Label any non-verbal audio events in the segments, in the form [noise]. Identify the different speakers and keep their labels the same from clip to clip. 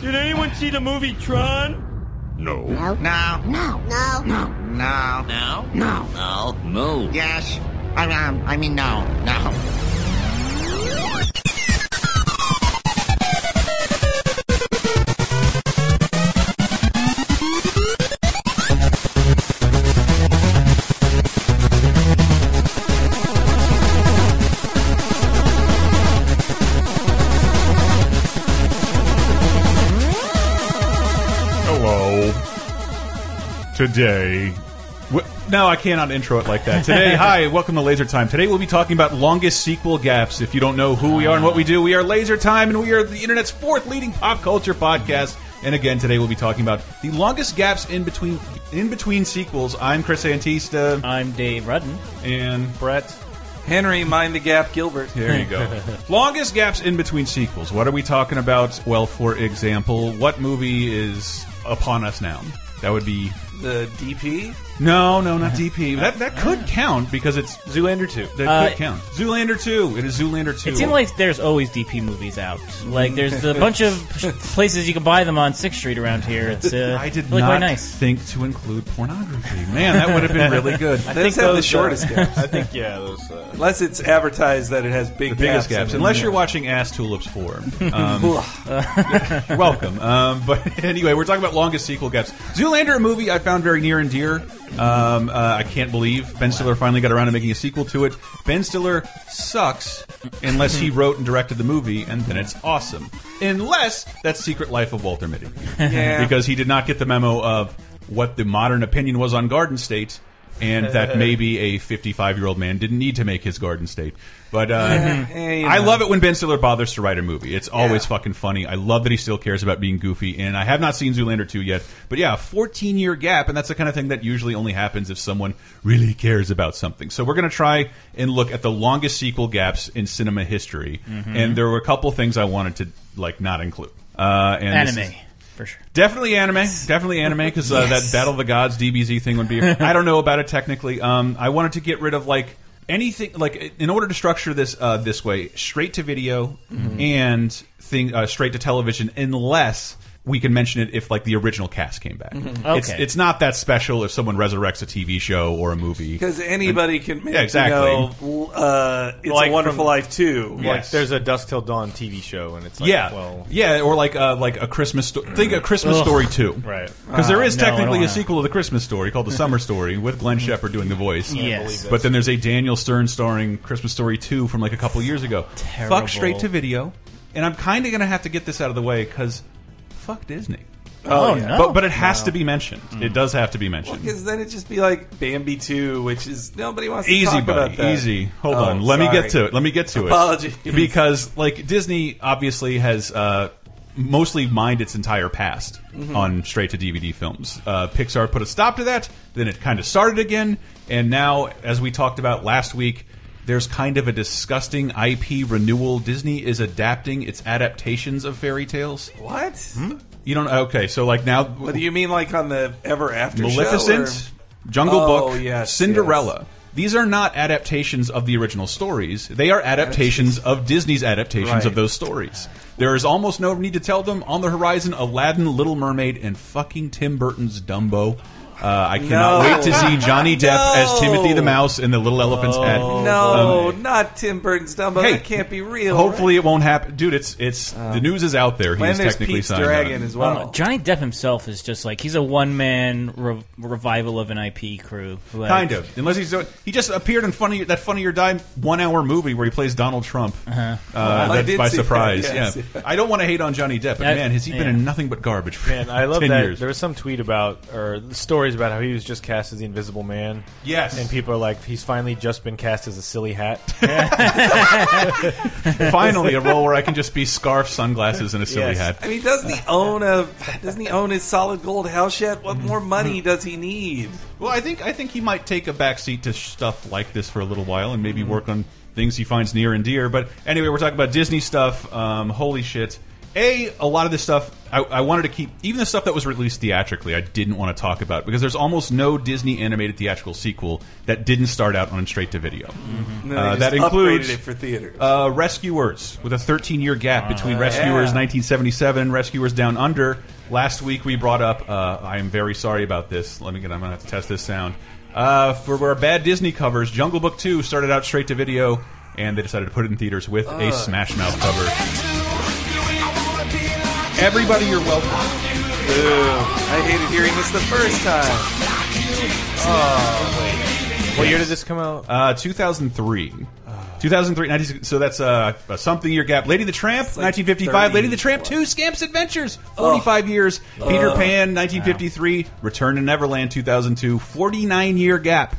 Speaker 1: Did anyone see the movie Tron?
Speaker 2: No.
Speaker 3: No.
Speaker 4: No.
Speaker 3: No. No.
Speaker 5: No.
Speaker 4: No.
Speaker 6: Now?
Speaker 3: No.
Speaker 6: No. No.
Speaker 4: Yes. I, um, I mean, no. No.
Speaker 2: Hello. Today.
Speaker 7: W- No, I cannot intro it like that. Today,
Speaker 2: [laughs]
Speaker 7: hi, welcome to Laser Time. Today we'll be talking about longest sequel gaps. If you don't know who we are and what we do, we are Laser Time, and we are the internet's fourth leading pop culture podcast. And again, today we'll be talking about the longest gaps in between in between sequels. I'm Chris Antista
Speaker 8: I'm Dave Rudden.
Speaker 7: and
Speaker 8: Brett.
Speaker 9: Henry, mind the gap, Gilbert.
Speaker 7: There
Speaker 2: [laughs]
Speaker 7: you go. Longest gaps in between sequels. What are we talking about? Well, for example, what movie is upon us now? That would be
Speaker 9: The DP.
Speaker 7: no, no, not DP. That that could count because it's
Speaker 8: Zoolander 2.
Speaker 7: that
Speaker 8: Uh,
Speaker 7: could count. Zoolander two. It is Zoolander two.
Speaker 8: It seems like there's always DP movies out. Like there's
Speaker 2: [laughs]
Speaker 8: a bunch of places you can buy them on Sixth Street around here. It's uh,
Speaker 7: I did
Speaker 8: really
Speaker 7: not
Speaker 8: quite nice.
Speaker 7: think to include pornography. Man, that would have been
Speaker 8: [laughs]
Speaker 7: really [laughs] good.
Speaker 9: I Those have
Speaker 7: [laughs]
Speaker 9: the shortest gaps.
Speaker 7: uh, I think yeah, those uh,
Speaker 9: Unless it's advertised that it has big
Speaker 7: the biggest gaps.
Speaker 9: in it.
Speaker 7: Unless you're watching Ass Tulips
Speaker 8: [laughs]
Speaker 7: four. Um, You're [laughs] welcome. Um, but [laughs] anyway, we're talking about longest sequel gaps. Zoolander, a movie I found very near and dear. Um, uh, I can't believe Ben Stiller finally got around to making a sequel to it. Ben Stiller sucks unless
Speaker 9: [laughs]
Speaker 7: he wrote and directed the movie, and then it's awesome. Unless that's Secret Life of Walter Mitty,
Speaker 9: [laughs] Yeah.
Speaker 7: because he did not get the memo of what the modern opinion was on Garden State. And
Speaker 9: [laughs]
Speaker 7: that maybe a 55 year old man didn't need to make his garden state. But
Speaker 9: [laughs]
Speaker 7: uh,
Speaker 9: Eh, you
Speaker 7: I
Speaker 9: know.
Speaker 7: love it when Ben Stiller bothers to write a movie. It's always
Speaker 9: Yeah.
Speaker 7: fucking funny. I love that he still cares about being goofy. And I have not seen Zoolander 2 yet. But yeah, 14 year gap. And that's the kind of thing that usually only happens if someone really cares about something. So we're going to try and look at the longest sequel gaps in cinema history. And there were a couple things I wanted to like not include. Uh, and this
Speaker 8: Anime,
Speaker 7: is-
Speaker 8: for sure.
Speaker 7: Definitely anime, definitely anime, because uh, that Battle of the Gods DBZ thing would be. I don't know about it technically. Um, I wanted to get rid of like anything, like in order to structure this uh, this way, straight to video and thing uh, straight to television, unless we can mention it if like the original cast came back. It's,
Speaker 8: Okay.
Speaker 7: it's not that special if someone resurrects a TV show or a movie.
Speaker 9: Because anybody can make
Speaker 7: Yeah, exactly.
Speaker 9: you know, uh, It's
Speaker 2: Like
Speaker 9: a Wonderful
Speaker 2: from-
Speaker 9: Life too.
Speaker 7: Yeah.
Speaker 2: Like,
Speaker 7: Yes.
Speaker 2: there's a Dusk Till Dawn TV show, and it's like,
Speaker 7: yeah,
Speaker 2: well,
Speaker 7: yeah, or like uh, like a Christmas sto- think a Christmas
Speaker 8: Ugh.
Speaker 7: story too,
Speaker 2: right.
Speaker 7: Because there is
Speaker 8: Uh, no, I don't
Speaker 7: technically a
Speaker 8: wanna-
Speaker 7: sequel to the Christmas story called the
Speaker 8: [laughs]
Speaker 7: Summer Story with Glenn Shepard doing the voice.
Speaker 8: Yes.
Speaker 7: But then there's a Daniel Stern starring Christmas Story 2 from like a couple years ago. Fuck
Speaker 8: Terrible.
Speaker 7: straight to video. And I'm kind of going to have to get this out of the way because fuck Disney.
Speaker 8: Oh, Hmm. no.
Speaker 7: But, but it has to be mentioned. It does have to be mentioned.
Speaker 9: Because then it'd just be like Bambi 2, which is nobody wants to
Speaker 7: easy,
Speaker 9: talk about
Speaker 7: buddy.
Speaker 9: that.
Speaker 7: Easy. Hold
Speaker 9: Oh,
Speaker 7: on. Let me
Speaker 9: sorry.
Speaker 7: get to it. Let me get to
Speaker 9: Apologies.
Speaker 7: it. Because like Disney obviously has uh, mostly mined its entire past
Speaker 9: Mm-hmm.
Speaker 7: on straight to DVD films. Uh, Pixar put a stop to that. Then it kind of started again, and now, as we talked about last week. There's kind of a disgusting IP renewal. Disney is adapting its adaptations of fairy tales.
Speaker 9: What?
Speaker 7: You don't okay? So like now,
Speaker 9: What do you mean, like on the Ever After
Speaker 7: Maleficent,
Speaker 9: show?
Speaker 7: Jungle
Speaker 9: Oh,
Speaker 7: Book,
Speaker 9: yes,
Speaker 7: Cinderella. These are not adaptations of the original stories. They are adaptations of Disney's adaptations of
Speaker 9: Right.
Speaker 7: those stories. There is almost no need to tell them. On the horizon, Aladdin, Little Mermaid, and fucking Tim Burton's Dumbo. Uh, I cannot
Speaker 9: No.
Speaker 7: wait to see Johnny Depp as
Speaker 9: No.
Speaker 7: Timothy the Mouse in the Little Elephant's Head.
Speaker 9: Or? No,
Speaker 7: Um,
Speaker 9: not Tim Burton's Dumbo.
Speaker 7: Hey,
Speaker 9: that can't be real.
Speaker 7: hopefully it won't happen, dude. It's it's the news is out there. He
Speaker 9: Right?
Speaker 7: is
Speaker 9: And there's
Speaker 7: technically
Speaker 9: Pete's
Speaker 7: signed on.
Speaker 9: Dragon as
Speaker 8: Um,
Speaker 9: well.
Speaker 8: Johnny Depp himself is just like he's a one man re revival of an IP crew. Like,
Speaker 7: Kind of, unless he's doing- he just appeared in funny that Funny or Die one hour movie where he plays Donald Trump. Uh,
Speaker 9: I
Speaker 7: that's
Speaker 9: did
Speaker 7: by
Speaker 9: see that,
Speaker 7: surprise.
Speaker 9: yes.
Speaker 7: Yeah, I don't want to hate on Johnny Depp, but
Speaker 8: I-
Speaker 7: man, has he been
Speaker 8: yeah.
Speaker 7: in nothing but garbage for
Speaker 2: Man, I
Speaker 7: [laughs]
Speaker 2: love
Speaker 7: 10
Speaker 2: that.
Speaker 7: years.
Speaker 2: There was some tweet about or stories about how he was just cast as the Invisible Man.
Speaker 7: Yes.
Speaker 2: and people are like, he's finally just been cast as a silly hat.
Speaker 7: Finally, a role where I can just be scarf, sunglasses, and a silly
Speaker 2: Yes.
Speaker 7: hat.
Speaker 9: I mean, doesn't he own a? Doesn't he own his solid gold house yet? What more money does he need?
Speaker 7: Well, I think I think he might take a backseat to stuff like this for a little while, and maybe work on things he finds near and dear. But anyway, we're talking about Disney stuff. Um, holy shit! A, a lot of this stuff I, I wanted to keep, even the stuff that was released theatrically, I didn't want to talk about because there's almost no Disney animated theatrical sequel that didn't start out on straight to video.
Speaker 9: No,
Speaker 7: Uh,
Speaker 9: Mm-hmm. they
Speaker 7: that
Speaker 9: just
Speaker 7: includes-
Speaker 9: upgraded it for theaters.
Speaker 7: Uh, Rescuers, with a 13 year gap between Rescuers
Speaker 9: yeah.
Speaker 7: 1977 and Rescuers Down Under. Last week we brought up, uh, I am very sorry about this. Let me get, I'm going to have to test this sound. Uh, for our bad Disney covers, Jungle Book 2 started out straight to video, and they decided to put it in theaters with a Smash Mouth cover. Everybody, you're welcome.
Speaker 9: I hated hearing this the
Speaker 7: [laughs]
Speaker 9: first time.
Speaker 2: What year did this come out?
Speaker 7: Uh, 2003. 2003, 90 so that's uh, a something year gap. Lady the Tramp,
Speaker 9: like
Speaker 7: 1955.
Speaker 9: 30,
Speaker 7: Lady the Tramp 2, Scamps Adventures, 45 years. Peter Pan, 1953. Return to Neverland, 2002. 49 year gap.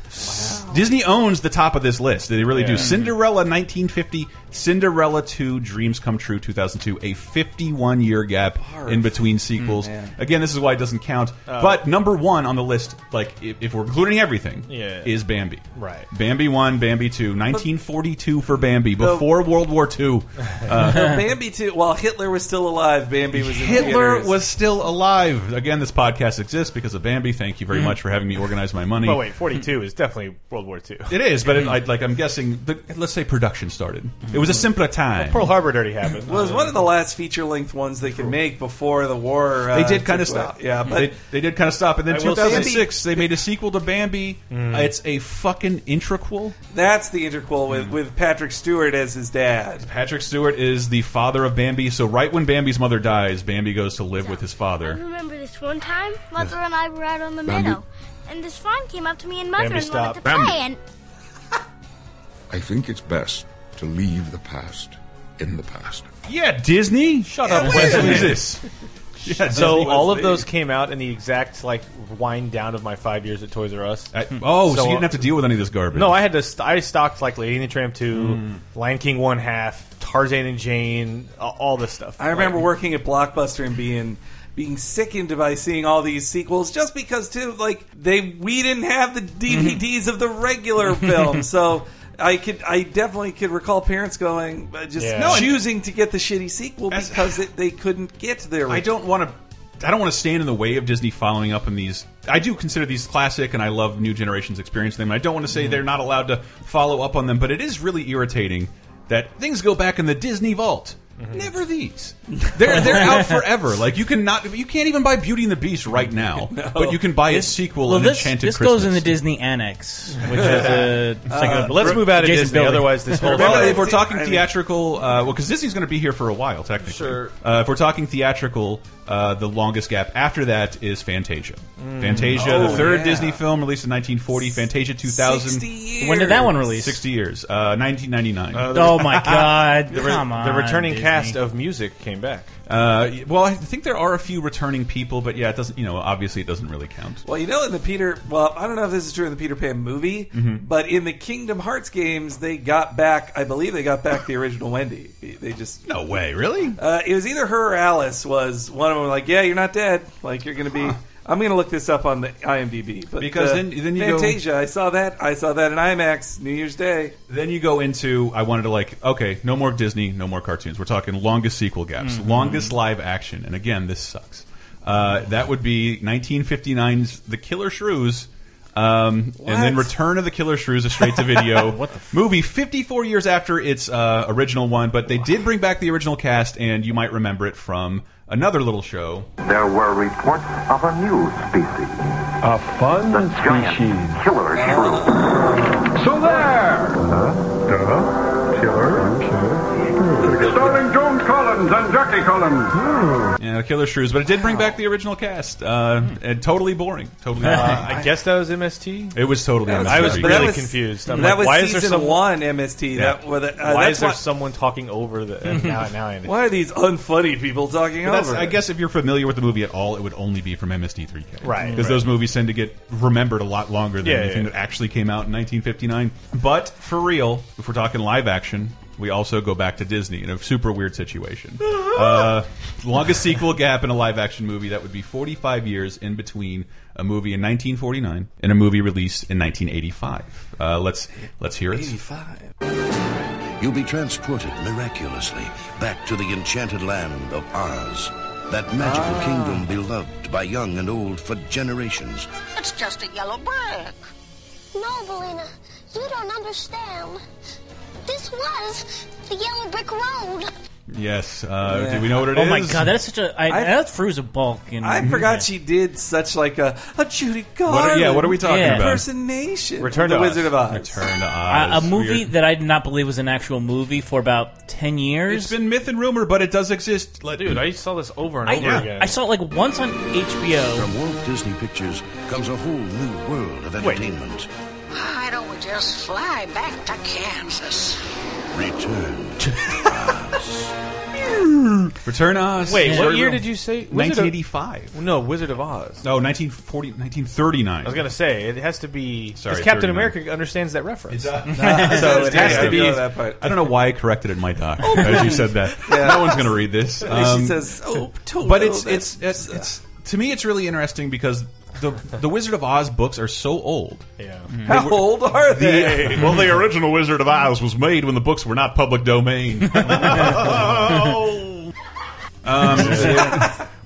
Speaker 7: Disney owns the top of this list. They really do.
Speaker 2: Yeah.
Speaker 7: Cinderella, 1950. Cinderella 2, Dreams Come True, 2002. A 51 year gap in between
Speaker 2: Mm,
Speaker 7: sequels. Again, this is why it doesn't count.
Speaker 2: Oh.
Speaker 7: but number one on the list, like if, if we're including everything,
Speaker 2: Yeah.
Speaker 7: is Bambi.
Speaker 2: Right.
Speaker 7: Bambi 1, Bambi 2, 1942 for Bambi, before World War II.
Speaker 9: Bambi too. While Hitler was still alive, Bambi was in
Speaker 7: Hitler
Speaker 9: theaters.
Speaker 7: was still alive. Again, this podcast exists because of Bambi. Thank you very much for having me organize my money.
Speaker 2: Oh wait, 42 is definitely World War II.
Speaker 7: It is, but it, I, like I'm guessing, the, let's say production started. It was a simpler time.
Speaker 2: Pearl Harbor already happened.
Speaker 9: Well, it was one of the last feature length ones they could make before the war. Uh,
Speaker 7: they did kind of
Speaker 9: took place.
Speaker 7: stop.
Speaker 9: Yeah, but
Speaker 7: they, they did kind of stop. And then
Speaker 2: I will
Speaker 7: 2006, they made a sequel to Bambi. Uh, it's a fucking intraquel.
Speaker 9: that's the interquel
Speaker 7: Hmm.
Speaker 9: with, with Patrick Stewart as his dad.
Speaker 7: Patrick Stewart is the father of Bambi. So right when Bambi's mother dies, Bambi goes to live with his
Speaker 3: I
Speaker 7: father.
Speaker 3: remember this one time, Mother and I were out on the meadow, and this fawn came up to me and Mother
Speaker 2: Bambi,
Speaker 3: and
Speaker 2: stop.
Speaker 3: wanted to
Speaker 5: Bambi.
Speaker 3: play, and
Speaker 5: I think it's best to leave the past in the past.
Speaker 7: Yeah, Disney. Shut up, Wesley. What is this? Yeah,
Speaker 2: so
Speaker 7: Disney
Speaker 2: all
Speaker 7: was
Speaker 2: of
Speaker 7: big.
Speaker 2: those came out in the exact like wind down of my five years at Toys R Us.
Speaker 7: I, oh, so,
Speaker 2: So,
Speaker 7: you
Speaker 2: uh,
Speaker 7: didn't have to deal with any of this garbage.
Speaker 2: no, I had to. St I stocked like Lady and the Tramp two, Lion King one half, Tarzan and Jane, a- all this stuff.
Speaker 9: I remember working at Blockbuster and being being sickened by seeing all these sequels just because too like they we didn't have the DVDs of the regular film so I could I definitely could recall parents going uh, just
Speaker 2: Yeah. No, and-
Speaker 9: choosing to get the shitty sequel
Speaker 7: As-
Speaker 9: because it, they couldn't get their
Speaker 7: I don't want to. I don't want to stand in the way of Disney following up on these. I do consider these classic, and I love new generations experiencing them. I don't want to say they're not allowed to follow up on them, but it is really irritating that things go back in the Disney vault. Never these. They're [laughs] they're out forever. Like you can not, you can't even buy Beauty and the Beast right [laughs] now, but you can buy its sequel,
Speaker 8: Well,
Speaker 7: An
Speaker 8: this,
Speaker 7: Enchanted
Speaker 8: this
Speaker 7: Christmas.
Speaker 8: goes in the Disney
Speaker 2: [laughs]
Speaker 8: annex, which is a
Speaker 2: But Uh, let's move out of
Speaker 8: Jason
Speaker 2: Disney.
Speaker 8: Building.
Speaker 2: Otherwise,
Speaker 8: [laughs]
Speaker 2: this whole
Speaker 7: Well,
Speaker 9: Remember-
Speaker 7: if we're talking
Speaker 9: I mean-
Speaker 7: theatrical, uh, well, because Disney's going to be here for a while, technically.
Speaker 2: Sure.
Speaker 7: Uh, if we're talking theatrical, uh, the longest gap after that is Fantasia. Fantasia, the
Speaker 9: Oh,
Speaker 7: third
Speaker 9: yeah.
Speaker 7: Disney film released in 1940, Fantasia 2000,
Speaker 9: 60
Speaker 7: 60,
Speaker 9: years.
Speaker 8: when did that one release?
Speaker 7: years, uh, 1999. Uh,
Speaker 8: Oh
Speaker 2: [laughs]
Speaker 8: my god!
Speaker 2: re-
Speaker 8: Come on,
Speaker 2: the returning
Speaker 8: Disney.
Speaker 2: cast of music came back.
Speaker 7: Uh, well, I think there are a few returning people, but yeah, it doesn't. You know, obviously, it doesn't really count.
Speaker 9: Well, you know, in the Peter, well, I don't know if this is true in the Peter Pan movie, but in the Kingdom Hearts games, they got back, I believe they got back the original Wendy. They just,
Speaker 7: No way, really?
Speaker 9: uh, it was either her or Alice was one of them. Like, yeah, you're not dead. Like, you're gonna be. I'm gonna look this up on the IMDb. But
Speaker 7: Because
Speaker 9: uh,
Speaker 7: then- then you go-
Speaker 9: Fantasia. I saw that. I saw that in IMAX New Year's Day.
Speaker 7: then you go into I wanted to like okay, no more Disney, no more cartoons. We're talking longest sequel gaps,
Speaker 9: Mm-hmm.
Speaker 7: longest live action, and again, this sucks. Uh, that would be 1959's The Killer Shrews. Um, and then
Speaker 9: What?
Speaker 7: Return of the Killer Shrews, a straight to
Speaker 9: [laughs]
Speaker 7: video movie, 54 years after its uh, original one, but they did bring back the original cast, and you might remember it from another little show.
Speaker 6: There were reports of a new species.
Speaker 10: A fun
Speaker 6: The giant
Speaker 10: species.
Speaker 6: killer shrew. Uh,
Speaker 10: So there! Duh. Killer. Starring Joan Collins and Jackie Collins.
Speaker 11: Hmm.
Speaker 7: Yeah, The Killer Shrews, but it did bring back the original cast. Uh, and totally boring.
Speaker 9: [laughs]
Speaker 7: Totally.
Speaker 2: Uh, I guess that was MST.
Speaker 7: it was totally.
Speaker 9: That was-
Speaker 2: I was
Speaker 7: unnecessary.
Speaker 9: But that
Speaker 2: really
Speaker 9: was-
Speaker 2: confused. I'm
Speaker 9: that
Speaker 2: like,
Speaker 9: was
Speaker 2: why is
Speaker 9: season
Speaker 2: there some
Speaker 9: one MST. That
Speaker 7: Yeah.
Speaker 9: was. Uh,
Speaker 2: why
Speaker 9: that's
Speaker 2: is there someone talking over the and now, now I understand.
Speaker 9: Why are these unfunny people talking
Speaker 7: But that's-
Speaker 9: over?
Speaker 7: I
Speaker 9: it?
Speaker 7: guess if you're familiar with the movie at all, it would only be from MSD3K.
Speaker 2: Right,
Speaker 7: Because
Speaker 2: right.
Speaker 7: those movies tend to get remembered a lot longer than
Speaker 2: Yeah,
Speaker 7: anything
Speaker 2: yeah.
Speaker 7: that actually came out in 1959. But for real, if we're talking live action, we also go back to Disney in a super
Speaker 2: [laughs]
Speaker 7: weird situation. uh, longest sequel gap in a live action movie, that would be 45 years in between a movie in 1949 and a movie released in 1985. Uh, let's, let's hear it.
Speaker 9: 85.
Speaker 12: you'll be transported miraculously back to the enchanted land of Oz, that magical
Speaker 11: Ah.
Speaker 12: kingdom beloved by young and old for generations.
Speaker 11: It's just a yellow brick.
Speaker 13: No, Belina, you don't understand. This was the Yellow Brick Road.
Speaker 7: Yes. Uh, Do we know what it
Speaker 8: oh
Speaker 7: is?
Speaker 8: my god, that's such a. I,
Speaker 9: I-
Speaker 8: that threw a bulk. In,
Speaker 9: I forgot she did such like a, a Judy Garland.
Speaker 8: Mm-hmm. What are- yeah, what are we talking Yeah. about?
Speaker 9: Impersonation.
Speaker 8: Return
Speaker 9: the
Speaker 8: to Oz.
Speaker 9: Wizard of Oz.
Speaker 7: Return to
Speaker 8: Uh,
Speaker 7: Oz.
Speaker 8: a movie
Speaker 7: Weird.
Speaker 8: that I did not believe was an actual movie for about ten years.
Speaker 7: It's been myth and rumor, but it does exist. Like,
Speaker 2: Dude, I saw this over and
Speaker 8: I,
Speaker 2: over again.
Speaker 8: I saw it like once on HBO.
Speaker 12: From Walt Disney Pictures comes a whole new world of entertainment.
Speaker 11: Why don't we just fly back to Kansas?
Speaker 12: Return to
Speaker 7: Return to Oz.
Speaker 2: Wait,
Speaker 7: It's
Speaker 2: what
Speaker 7: very
Speaker 2: year
Speaker 7: real.
Speaker 2: did you say? Wizard of-
Speaker 7: 1985.
Speaker 2: No, Wizard of Oz.
Speaker 7: No, 1940, 1939.
Speaker 2: I was gonna say it has to be
Speaker 7: Sorry,
Speaker 2: because Captain
Speaker 7: 39.
Speaker 2: America understands that reference.
Speaker 9: [laughs]
Speaker 7: so it has to be.
Speaker 9: that part. Oh,
Speaker 7: I don't know why I corrected it in my doc as you said that. No one's going to read this. Um,
Speaker 9: She says, "Oh, Toto,
Speaker 7: but it's
Speaker 9: that's-
Speaker 7: it's it's, it's to me it's really interesting because the the Wizard of Oz books are so old. Yeah,
Speaker 2: Mm-hmm.
Speaker 9: How old are they?
Speaker 7: well, the original Wizard of Oz was made when the books were not public domain. Um,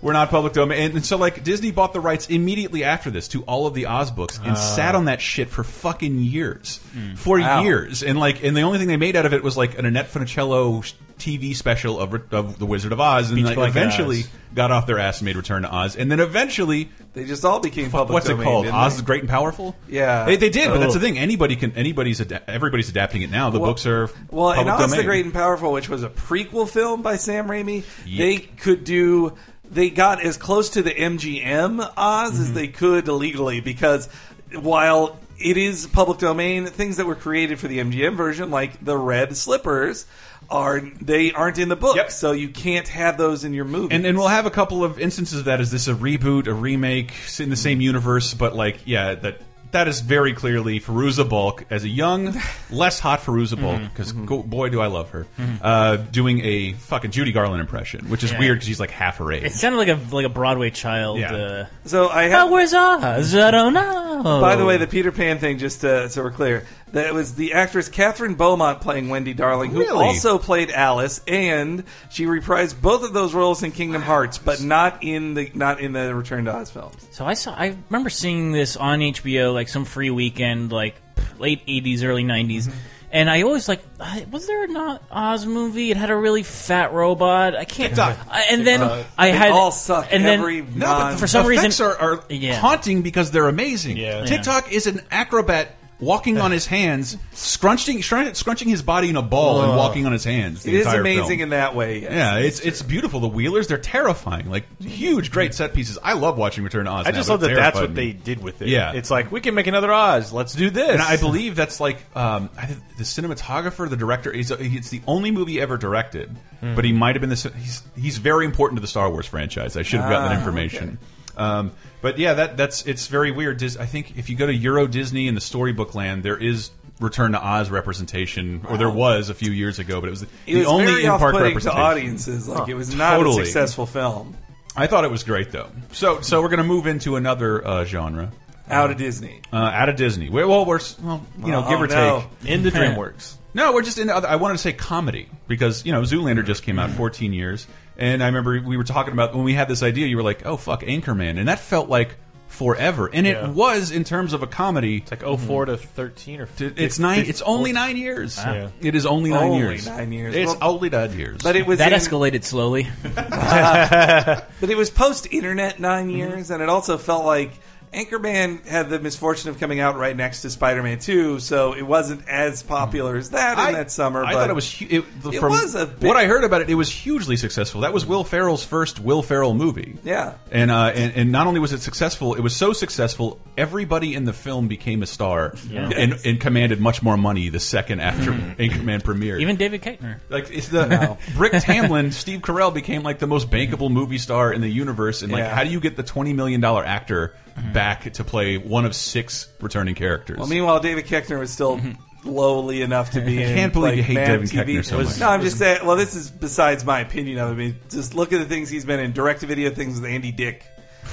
Speaker 7: we're not public domain, and, and so like Disney bought the rights immediately after this to all of the Oz books and
Speaker 2: Ah.
Speaker 7: sat on that shit for fucking years, for
Speaker 2: Wow.
Speaker 7: years, and like and the only thing they made out of it was like an Annette Funicello sh- TV special of, of the Wizard of Oz, and
Speaker 2: Beach
Speaker 7: like,
Speaker 2: Blanket
Speaker 7: eventually
Speaker 2: Oz.
Speaker 7: got off their ass and made Return to Oz, and then eventually
Speaker 9: they just all became public
Speaker 7: What's
Speaker 9: domain,
Speaker 7: it called?
Speaker 9: didn't
Speaker 7: Oz
Speaker 9: they?
Speaker 7: the Great and Powerful.
Speaker 9: Yeah.
Speaker 7: they, they did, but that's
Speaker 9: Oh.
Speaker 7: the thing. Anybody can anybody's ada everybody's adapting it now. The
Speaker 9: Well-
Speaker 7: books are
Speaker 9: Well,
Speaker 7: public
Speaker 9: and Oz
Speaker 7: domain.
Speaker 9: the Great and Powerful, which was a prequel film by Sam Raimi,
Speaker 7: Yeek.
Speaker 9: they could do. They got as close to the MGM Oz
Speaker 7: Mm-hmm.
Speaker 9: as they could legally because while it is public domain, things that were created for the MGM version, like the red slippers, are they aren't in the book, so you can't have those in your movie.
Speaker 7: And, and we'll have a couple of instances of that. Is this a reboot, a remake it's in the same universe? But like, yeah, that that is very clearly Feruza Balk as a
Speaker 9: [laughs]
Speaker 7: young, less hot Feruza
Speaker 9: Mm-hmm.
Speaker 7: Balk
Speaker 2: Mhm.
Speaker 7: because boy do I love her
Speaker 2: Mhm.
Speaker 7: uh, doing a fucking Judy Garland impression, which is
Speaker 8: Yeah.
Speaker 7: weird because she's like half her age.
Speaker 8: It sounded like a like a Broadway child. Uh,
Speaker 9: So I have.
Speaker 8: Oh, where's Oz? I don't know.
Speaker 9: By
Speaker 7: Oh.
Speaker 9: the way, the Peter Pan thing, just uh, so we're clear, that was the actress Catherine Beaumont playing Wendy Darling, who
Speaker 7: Really?
Speaker 9: also played Alice, and she reprised both of those roles in Kingdom Hearts, but not in the not in the Return to Oz films.
Speaker 8: So I saw. I remember seeing this on HBO, like some free weekend, like late '80s, early '90s. And I always like, I- was there not Oz movie? It had a really fat robot. I can't.
Speaker 7: TikTok.
Speaker 8: I- and then
Speaker 7: TikTok.
Speaker 8: I
Speaker 7: Uh, They
Speaker 8: had
Speaker 7: all suck.
Speaker 8: And then
Speaker 7: Every
Speaker 8: no, but
Speaker 7: non-
Speaker 8: for some
Speaker 7: Effects
Speaker 8: reason
Speaker 7: are- are haunting because they're amazing.
Speaker 2: Yeah.
Speaker 7: TikTok is an acrobat walking on his hands, scrunching scrun- scrunching his body in a ball and
Speaker 9: Ugh.
Speaker 7: walking on his hands. the
Speaker 9: It is
Speaker 7: entire
Speaker 9: amazing
Speaker 7: film.
Speaker 9: in that way, yes.
Speaker 7: Yeah, it's it's beautiful. The Wheelers they're terrifying. Like huge, great set pieces. I love watching Return to Oz.
Speaker 2: I
Speaker 7: now,
Speaker 2: just
Speaker 7: but
Speaker 2: love
Speaker 7: it
Speaker 2: that that's
Speaker 7: terrified
Speaker 2: what
Speaker 7: me.
Speaker 2: they did with it.
Speaker 7: Yeah,
Speaker 2: it's like we can make another Oz. Let's do this.
Speaker 7: and I believe that's like um, I think the cinematographer, the director. He's, it's the only movie ever directed,
Speaker 2: Hmm.
Speaker 7: but he might have been the. He's he's very important to the Star Wars franchise. I should have gotten that
Speaker 2: Ah,
Speaker 7: information. Um, but yeah, that that's it's very weird. Dis I think if you go to Euro Disney and the Storybook Land, there is Return to Oz representation, or there was a few years ago, but it was the,
Speaker 9: It was
Speaker 7: only
Speaker 9: very
Speaker 7: in park
Speaker 9: off-putting to
Speaker 7: representation
Speaker 9: audiences. Like it was not a successful film.
Speaker 7: I thought it was great though. So so we're gonna move into another uh, genre.
Speaker 9: Out of Disney.
Speaker 7: Uh, out of Disney. We- Well, we're s- well, you know,
Speaker 9: Oh,
Speaker 7: give or
Speaker 9: no.
Speaker 7: take
Speaker 9: Into DreamWorks.
Speaker 7: [laughs] no, we're just into other. I wanted to say comedy because you know Zoolander just came out
Speaker 9: Mm.
Speaker 7: 14 years, and I remember we were talking about when we had this idea. You were like, "Oh fuck, Anchorman," and that felt like forever, and
Speaker 2: Yeah.
Speaker 7: it was in terms of a comedy. It's
Speaker 9: oh,
Speaker 2: like 04 to 13 or
Speaker 7: Mm-hmm. It's nine. It's only nine years.
Speaker 2: Wow. Yeah.
Speaker 7: It is only nine
Speaker 2: Only
Speaker 7: years.
Speaker 9: Ah. nine years.
Speaker 7: It's
Speaker 9: Well-
Speaker 7: only nine years.
Speaker 9: But it was That in-
Speaker 8: escalated slowly.
Speaker 9: but it was post internet 9
Speaker 7: Mm-hmm.
Speaker 9: years, and it also felt like Anchorman had the misfortune of coming out right next to Spider Man 2, so it wasn't as popular as that in that summer.
Speaker 7: Mm-hmm. I
Speaker 9: but
Speaker 7: thought it was. hu- It, the-
Speaker 9: It
Speaker 7: from
Speaker 9: was a big-
Speaker 7: what I heard about it. It was hugely successful. That was Will Ferrell's first Will Ferrell movie.
Speaker 9: Yeah.
Speaker 7: and uh, and, and not only was it successful, it was so successful. Everybody in the film became a star
Speaker 8: Yeah.
Speaker 7: and, and commanded much more money the second after [laughs]
Speaker 8: Mhm.
Speaker 7: Anchorman premiered.
Speaker 8: even David Keitner.
Speaker 7: Like it's the [laughs] Rick Tamlin, Steve Carell became like the most bankable movie star in the universe, and like
Speaker 9: Yeah.
Speaker 7: how do you get the twenty million dollar actor
Speaker 8: Mm-hmm.
Speaker 7: back to play one of six returning characters?
Speaker 9: Well, meanwhile, David Keckner was still lowly enough to be.
Speaker 7: Mm-hmm. I
Speaker 9: in,
Speaker 7: can't believe
Speaker 9: like,
Speaker 7: you hate
Speaker 9: Mad
Speaker 7: David
Speaker 9: TV.
Speaker 7: Koechner so much.
Speaker 9: No, I'm just saying. Well, this is besides my opinion of him. I mean, just look at the things he's been in. Direct to video things with Andy Dick.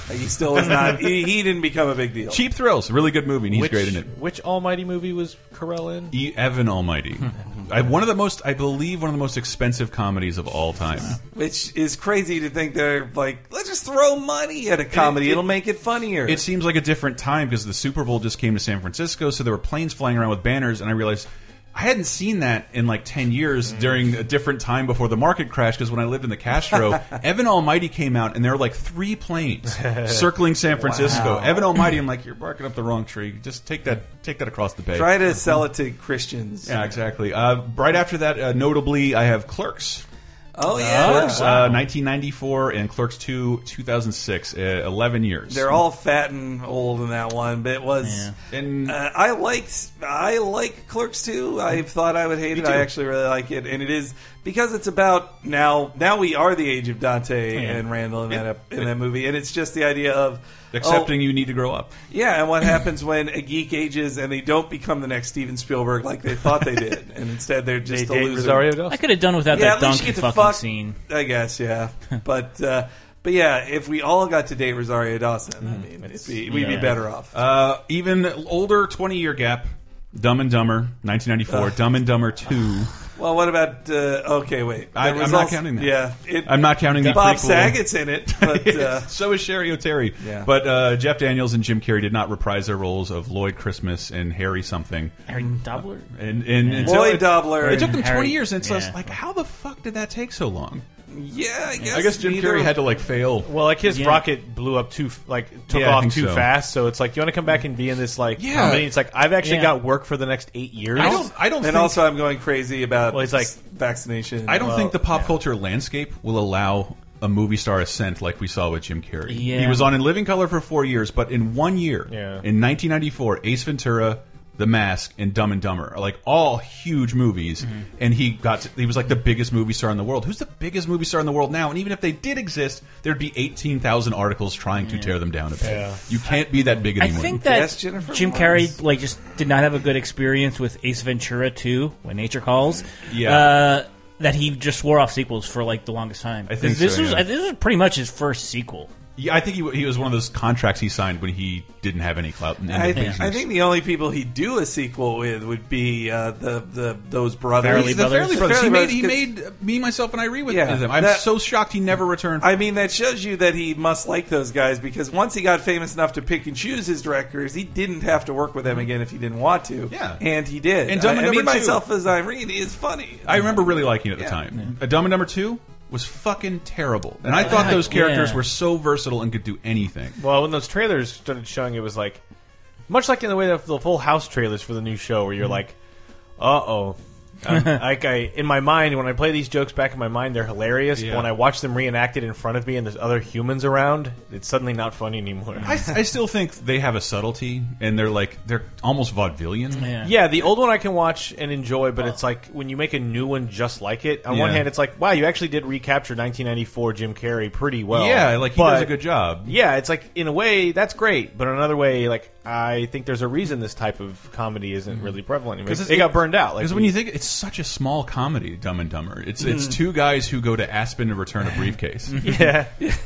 Speaker 9: Like, he still is not. he, he didn't become a big deal.
Speaker 7: Cheap Thrills, really good movie, and he's
Speaker 9: Which-
Speaker 7: great in it.
Speaker 2: Which Almighty movie was Carell in?
Speaker 7: E. Evan
Speaker 8: [laughs]
Speaker 7: Almighty, I, one of the most, I believe, one of the most expensive comedies of all time.
Speaker 9: Which is crazy to think they're like, let's just throw money at a comedy. It, will make it funnier.
Speaker 7: It seems like a different time because the Super Bowl just came to San Francisco, so there were planes flying around with banners, and I realized I hadn't seen that in like ten
Speaker 9: Mm.
Speaker 7: years during a different time before the market crash. Because when I lived in the Castro,
Speaker 9: [laughs]
Speaker 7: Evan Almighty came out, and there were like three planes circling
Speaker 9: [laughs]
Speaker 7: San Francisco.
Speaker 9: Wow.
Speaker 7: Evan Almighty, I'm like, you're barking up the wrong tree. Just take that, take that across the bay.
Speaker 9: Try to sell it to Christians.
Speaker 7: Yeah, exactly. Uh, right after that, uh, notably, I have Clerks.
Speaker 9: Oh, yeah.
Speaker 7: Clerks,
Speaker 9: Wow.
Speaker 7: uh, 1994 and Clerks 2, 2006, uh, 11 years.
Speaker 9: They're all fat and old in that one, but it was.
Speaker 7: And
Speaker 9: uh, I liked, I like Clerks too. I thought I would hate
Speaker 7: Me
Speaker 9: it. I
Speaker 7: too.
Speaker 9: actually really like it, and it is because it's about now. Now we are the age of Dante
Speaker 7: Oh, Yeah.
Speaker 9: and Randall in
Speaker 7: Yeah.
Speaker 9: that ep- in that movie, and it's just the idea of
Speaker 7: accepting
Speaker 9: oh,
Speaker 7: you need to grow up.
Speaker 9: yeah, and what happens when a geek ages and they don't become the next Steven Spielberg like they thought they did, and instead they're just
Speaker 8: They
Speaker 9: a
Speaker 8: date
Speaker 9: loser.
Speaker 8: Rosario Dawson. I could have done without
Speaker 9: Yeah,
Speaker 8: that
Speaker 9: at least
Speaker 8: donkey
Speaker 9: you get to
Speaker 8: fucking
Speaker 9: fuck,
Speaker 8: scene.
Speaker 9: I guess, yeah. but uh, but yeah, if we all got to date Rosario Dawson, I mean, it'd be, we'd be better off.
Speaker 7: Uh, even older, 20 year gap. Dumb and Dumber, 1994.
Speaker 9: Ugh.
Speaker 7: Dumb and Dumber 2.
Speaker 9: Well, what about? Uh, okay, wait.
Speaker 7: I,
Speaker 9: There was
Speaker 7: I'm not
Speaker 9: also-
Speaker 7: counting that.
Speaker 9: Yeah, it-
Speaker 7: I'm not counting the
Speaker 9: Bob
Speaker 7: prequel.
Speaker 9: Saget's
Speaker 7: [laughs]
Speaker 9: in it, but uh,
Speaker 7: so is Sherry O'Terry.
Speaker 9: Yeah.
Speaker 7: But uh, Jeff Daniels and Jim Carrey did not reprise their roles of Lloyd Christmas and Harry something.
Speaker 8: Harry Dobler?
Speaker 7: And, and
Speaker 8: Yeah.
Speaker 7: until
Speaker 8: Lloyd
Speaker 7: it-
Speaker 9: Dobler
Speaker 7: It took
Speaker 9: and
Speaker 7: them 20
Speaker 9: Harry-
Speaker 7: years, and so it's
Speaker 9: yeah.
Speaker 7: like, how the fuck did that take so long?
Speaker 9: yeah, I guess.
Speaker 7: I guess Jim
Speaker 9: neither-
Speaker 7: Carrey had to like fail.
Speaker 2: Well, like his
Speaker 7: Yeah.
Speaker 2: rocket blew up too, f- like took
Speaker 7: Yeah, I
Speaker 2: off
Speaker 7: think
Speaker 2: too
Speaker 7: so.
Speaker 2: fast. So it's like you want to come back and be in this like
Speaker 7: Yeah.
Speaker 2: comedy. It's like I've actually
Speaker 7: Yeah.
Speaker 2: got work for the next eight years.
Speaker 9: And also, I'm going crazy about. Well, he's like vaccination.
Speaker 7: I don't think the pop culture landscape will allow a movie star ascent like we saw with Jim Carrey.
Speaker 9: Yeah.
Speaker 7: He was on In Living Color for four years, but in one year, in 1994, Ace Ventura, The Mask, and Dumb and Dumber are like all huge movies,
Speaker 9: Mm-hmm.
Speaker 7: and he got to- he was like the biggest movie star in the world. Who's the biggest movie star in the world now? And even if they did exist, there'd be 18,000 articles trying to tear them down a bit.
Speaker 8: Yeah.
Speaker 7: You can't be that big
Speaker 8: I
Speaker 7: anymore.
Speaker 8: think that Jim Carrey like just did not have a good experience with Ace Ventura 2, When Nature Calls.
Speaker 7: Yeah.
Speaker 8: Uh, that he just swore off sequels for like the longest time.
Speaker 7: I think
Speaker 8: this
Speaker 7: so,
Speaker 8: was
Speaker 7: yeah.
Speaker 8: this was pretty much his first sequel.
Speaker 7: Yeah, I think he, he was one of those contracts he signed when he didn't have any clout. In the
Speaker 9: I think,
Speaker 7: business.
Speaker 9: I think the only people he'd do a sequel with would be uh, the the those brothers,
Speaker 7: Farrelly The brothers. Farrelly
Speaker 9: The
Speaker 7: brothers. He made- he
Speaker 9: 'cause-
Speaker 7: made, uh, me, myself, and I re with them. I'm so shocked he never returned.
Speaker 9: I mean, that shows you that he must like those guys because once he got famous enough to pick and choose his directors, he didn't have to work with them again if he didn't want to. Yeah, and he did.
Speaker 7: And Dumb and
Speaker 9: I, I mean,
Speaker 7: Dumber 2.
Speaker 9: myself as Irene is funny.
Speaker 7: I remember really liking it at the time. A Dumb and Number Two was fucking terrible, and I thought those characters were so versatile and could do anything.
Speaker 2: Well, when those trailers started showing, it was like much like in the way that the Full House trailers for the new show, where you're
Speaker 7: Mhm.
Speaker 2: like, uh oh. Um, [laughs] like I, in my mind, when I play these jokes back in my mind, they're hilarious.
Speaker 7: Yeah.
Speaker 2: But when I watch them reenacted in front of me, and there's other humans around, it's suddenly not funny
Speaker 7: [laughs]
Speaker 2: anymore.
Speaker 7: I, I still think they have a subtlety, and they're like they're almost vaudevillian.
Speaker 2: Yeah. the old one I can watch and enjoy, but it's like when you make a new one just like it. On one
Speaker 7: Yeah.
Speaker 2: hand, it's like, wow, you actually did recapture 1994 Jim Carrey pretty well.
Speaker 7: yeah, like he does
Speaker 2: But-
Speaker 7: a good job.
Speaker 2: Yeah, it's like in a way that's great, but in another way, like I think there's a reason this type of comedy isn't really prevalent. anymore.
Speaker 7: 'Cause it's-
Speaker 2: Mm-hmm. It got burned out. Like
Speaker 7: Because when you think it's such a small comedy, Dumb and Dumber, it's it's
Speaker 2: Mm.
Speaker 7: two guys who go to Aspen to return a briefcase.
Speaker 2: Yeah.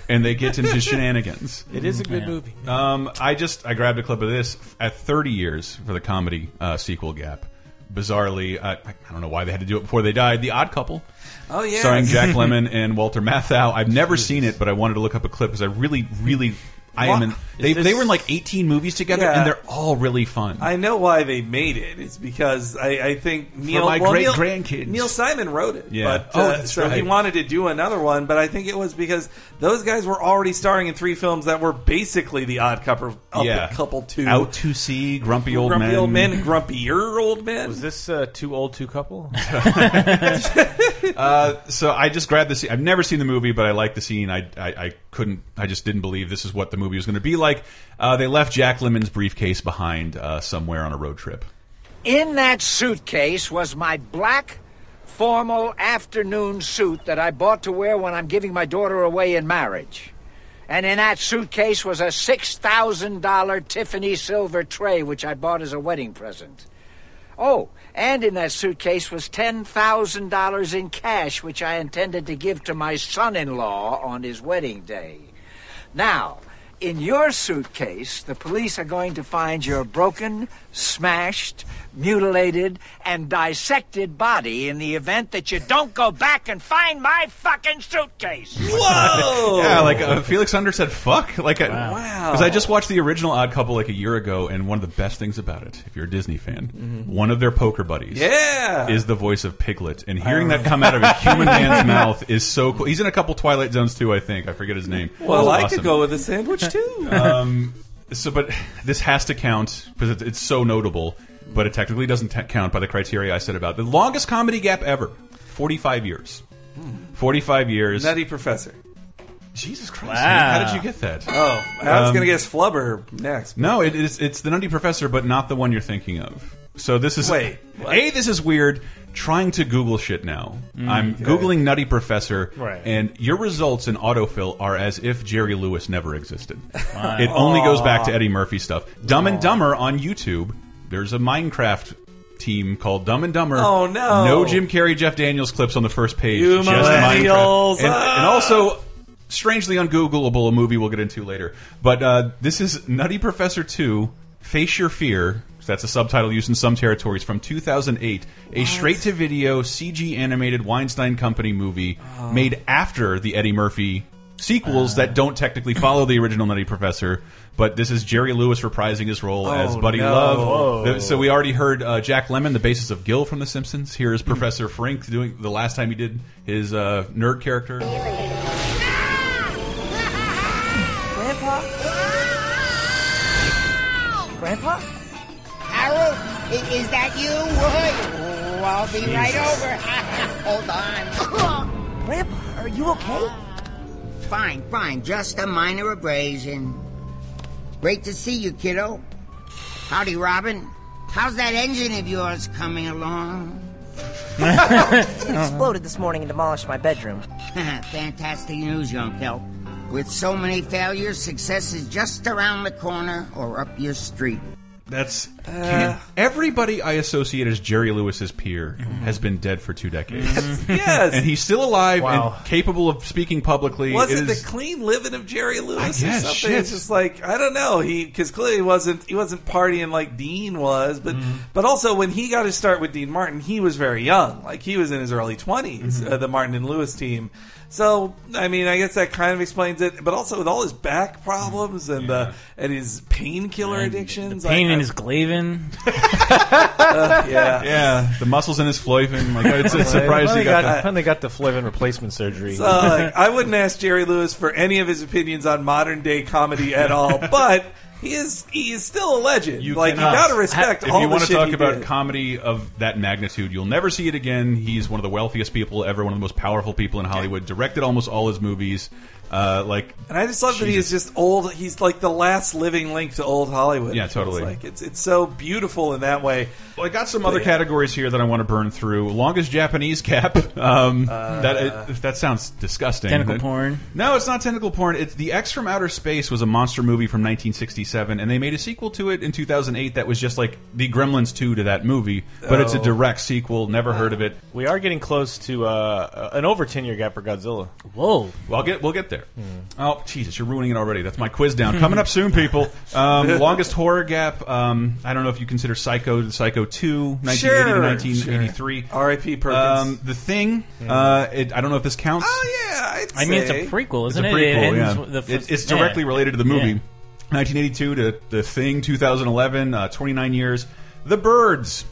Speaker 7: and they get into shenanigans.
Speaker 2: It is a good Yeah. movie.
Speaker 7: Um, I just I grabbed a clip of this at 30 years for the comedy uh, sequel gap. Bizarrely, I, I don't know why they had to do it before they died. The Odd Couple.
Speaker 9: Oh, yes.
Speaker 7: starring
Speaker 9: [laughs]
Speaker 7: Jack Lemmon and Walter Matthau. I've never seen it, but I wanted to look up a clip because I really, really, I am. In,
Speaker 9: What?
Speaker 7: they
Speaker 9: Is this-
Speaker 7: they were in like 18 movies together,
Speaker 9: Yeah.
Speaker 7: and they're all really fun.
Speaker 9: I know why they made it. It's because I, I think Neil,
Speaker 7: my
Speaker 9: well, Neil-
Speaker 7: great-grandkids.
Speaker 9: Neil Simon wrote it.
Speaker 7: Yeah.
Speaker 9: But,
Speaker 7: Oh,
Speaker 9: uh,
Speaker 7: that's
Speaker 9: so he
Speaker 7: right.
Speaker 9: wanted to do another one, but I think it was because those guys were already starring in three films that were basically the Odd Couple, Up-
Speaker 7: yeah,
Speaker 9: Couple Two,
Speaker 7: out to sea, grumpy old
Speaker 9: Grumpy
Speaker 7: men,
Speaker 9: Old Men, Grumpier Old Men. Was
Speaker 2: this uh, Too Old, Too [laughs] Couple?
Speaker 7: Uh, so I just grabbed the scene. I've never seen the movie, but I like the scene. I, I, I couldn't. I just didn't believe this is what the movie was going to be like. Uh, they left Jack Lemon's briefcase behind uh, somewhere on a road trip.
Speaker 14: In that suitcase was my black formal afternoon suit that I bought to wear when I'm giving my daughter away in marriage. And in that suitcase was a $6,000 Tiffany silver tray, which I bought as a wedding present. Oh, and in that suitcase was $10,000 in cash, which I intended to give to my son in law on his wedding day. Now, In your suitcase, the police are going to find your broken, smashed, mutilated, and dissected body in the event that you don't go back and find my fucking suitcase.
Speaker 7: Whoa! [laughs] yeah, like uh, Felix Under said, "Fuck!" Like, I-
Speaker 14: Wow.
Speaker 7: Because I just watched the original Odd Couple like a year ago, and one of the best things about it, if you're a Disney fan, one of their poker buddies,
Speaker 9: Mm-hmm. Yeah. Oh.
Speaker 7: is the voice of Piglet, and hearing that come out of a human
Speaker 9: [laughs]
Speaker 7: man's mouth is so cool. He's in a couple Twilight Zones too, I think. I forget his name.
Speaker 9: Well, I
Speaker 7: Awesome.
Speaker 9: could go with a sandwich
Speaker 7: [laughs]
Speaker 9: too.
Speaker 7: um, so, but [laughs] this has to count because it's, it's so notable. But it technically doesn't t count by the criteria I said about the longest comedy gap ever, forty-five years. Forty-five years.
Speaker 9: Nutty Professor.
Speaker 7: Hmm. e-, Jesus Christ! man, How did you get that?
Speaker 9: Oh, I was
Speaker 7: Um,
Speaker 9: gonna guess Flubber
Speaker 7: [laughs]
Speaker 9: next.
Speaker 7: No, it is it's the Nutty Professor, but not the one you're thinking of. So this is
Speaker 9: Wait,
Speaker 7: A, this is weird. Trying to Google shit now.
Speaker 9: Mm,
Speaker 7: I'm
Speaker 9: okay.
Speaker 7: googling Nutty Professor,
Speaker 9: Right.
Speaker 7: and your results in autofill are as if Jerry Lewis never existed.
Speaker 9: Wow.
Speaker 7: It only goes back to
Speaker 9: Aw.
Speaker 7: Eddie Murphy stuff. Dumb and Dumber on YouTube. There's a Minecraft team called Dumb and Dumber.
Speaker 9: Oh, no.
Speaker 7: No Jim Carrey, Jeff Daniels clips on the first page.
Speaker 9: You
Speaker 7: Just
Speaker 9: millennials.
Speaker 7: Minecraft.
Speaker 9: ah.
Speaker 7: And, and also strangely ungoogleable a movie we'll get into later. But uh, this is Nutty Professor 2 Face Your Fear. That's a subtitle used in some territories from 2008, a straight to video CG animated Weinstein Company movie
Speaker 9: Oh.
Speaker 7: made after the Eddie Murphy sequels that don't technically follow the original Nutty Professor. But this is Jerry Lewis reprising his role as
Speaker 9: Oh,
Speaker 7: Buddy
Speaker 9: no.
Speaker 7: Love.
Speaker 9: Whoa.
Speaker 7: So we already heard uh, Jack Lemon, the basis of Gil from The Simpsons. Here is
Speaker 9: Hmm.
Speaker 7: Professor Frink doing the last time he did his uh, nerd character.
Speaker 15: Grandpa? Grandpa? Harold, i- is that you? Whoa,
Speaker 11: Oh,
Speaker 15: I'll be right
Speaker 11: Jesus. [laughs]
Speaker 15: over. Hold on. Grandpa, are you okay?
Speaker 11: Fine, fine. Just a minor abrasion. Great to see you, kiddo. Howdy, Robin. How's that engine of yours coming along?
Speaker 15: It exploded this morning and demolished my bedroom.
Speaker 11: [laughs] Fantastic news, young Kelp. With so many failures, success is just around the corner or up your street.
Speaker 7: That's
Speaker 9: Uh.
Speaker 7: everybody I associate as Jerry Lewis's peer
Speaker 9: Mm-hmm.
Speaker 7: has been dead for two decades.
Speaker 9: yes.
Speaker 7: and he's still alive
Speaker 9: Mm-hmm. Wow.
Speaker 7: and capable of speaking publicly.
Speaker 9: Was
Speaker 7: It
Speaker 9: it,
Speaker 7: is-
Speaker 9: the clean living of Jerry Lewis
Speaker 7: guess,
Speaker 9: or something?
Speaker 7: shit.
Speaker 9: It's just like I don't know. He because clearly he wasn't he wasn't partying like Dean was, but
Speaker 7: Mm-hmm.
Speaker 9: but also when he got his start with Dean Martin, he was very young. Like he was in his early 20s
Speaker 7: Mm-hmm.
Speaker 9: uh, the Martin and Lewis team. So I mean, I guess that kind of explains it. But also with all his back problems and uh, and his painkiller addictions,
Speaker 8: Pain
Speaker 9: I,
Speaker 8: in his glavin.
Speaker 9: uh,
Speaker 7: [laughs]
Speaker 9: yeah.
Speaker 7: yeah, the muscles in his flavin. Like it's, it's surprising.
Speaker 2: Finally
Speaker 7: he
Speaker 2: got,
Speaker 7: got that.
Speaker 2: finally got the flavin replacement surgery.
Speaker 9: So, like, [laughs] I wouldn't ask Jerry Lewis for any of his opinions on modern day comedy at
Speaker 7: [laughs]
Speaker 9: all, but he is he is still a legend. like you gotta respect
Speaker 7: If
Speaker 9: all
Speaker 7: you
Speaker 9: the
Speaker 7: want to
Speaker 9: shit
Speaker 7: talk
Speaker 9: he
Speaker 7: about
Speaker 9: did.
Speaker 7: comedy of that magnitude, you'll never see it again. He's one of the wealthiest people ever, one of the most powerful people in Hollywood. Directed almost all his movies. Uh, like
Speaker 9: And I just love that he is just old. He's like the last living link to old Hollywood.
Speaker 7: Yeah,
Speaker 9: it feels
Speaker 7: totally.
Speaker 9: Like it's it's so beautiful in that way.
Speaker 7: Well, I got some other categories here that I want to burn through. Longest Japanese cap. Um,
Speaker 9: Uh,
Speaker 7: that it, that sounds disgusting.
Speaker 8: Tentacle
Speaker 7: That-
Speaker 8: porn.
Speaker 7: No, it's not tentacle porn. It's the X from Outer Space was a monster movie from 1967, and they made a sequel to it in 2008 that was just like the Gremlins 2 to that movie, but it's a
Speaker 2: Oh.
Speaker 7: direct sequel. Never heard of it.
Speaker 2: we are getting close to uh, an over ten year gap for Godzilla.
Speaker 8: Whoa!
Speaker 7: Well, I'll get we'll get there.
Speaker 9: Hmm.
Speaker 7: Oh, Jesus, you're ruining it already. That's my quiz down. Coming up soon,
Speaker 9: [laughs]
Speaker 7: people. Um, longest horror gap. Um, I don't know if you consider Psycho, Psycho 2, 1980
Speaker 9: Sure,
Speaker 7: to 1983.
Speaker 9: R.I.P. Perkins. Hmm.
Speaker 7: Um, the thing. Uh, it, I don't know if this counts. Oh
Speaker 9: yeah, I'd
Speaker 8: I mean, it's a prequel, isn't
Speaker 7: it's
Speaker 8: it?
Speaker 7: a
Speaker 8: It
Speaker 7: prequel,
Speaker 8: ends
Speaker 7: yeah.
Speaker 8: with the
Speaker 7: It-
Speaker 8: first-
Speaker 7: it's directly
Speaker 8: yeah.
Speaker 7: related to the movie.
Speaker 8: Yeah.
Speaker 7: 1982 to the thing. 2011. Uh, 29 years. The birds.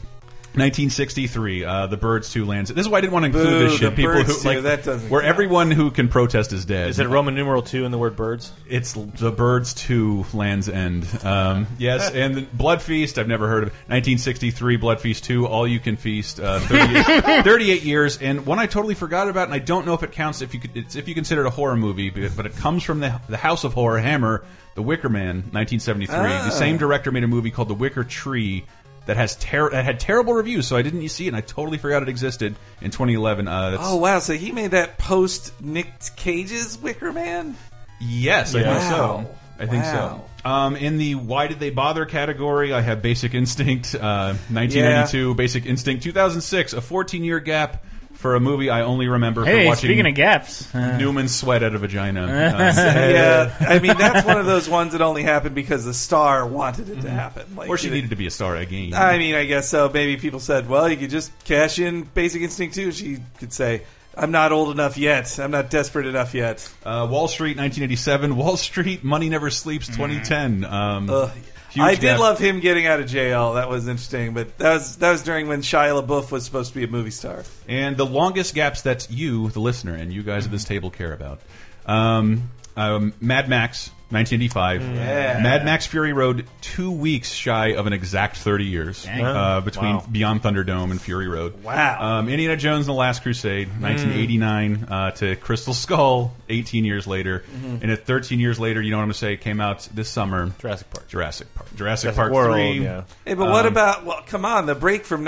Speaker 7: 1963, uh, the Birds 2 lands. This is why I didn't want to include
Speaker 9: Boo,
Speaker 7: this shit.
Speaker 9: The
Speaker 7: People
Speaker 9: Birds
Speaker 7: who
Speaker 9: 2,
Speaker 7: like
Speaker 9: that doesn't
Speaker 7: where
Speaker 9: count.
Speaker 7: everyone who can protest is dead.
Speaker 2: Is it Roman numeral two in the word birds?
Speaker 7: It's the Birds Two Lands End. Um,
Speaker 9: [laughs]
Speaker 7: yes, and the Blood Feast. I've never heard of. it. 1963 Blood Feast Two. All you can feast. Uh,
Speaker 9: [laughs]
Speaker 7: 38, 38 years, and one I totally forgot about, and I don't know if it counts if you could, it's if you consider it a horror movie, but but it comes from the the House of Horror Hammer, The Wicker Man, 1973.
Speaker 9: Ah.
Speaker 7: The same director made a movie called The Wicker Tree. That has ter that had terrible reviews, so I didn't see it, and I totally forgot it existed in 2011. Uh, that's,
Speaker 9: Oh wow! So he made that post Nick Cage's
Speaker 7: [laughs]
Speaker 9: Wicker Man.
Speaker 7: Yes, I
Speaker 9: Yeah.
Speaker 7: think
Speaker 9: Wow.
Speaker 7: so. I think
Speaker 9: Wow.
Speaker 7: so. Um, in the why did they bother category, I have Basic Instinct, uh, 1992, Basic Instinct, 2006, a 14 year gap for a movie I only remember
Speaker 8: Hey,
Speaker 7: for watching. Uh, [laughs]
Speaker 8: speaking of gaps.
Speaker 7: Newman sweat out of
Speaker 9: [laughs]
Speaker 7: vagina. Uh,
Speaker 9: yeah, I mean that's one of those ones that only happened because the star wanted it to happen. Like,
Speaker 7: or she
Speaker 9: you know,
Speaker 7: needed to be a star again.
Speaker 9: I mean, I guess so. Maybe people said, "Well, you could just cash in Basic Instinct 2." She could say, "I'm not old enough yet. I'm not desperate enough yet."
Speaker 7: Uh, Wall Street, 1987. Wall Street, Money Never Sleeps, 2010. Um,
Speaker 9: Mm-hmm. Ugh.
Speaker 7: huge
Speaker 9: I did
Speaker 7: gap.
Speaker 9: love him getting out of jail. That was interesting, but that was that was during when Shia LaBeouf was supposed to be a movie star.
Speaker 7: And the longest gaps that's you, the listener, and you guys at this table care about. Um, um, Mad Max, 1985.
Speaker 2: Mm.
Speaker 9: Yeah.
Speaker 7: Mad Max Fury Road, two weeks shy of an exact 30 years
Speaker 9: Dang.
Speaker 7: uh, between
Speaker 9: Wow.
Speaker 7: Beyond Thunderdome and Fury Road.
Speaker 9: Wow.
Speaker 7: Um, Indiana Jones and the Last Crusade,
Speaker 2: Mm.
Speaker 7: 1989 uh, to Crystal Skull, 18 years later.
Speaker 2: Mhm.
Speaker 7: And at 13 years later, you know what I'm going to say, came out this summer.
Speaker 2: Jurassic Park.
Speaker 7: Jurassic Park. Jurassic,
Speaker 2: Jurassic
Speaker 7: Park
Speaker 2: World,
Speaker 7: 3.
Speaker 2: yeah.
Speaker 9: Hey, but what
Speaker 7: Um,
Speaker 9: about? Well, come on, the break from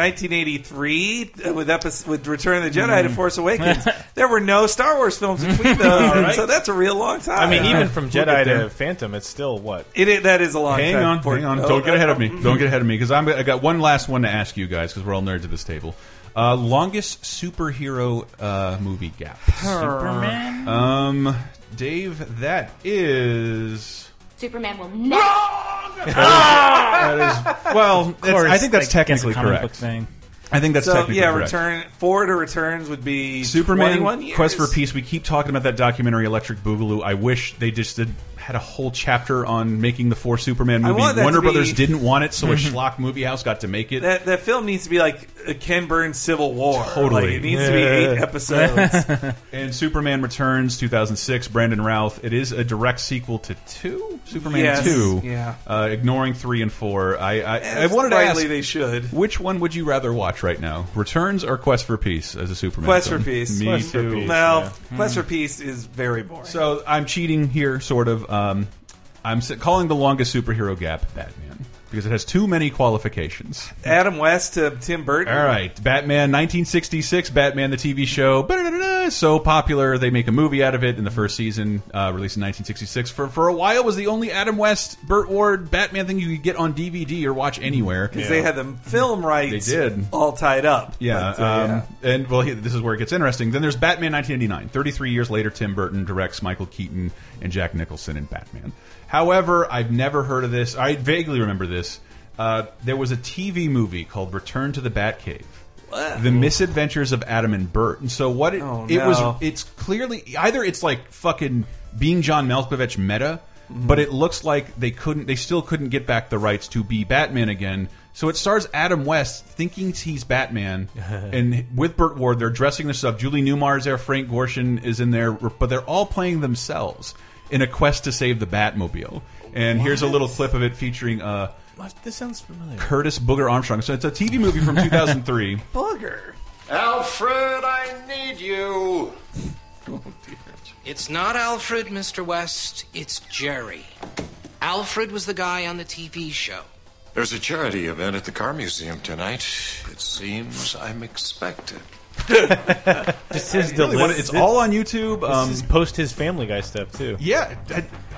Speaker 9: 1983 uh, with episode, with Return of the Jedi to
Speaker 7: Hmm.
Speaker 2: Mm.
Speaker 7: [laughs]
Speaker 9: Force Awakens. there were no Star Wars films between those, and so that's a real long time.
Speaker 2: I mean, even from
Speaker 7: We'll get
Speaker 2: Jedi
Speaker 7: there.
Speaker 2: to Phantom, it's still what?
Speaker 9: It is, that is a long
Speaker 7: hang
Speaker 9: time.
Speaker 7: on,
Speaker 9: for-
Speaker 7: hang on.
Speaker 9: oh,
Speaker 7: Don't get
Speaker 9: uh,
Speaker 7: ahead of me.
Speaker 9: mm.
Speaker 7: Don't get ahead of me because I'm. I got one last one to ask you guys because we're all nerds at this table. Uh, longest superhero uh, movie gap.
Speaker 16: Superman?
Speaker 7: Um, Dave, that is.
Speaker 16: Superman will never. [laughs]
Speaker 7: that is well.
Speaker 9: Of
Speaker 7: that's-
Speaker 9: course,
Speaker 7: I think that's
Speaker 9: like, that's a
Speaker 7: technically
Speaker 9: comic
Speaker 7: correct.
Speaker 9: book thing.
Speaker 7: I think that's
Speaker 9: so.
Speaker 7: technically
Speaker 9: yeah,
Speaker 7: correct.
Speaker 9: return forward or returns would be
Speaker 7: Superman
Speaker 9: 21 years.
Speaker 7: Quest for Peace. We keep talking about that documentary, Electric Boogaloo. I wish they just did, had a whole chapter on making the four Superman
Speaker 9: I
Speaker 7: movie.
Speaker 9: want that
Speaker 7: Warner
Speaker 9: to be- Mm-hmm.
Speaker 7: Brothers didn't want it, so a schlock movie house got to make it.
Speaker 9: That that film needs to be like a Ken Burns Civil War.
Speaker 7: Totally.
Speaker 9: Like, it needs to be eight episodes.
Speaker 7: and Superman Returns 2006, Brandon Routh. It is a direct sequel to 2? Superman
Speaker 9: Yes,
Speaker 7: 2.
Speaker 9: yeah.
Speaker 7: Uh, ignoring 3 and 4. I, I, [laughs] I
Speaker 9: As
Speaker 7: wanted to ask.
Speaker 9: rightly they should.
Speaker 7: Which one would you rather watch right now? Returns or Quest for Peace as a Superman?
Speaker 9: Quest
Speaker 7: film?
Speaker 9: for Peace.
Speaker 7: Me
Speaker 9: Quest for
Speaker 7: too.
Speaker 9: Peace, No, yeah. Quest for Peace is very boring.
Speaker 7: Hmm. So I'm cheating here, sort of. Um, I'm s- calling the longest superhero gap Batman because it has too many qualifications.
Speaker 9: Adam West to Tim Burton.
Speaker 7: All right, Batman 1966, Batman the TV show, ba-da-da-da, so popular they make a movie out of it in the first season, uh, released in 1966. For for a while, was the only Adam West, Burt Ward, Batman thing you could get on DVD or watch anywhere
Speaker 9: Because they had the film rights
Speaker 7: They did.
Speaker 9: all tied up.
Speaker 7: Yeah,
Speaker 9: But, uh, yeah.
Speaker 7: um, and well, he- this is where it gets interesting. Then there's Batman 1989. 33 years later, Tim Burton directs Michael Keaton and Jack Nicholson in Batman. However, I've never heard of this. I vaguely remember this. Uh, there was a TV movie called Return to the Batcave. The Misadventures of Adam and Bert. And so what it,
Speaker 2: Oh,
Speaker 7: it
Speaker 9: no.
Speaker 7: was it's clearly either it's like fucking being John Malkovich meta,
Speaker 2: Mm-hmm.
Speaker 7: but it looks like they couldn't they still couldn't get back the rights to be Batman again. So it stars Adam West thinking
Speaker 2: [laughs]
Speaker 7: he's Batman, and with Burt Ward, they're dressing this up. Julie Newmar's there, Frank Gorshin is in there, but they're all playing themselves in a quest to save the Batmobile. And here's a little clip of it featuring uh,
Speaker 2: This sounds familiar.
Speaker 7: Curtis Booger Armstrong. So it's a TV
Speaker 2: [laughs]
Speaker 7: movie from 2003.
Speaker 9: Booger.
Speaker 17: Alfred, I need you. It's not Alfred, Mr. West. It's Jerry. Alfred was the guy on the TV show.
Speaker 18: There's a charity event at the Car Museum tonight. It seems I'm expected.
Speaker 2: This is
Speaker 7: I really wanna-
Speaker 2: delicious.
Speaker 7: it's all on YouTube. Um,
Speaker 2: this is post his Family Guy stuff too.
Speaker 7: Yeah,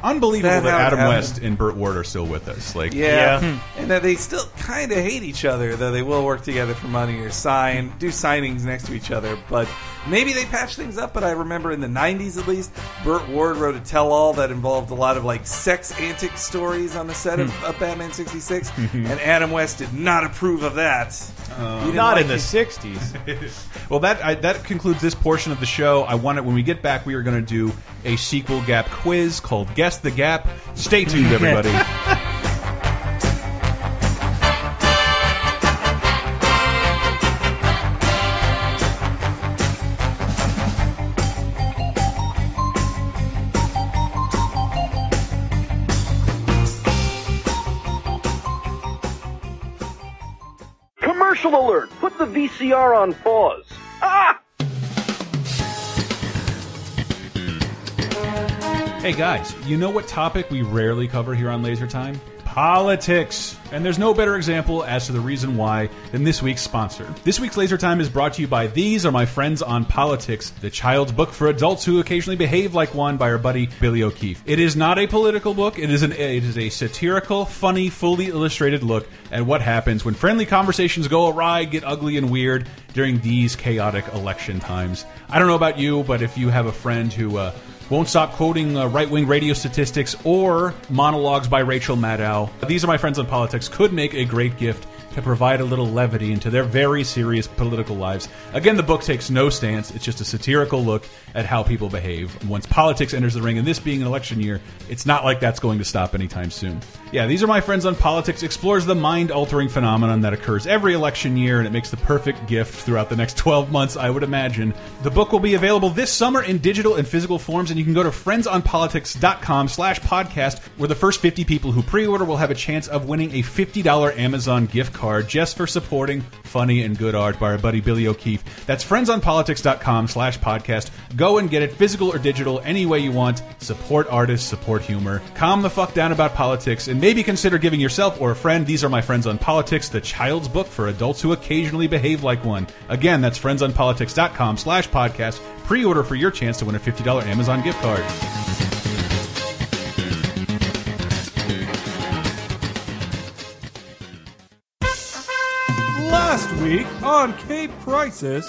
Speaker 7: unbelievable that,
Speaker 9: That how it
Speaker 7: Adam
Speaker 9: happened.
Speaker 7: West and Burt Ward are still with us. Like,
Speaker 9: Yeah. And that they still kind of hate each other, though they will work together for money or sign, do signings next to each other. But maybe they patch things up. But I remember in the 90s at least, Burt Ward wrote a tell all that involved a lot of like sex antic stories on the set of, of Batman 66.
Speaker 7: Mhm.
Speaker 9: and Adam West did not approve of that. He didn't
Speaker 7: Not
Speaker 9: like
Speaker 7: in the
Speaker 9: it.
Speaker 2: 60s.
Speaker 7: [laughs] well, that I, that concludes this portion of the show. I want to when we get back, we are going to do a sequel gap quiz called "Guess the Gap." Stay tuned, everybody.
Speaker 9: [laughs]
Speaker 19: Commercial alert! Put the VCR on pause. Ah!
Speaker 7: hey guys, you know what topic we rarely cover here on Laser Time? politics. And there's no better example as to the reason why than this week's sponsor. This week's Laser Time is brought to you by These Are My Friends on Politics, the child's book for adults who occasionally behave like one by our buddy Billy O'Keefe. It is not a political book, it is an it is a satirical, funny, fully illustrated look at what happens when friendly conversations go awry, get ugly and weird during these chaotic election times. I don't know about you, but if you have a friend who uh, won't stop quoting uh, right wing radio statistics or monologues by Rachel Maddow. These are my friends on politics, could make a great gift to provide a little levity into their very serious political lives. Again, the book takes no stance, it's just a satirical look at how people behave. Once politics enters the ring, and this being an election year, it's not like that's going to stop anytime soon. Yeah, These Are My Friends on Politics explores the mind altering phenomenon that occurs every election year, and it makes the perfect gift throughout the next 12 months, I would imagine. The book will be available this summer in digital and physical forms, and you can go to friendsonpolitics.com slash podcast, where the first 50 people who pre order will have a chance of winning a $50 Amazon gift card just for supporting funny and good art by our buddy Billy O'Keefe. That's friendsonpolitics.com slash podcast. Go and get it physical or digital, any way you want. Support artists, support humor. Calm the fuck down about politics, and maybe consider giving yourself or a friend These Are My Friends on Politics, the child's book for adults who occasionally behave like one. Again, that's friendsonpolitics.com slash podcast. Pre order for your chance to win a $50 Amazon gift card.
Speaker 9: Last week on Cape Crisis.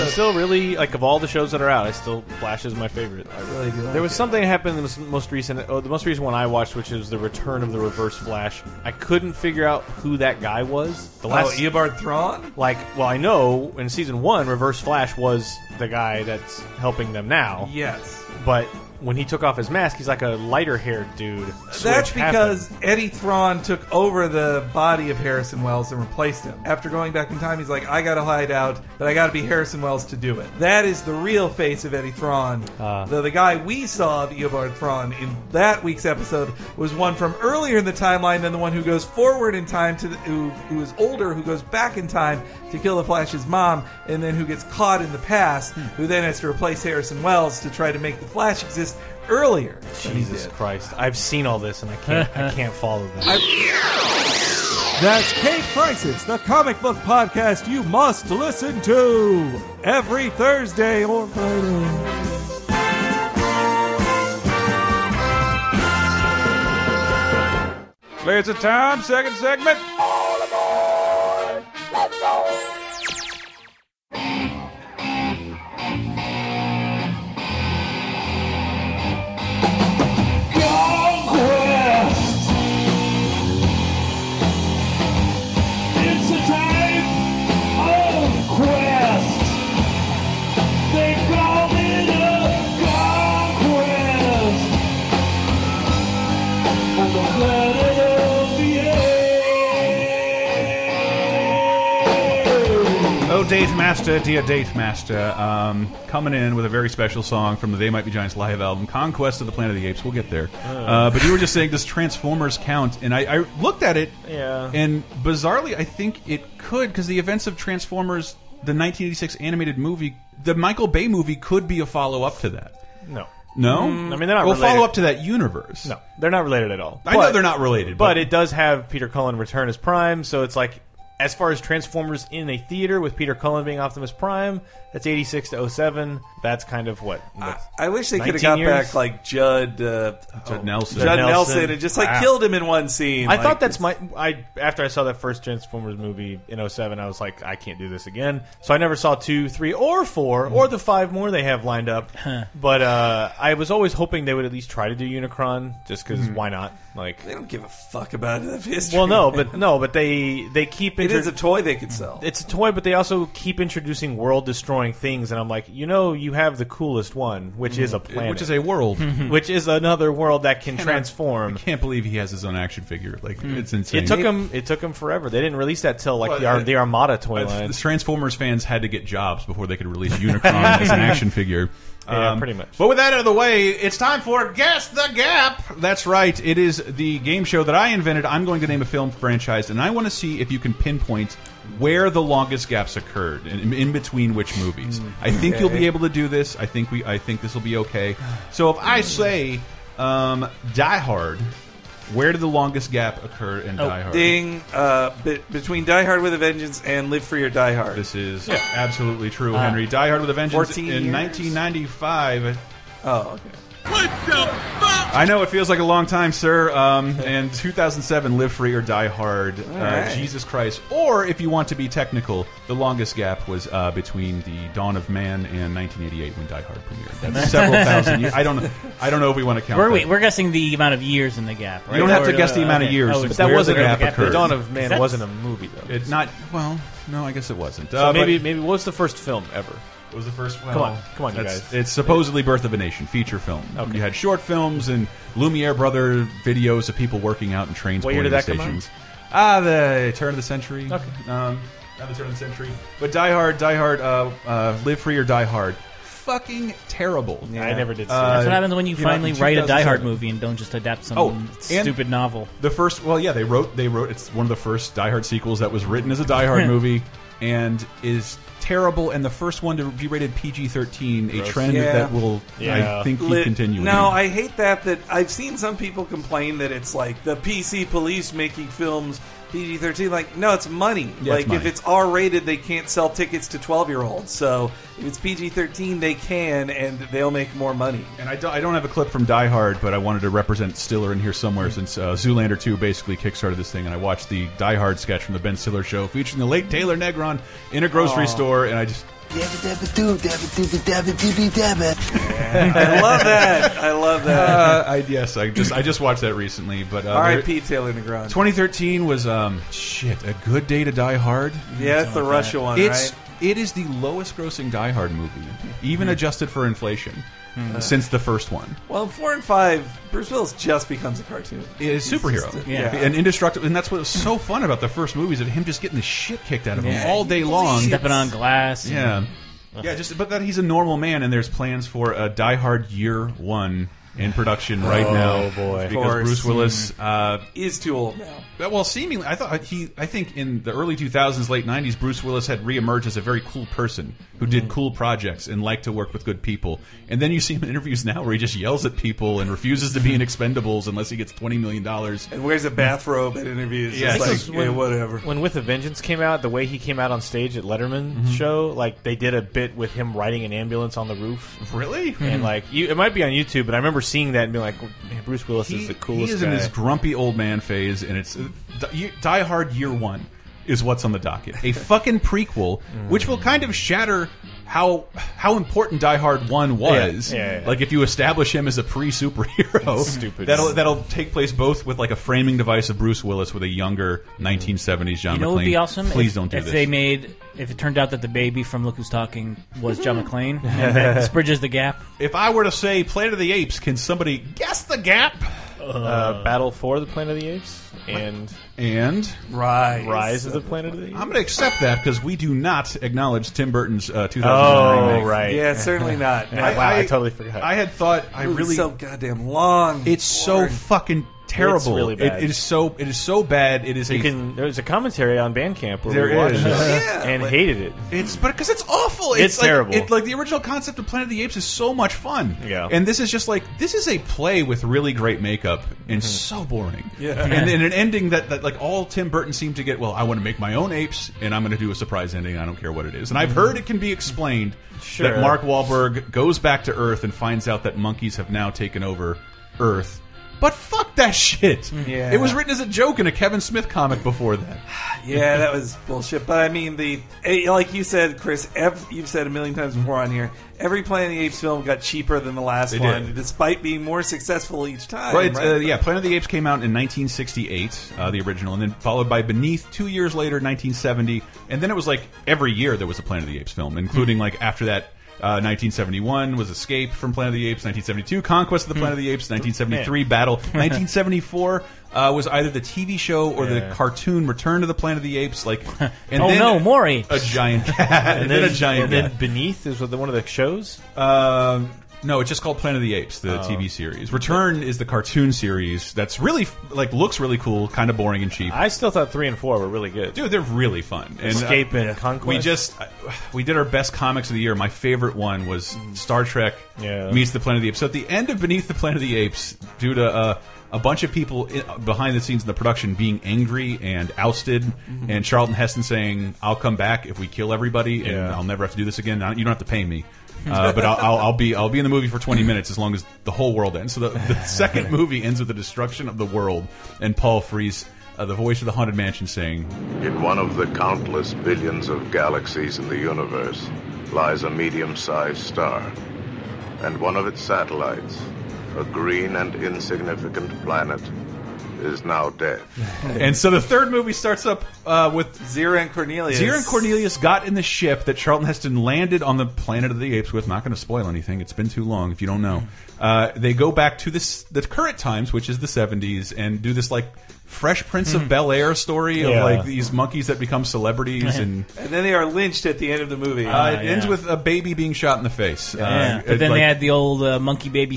Speaker 2: I'm still really like of all the shows that are out, I still Flash is my favorite. I
Speaker 9: really do like
Speaker 2: There was something that happened in the most recent, oh, the most recent one I watched, which is the return of the Reverse Flash. I couldn't figure out who that guy was. The
Speaker 9: Oh,
Speaker 2: last
Speaker 9: Eobard Thrawn.
Speaker 2: Like, well, I know in season one, Reverse Flash was the guy that's helping them now.
Speaker 9: Yes.
Speaker 2: but when he took off his mask, he's like a lighter haired dude.
Speaker 9: That's
Speaker 2: Switch happened.
Speaker 9: because Eddie Thrawn took over the body of Harrison Wells and replaced him. After going back in time, he's like, I gotta hide out, but I gotta be Harrison Wells to do it. That is the real face of Eddie Thrawn.
Speaker 2: Ah.
Speaker 9: the, the guy we saw of Eobard Thrawn in that week's episode was one from earlier in the timeline than the one who goes forward in time to the, who, who is older, who goes back in time to kill the Flash's mom, and then who gets caught in the past,
Speaker 2: Hmm.
Speaker 9: who then has to replace Harrison Wells to try to make the Flash exist earlier. than he
Speaker 2: Jesus Christ, I've seen all this and I can't,
Speaker 7: [laughs]
Speaker 2: I can't follow that.
Speaker 9: That's Cape Crisis, the comic book podcast you must listen to every Thursday or Friday. Laser time, second segment.
Speaker 10: Conquest! It's a time of quest! They called it a conquest! On the planet of the
Speaker 7: Oh, Dave Master, dear Dave Master, um, coming in with a very special song from the They Might Be Giants live album, Conquest of the Planet of the Apes. We'll get there.
Speaker 2: Oh.
Speaker 7: Uh, but you were just saying, does Transformers count? And I, I looked at it,
Speaker 2: Yeah.
Speaker 7: and bizarrely, I think it could, because the events of Transformers, the 1986 animated movie, the Michael Bay movie, could be a follow up to that.
Speaker 2: No.
Speaker 7: No?
Speaker 2: Mm, I mean, they're not
Speaker 7: Well,
Speaker 2: related.
Speaker 7: follow up to that universe.
Speaker 2: No, they're not related at all.
Speaker 7: I know they're not related,
Speaker 2: But,
Speaker 7: but-
Speaker 2: it does have Peter Cullen return as Prime, so it's like, as far as Transformers in a theater with Peter Cullen being Optimus Prime, that's 86 to 07. That's kind of what?
Speaker 9: I wish they could
Speaker 2: 19
Speaker 9: have got
Speaker 2: years?
Speaker 9: back like Judd, uh,
Speaker 7: Judd Nelson.
Speaker 9: Judd Nelson, and just like
Speaker 2: Wow.
Speaker 9: killed him in one scene.
Speaker 2: I
Speaker 9: Like,
Speaker 2: thought that's my. I after I saw that first Transformers movie in 07, I was like, I can't do this again. So I never saw two, three, or four, or the five more they have lined up. But uh, I was always hoping they would at least try to do Unicron, just because
Speaker 9: Mhm.
Speaker 2: why not? Like they
Speaker 9: don't give a fuck about it. history.
Speaker 2: Well, no, but no, but they they keep
Speaker 9: It is
Speaker 2: inter-
Speaker 9: a toy they could sell.
Speaker 2: It's a toy, but they also keep introducing world destroying things, and I'm like, you know, you have the coolest one, which is a planet,
Speaker 7: Which is a world.
Speaker 2: [laughs] which is another world that can
Speaker 7: Cannot-
Speaker 2: transform.
Speaker 7: I can't believe he has his own action figure. Like, it's insane.
Speaker 2: Mm. It took them. It took 'em forever. They didn't release that till like
Speaker 7: Well,
Speaker 2: the, Ar-
Speaker 7: it-
Speaker 2: the Armada toy
Speaker 7: Uh,
Speaker 2: line.
Speaker 7: The Transformers fans had to get jobs before they could release
Speaker 2: [laughs]
Speaker 7: Unicron as an action figure. Um,
Speaker 2: Yeah, pretty much.
Speaker 7: But with that out of the way, it's time for Guess the Gap. That's right. It is the game show that I invented. I'm going to name a film franchise, and I want to see if you can pinpoint where the longest gaps occurred in, in between which
Speaker 2: Hmm.
Speaker 7: movies. I think you'll
Speaker 9: Okay.
Speaker 2: Hmm.
Speaker 7: be able to do this. I think we. I think this will be okay. So if I say Um, Die Hard. Where did the longest gap occur in
Speaker 2: Oh,
Speaker 7: Die Hard?
Speaker 9: Ding. Uh, be- between Die Hard with a Vengeance and Live Free or Die Hard.
Speaker 7: This is absolutely true, Henry. Die Hard with a Vengeance in 1995.
Speaker 9: Oh, okay.
Speaker 7: I know it feels like a long time, sir. Um, and 2007, Live Free or Die Hard, uh,
Speaker 9: right.
Speaker 7: Jesus Christ. Or if you want to be technical, the longest gap was uh, between the dawn of man and 1988 when Die Hard premiered. That's several thousand years. I don't. know- I don't know if we want to count.
Speaker 8: We're,
Speaker 7: that.
Speaker 8: wait, we're guessing the amount of years in the gap. Right?
Speaker 7: You don't have to
Speaker 8: Or,
Speaker 7: guess the
Speaker 8: uh,
Speaker 7: amount of
Speaker 8: okay.
Speaker 7: years,
Speaker 8: Oh,
Speaker 7: but
Speaker 8: it's
Speaker 7: that
Speaker 8: where
Speaker 7: was a
Speaker 8: the
Speaker 7: gap
Speaker 8: gap
Speaker 7: occurred.
Speaker 8: is.
Speaker 2: Dawn of Man
Speaker 8: That's-
Speaker 2: wasn't a movie though.
Speaker 7: It's not. Well, no, I guess it wasn't.
Speaker 2: So
Speaker 7: Uh, but-
Speaker 2: maybe maybe what was the first film ever?
Speaker 7: It was the first.
Speaker 2: Come on, come on, you
Speaker 7: That's-
Speaker 2: guys.
Speaker 7: It's supposedly Birth of a Nation, feature film. You had short films and Lumiere brother videos of people working out in trains.
Speaker 2: What year
Speaker 7: pulling
Speaker 2: did
Speaker 7: into
Speaker 2: that come out?
Speaker 7: stations. Ah, the turn of the century.
Speaker 2: Okay.
Speaker 7: Um, at the turn of the century. But Die Hard, Die Hard, uh, uh, Live Free or Die Hard. Fucking terrible.
Speaker 2: I never did. See
Speaker 7: Uh,
Speaker 8: That's what happens when you,
Speaker 7: came out
Speaker 8: finally
Speaker 7: in
Speaker 8: write a Die Hard
Speaker 7: 2007.
Speaker 8: movie and don't just adapt some
Speaker 7: Oh, and-
Speaker 8: stupid novel.
Speaker 7: The first, well, yeah, they wrote, they wrote. It's one of the first Die Hard sequels that was written as a
Speaker 2: [laughs]
Speaker 7: Die Hard movie, and is terrible. And the first one to be rated PG thirteen, a
Speaker 9: Gross.
Speaker 7: trend
Speaker 9: Yeah.
Speaker 7: that will, I think, keep
Speaker 9: Lit-
Speaker 7: continuing.
Speaker 9: No, I hate that. That I've seen some people complain that it's like the PC police making films PG thirteen. Like, no, it's money.
Speaker 7: Yeah,
Speaker 9: like
Speaker 7: it's money.
Speaker 9: if it's R rated, they can't sell tickets to twelve year olds. So if it's PG thirteen, they can, and they'll make
Speaker 7: [laughs]
Speaker 9: more money.
Speaker 7: And I don't, I don't have a clip from Die Hard, but I wanted to represent Stiller in here somewhere since uh, Zoolander 2 basically kickstarted this thing. And I watched the Die Hard sketch from the Ben Stiller show featuring the late Taylor Negron in a grocery
Speaker 10: Aw.
Speaker 7: store. And I just.
Speaker 9: I love that. I love that.
Speaker 7: Uh, I, yes, I just I just watched that recently. But uh,
Speaker 9: R.I.P.
Speaker 7: there-
Speaker 9: Taylor Negron.
Speaker 7: 2013 was um shit a good day to Die Hard.
Speaker 9: Yeah, it's the Russia one,
Speaker 7: It's
Speaker 9: right?
Speaker 7: it is the lowest grossing Die Hard movie, even adjusted for inflation,
Speaker 9: Hmm.
Speaker 7: uh, since the first one.
Speaker 9: Well, in four and five, Bruce Willis just becomes a cartoon.
Speaker 7: is
Speaker 9: He's
Speaker 7: superhero.
Speaker 9: just a-
Speaker 7: yeah. And indestructible. And that's what was so fun about the first movies of him just getting the shit kicked out of him
Speaker 8: Yeah.
Speaker 7: all day long.
Speaker 8: Stepping on glass. and-
Speaker 7: Yeah. Yeah, just but that he's a normal man and there's plans for a Die Hard year 1 in production right
Speaker 2: Oh,
Speaker 7: now.
Speaker 2: boy. Of
Speaker 7: Because
Speaker 2: course. Mm-hmm.
Speaker 7: Bruce Willis uh,
Speaker 9: is too old now.
Speaker 7: Well, seemingly I thought he I think in the early 2000s late 90s Bruce Willis had reemerged as a very cool person who did
Speaker 2: Mm-hmm.
Speaker 7: cool projects and liked to work with good people. And then you see him in interviews now where he just yells at people and refuses
Speaker 2: [laughs]
Speaker 7: to be in expendables unless he gets 20 million dollars
Speaker 9: And wears a bathrobe at interviews.
Speaker 7: Yeah,
Speaker 9: Yeah,
Speaker 7: I think
Speaker 9: it's
Speaker 7: it
Speaker 9: like,
Speaker 7: was
Speaker 9: yeah,
Speaker 7: when-
Speaker 9: whatever.
Speaker 2: When With a Vengeance came out, the way he came out on stage at Letterman show, like they did a bit with him riding an ambulance on the roof.
Speaker 7: Really?
Speaker 2: And
Speaker 7: Mhm.
Speaker 2: like you, it might be on YouTube, but I remember seeing that and being like, Man, Bruce Willis is the coolest
Speaker 7: he is
Speaker 2: guy.
Speaker 7: in his grumpy old man phase, and it's Die Die Hard Year One is what's on the docket.
Speaker 2: [laughs]
Speaker 7: A fucking prequel, which will kind of shatter how how important Die Hard One was.
Speaker 2: Yeah, yeah, yeah.
Speaker 7: Like if you establish him as a pre superhero,
Speaker 2: That's stupid.
Speaker 7: That'll that'll take place both with like a framing device of Bruce Willis with a younger 1970s John
Speaker 8: You know, what would
Speaker 7: McClane.
Speaker 8: be awesome.
Speaker 7: Please
Speaker 8: if,
Speaker 7: don't do
Speaker 8: if
Speaker 7: this.
Speaker 8: they made if it turned out that the baby from Look Who's Talking was John
Speaker 7: Mm-hmm. [laughs]
Speaker 8: McClane, and that this bridges the gap.
Speaker 7: if I were to say Planet of the Apes, can somebody guess the gap?
Speaker 2: uh, Battle for the Planet of the Apes and
Speaker 7: and
Speaker 9: Rise,
Speaker 2: Rise of the Planet of the Apes.
Speaker 7: I'm going to accept that because we do not acknowledge Tim Burton's uh, 2009
Speaker 2: Oh,
Speaker 7: remake.
Speaker 2: right.
Speaker 7: [laughs]
Speaker 9: Yeah, certainly not.
Speaker 2: Yeah, wow, I totally forgot.
Speaker 7: I had thought I
Speaker 9: Movie's
Speaker 7: really
Speaker 9: so goddamn long.
Speaker 7: It's so
Speaker 9: Lord.
Speaker 7: fucking terrible.
Speaker 2: It's really
Speaker 7: It-
Speaker 2: bad.
Speaker 7: it is so it is so bad. It is
Speaker 2: You
Speaker 7: a
Speaker 2: can. There's a commentary on Bandcamp where
Speaker 7: There
Speaker 2: we watched
Speaker 7: is.
Speaker 2: it
Speaker 7: Yeah,
Speaker 2: and
Speaker 7: but-
Speaker 2: hated it.
Speaker 7: It's but because it's awful.
Speaker 2: It's
Speaker 7: like,
Speaker 2: terrible.
Speaker 7: It, like the original concept of Planet of the Apes is so much fun.
Speaker 2: Yeah.
Speaker 7: And this is just like this is a play with really great makeup
Speaker 2: Mm-hmm.
Speaker 7: and so boring.
Speaker 2: Yeah.
Speaker 7: And, and an ending that, that like all Tim Burton seemed to get. Well, I want to make my own apes and I'm going to do a surprise ending. I don't care what it is. And I've heard it can be explained
Speaker 2: Mm-hmm. Sure.
Speaker 7: that Mark Wahlberg goes back to Earth and finds out that monkeys have now taken over Earth. But fuck that shit.
Speaker 9: Yeah.
Speaker 7: It was written as a joke in a Kevin Smith comic before that.
Speaker 9: Yeah, that was bullshit. But I mean, the eh, like you said, Chris, ev you've said a million times before on here. Every Planet of the Apes film got cheaper than the last
Speaker 7: They did.
Speaker 9: one, despite being more successful each time.
Speaker 7: Right,
Speaker 9: Right?
Speaker 7: uh, yeah. Planet of the Apes came out in 1968, uh, the original, and then followed by Beneath two years later, 1970, and then it was like every year there was a Planet of the Apes film, including like after that. Uh, 1971 was Escape from Planet of the Apes. 1972, Conquest of the Planet of the Apes. 1973,
Speaker 2: Man.
Speaker 7: Battle. 1974 uh, was either the TV show or
Speaker 2: Yeah.
Speaker 7: the cartoon Return to the Planet of the Apes. Like, and
Speaker 8: Oh,
Speaker 7: then
Speaker 8: no, more apes.
Speaker 7: a giant cat, and, then, a giant
Speaker 2: and then
Speaker 7: cat.
Speaker 2: Beneath is what the, one of the shows.
Speaker 7: Um, No, it's just called Planet of the Apes, the
Speaker 2: Oh.
Speaker 7: TV series. Return is the cartoon series that's really like looks really cool, kind of boring and cheap. I
Speaker 2: still thought three and four were really good.
Speaker 7: Dude, they're really fun. And, uh,
Speaker 2: Escape and Conquest.
Speaker 7: We just we did our best comics of the year. My favorite one was Star Trek meets the Planet of the Apes. So at the end of Beneath the Planet of the Apes, due to uh, a bunch of people i behind the scenes in the production being angry and ousted, and Charlton Heston saying, "I'll come back if we kill everybody, and
Speaker 2: Yeah.
Speaker 7: I'll never have to do this again. You don't have to pay me." Uh, but I'll, I'll, I'll be I'll be in the movie for 20 minutes as long as the whole world ends. So the, the second movie ends with the destruction of the world and Paul Frees, uh, the voice of the haunted mansion, saying,
Speaker 20: In one of the countless billions of galaxies in the universe lies a medium sized star, and one of its satellites, a green and insignificant planet, is now dead.
Speaker 7: and so the third movie starts up uh, with
Speaker 9: Zira and Cornelius.
Speaker 7: Zira and Cornelius got in the ship that Charlton Heston landed on the planet of the apes with. Not going to spoil anything. It's been too long if you don't know.
Speaker 8: Hmm.
Speaker 7: Uh, they go back to this the current times, which is the 70s, and do this like Fresh Prince
Speaker 8: Hmm.
Speaker 7: of Bel Air story
Speaker 9: Yeah.
Speaker 7: of like these monkeys that become
Speaker 8: [laughs]
Speaker 7: celebrities and.
Speaker 9: And then they are lynched at the end of the movie.
Speaker 7: Uh, it ends with a baby being shot in the face. Uh,
Speaker 8: Yeah, but
Speaker 7: it's
Speaker 8: then
Speaker 7: like-
Speaker 8: they had the old uh, monkey baby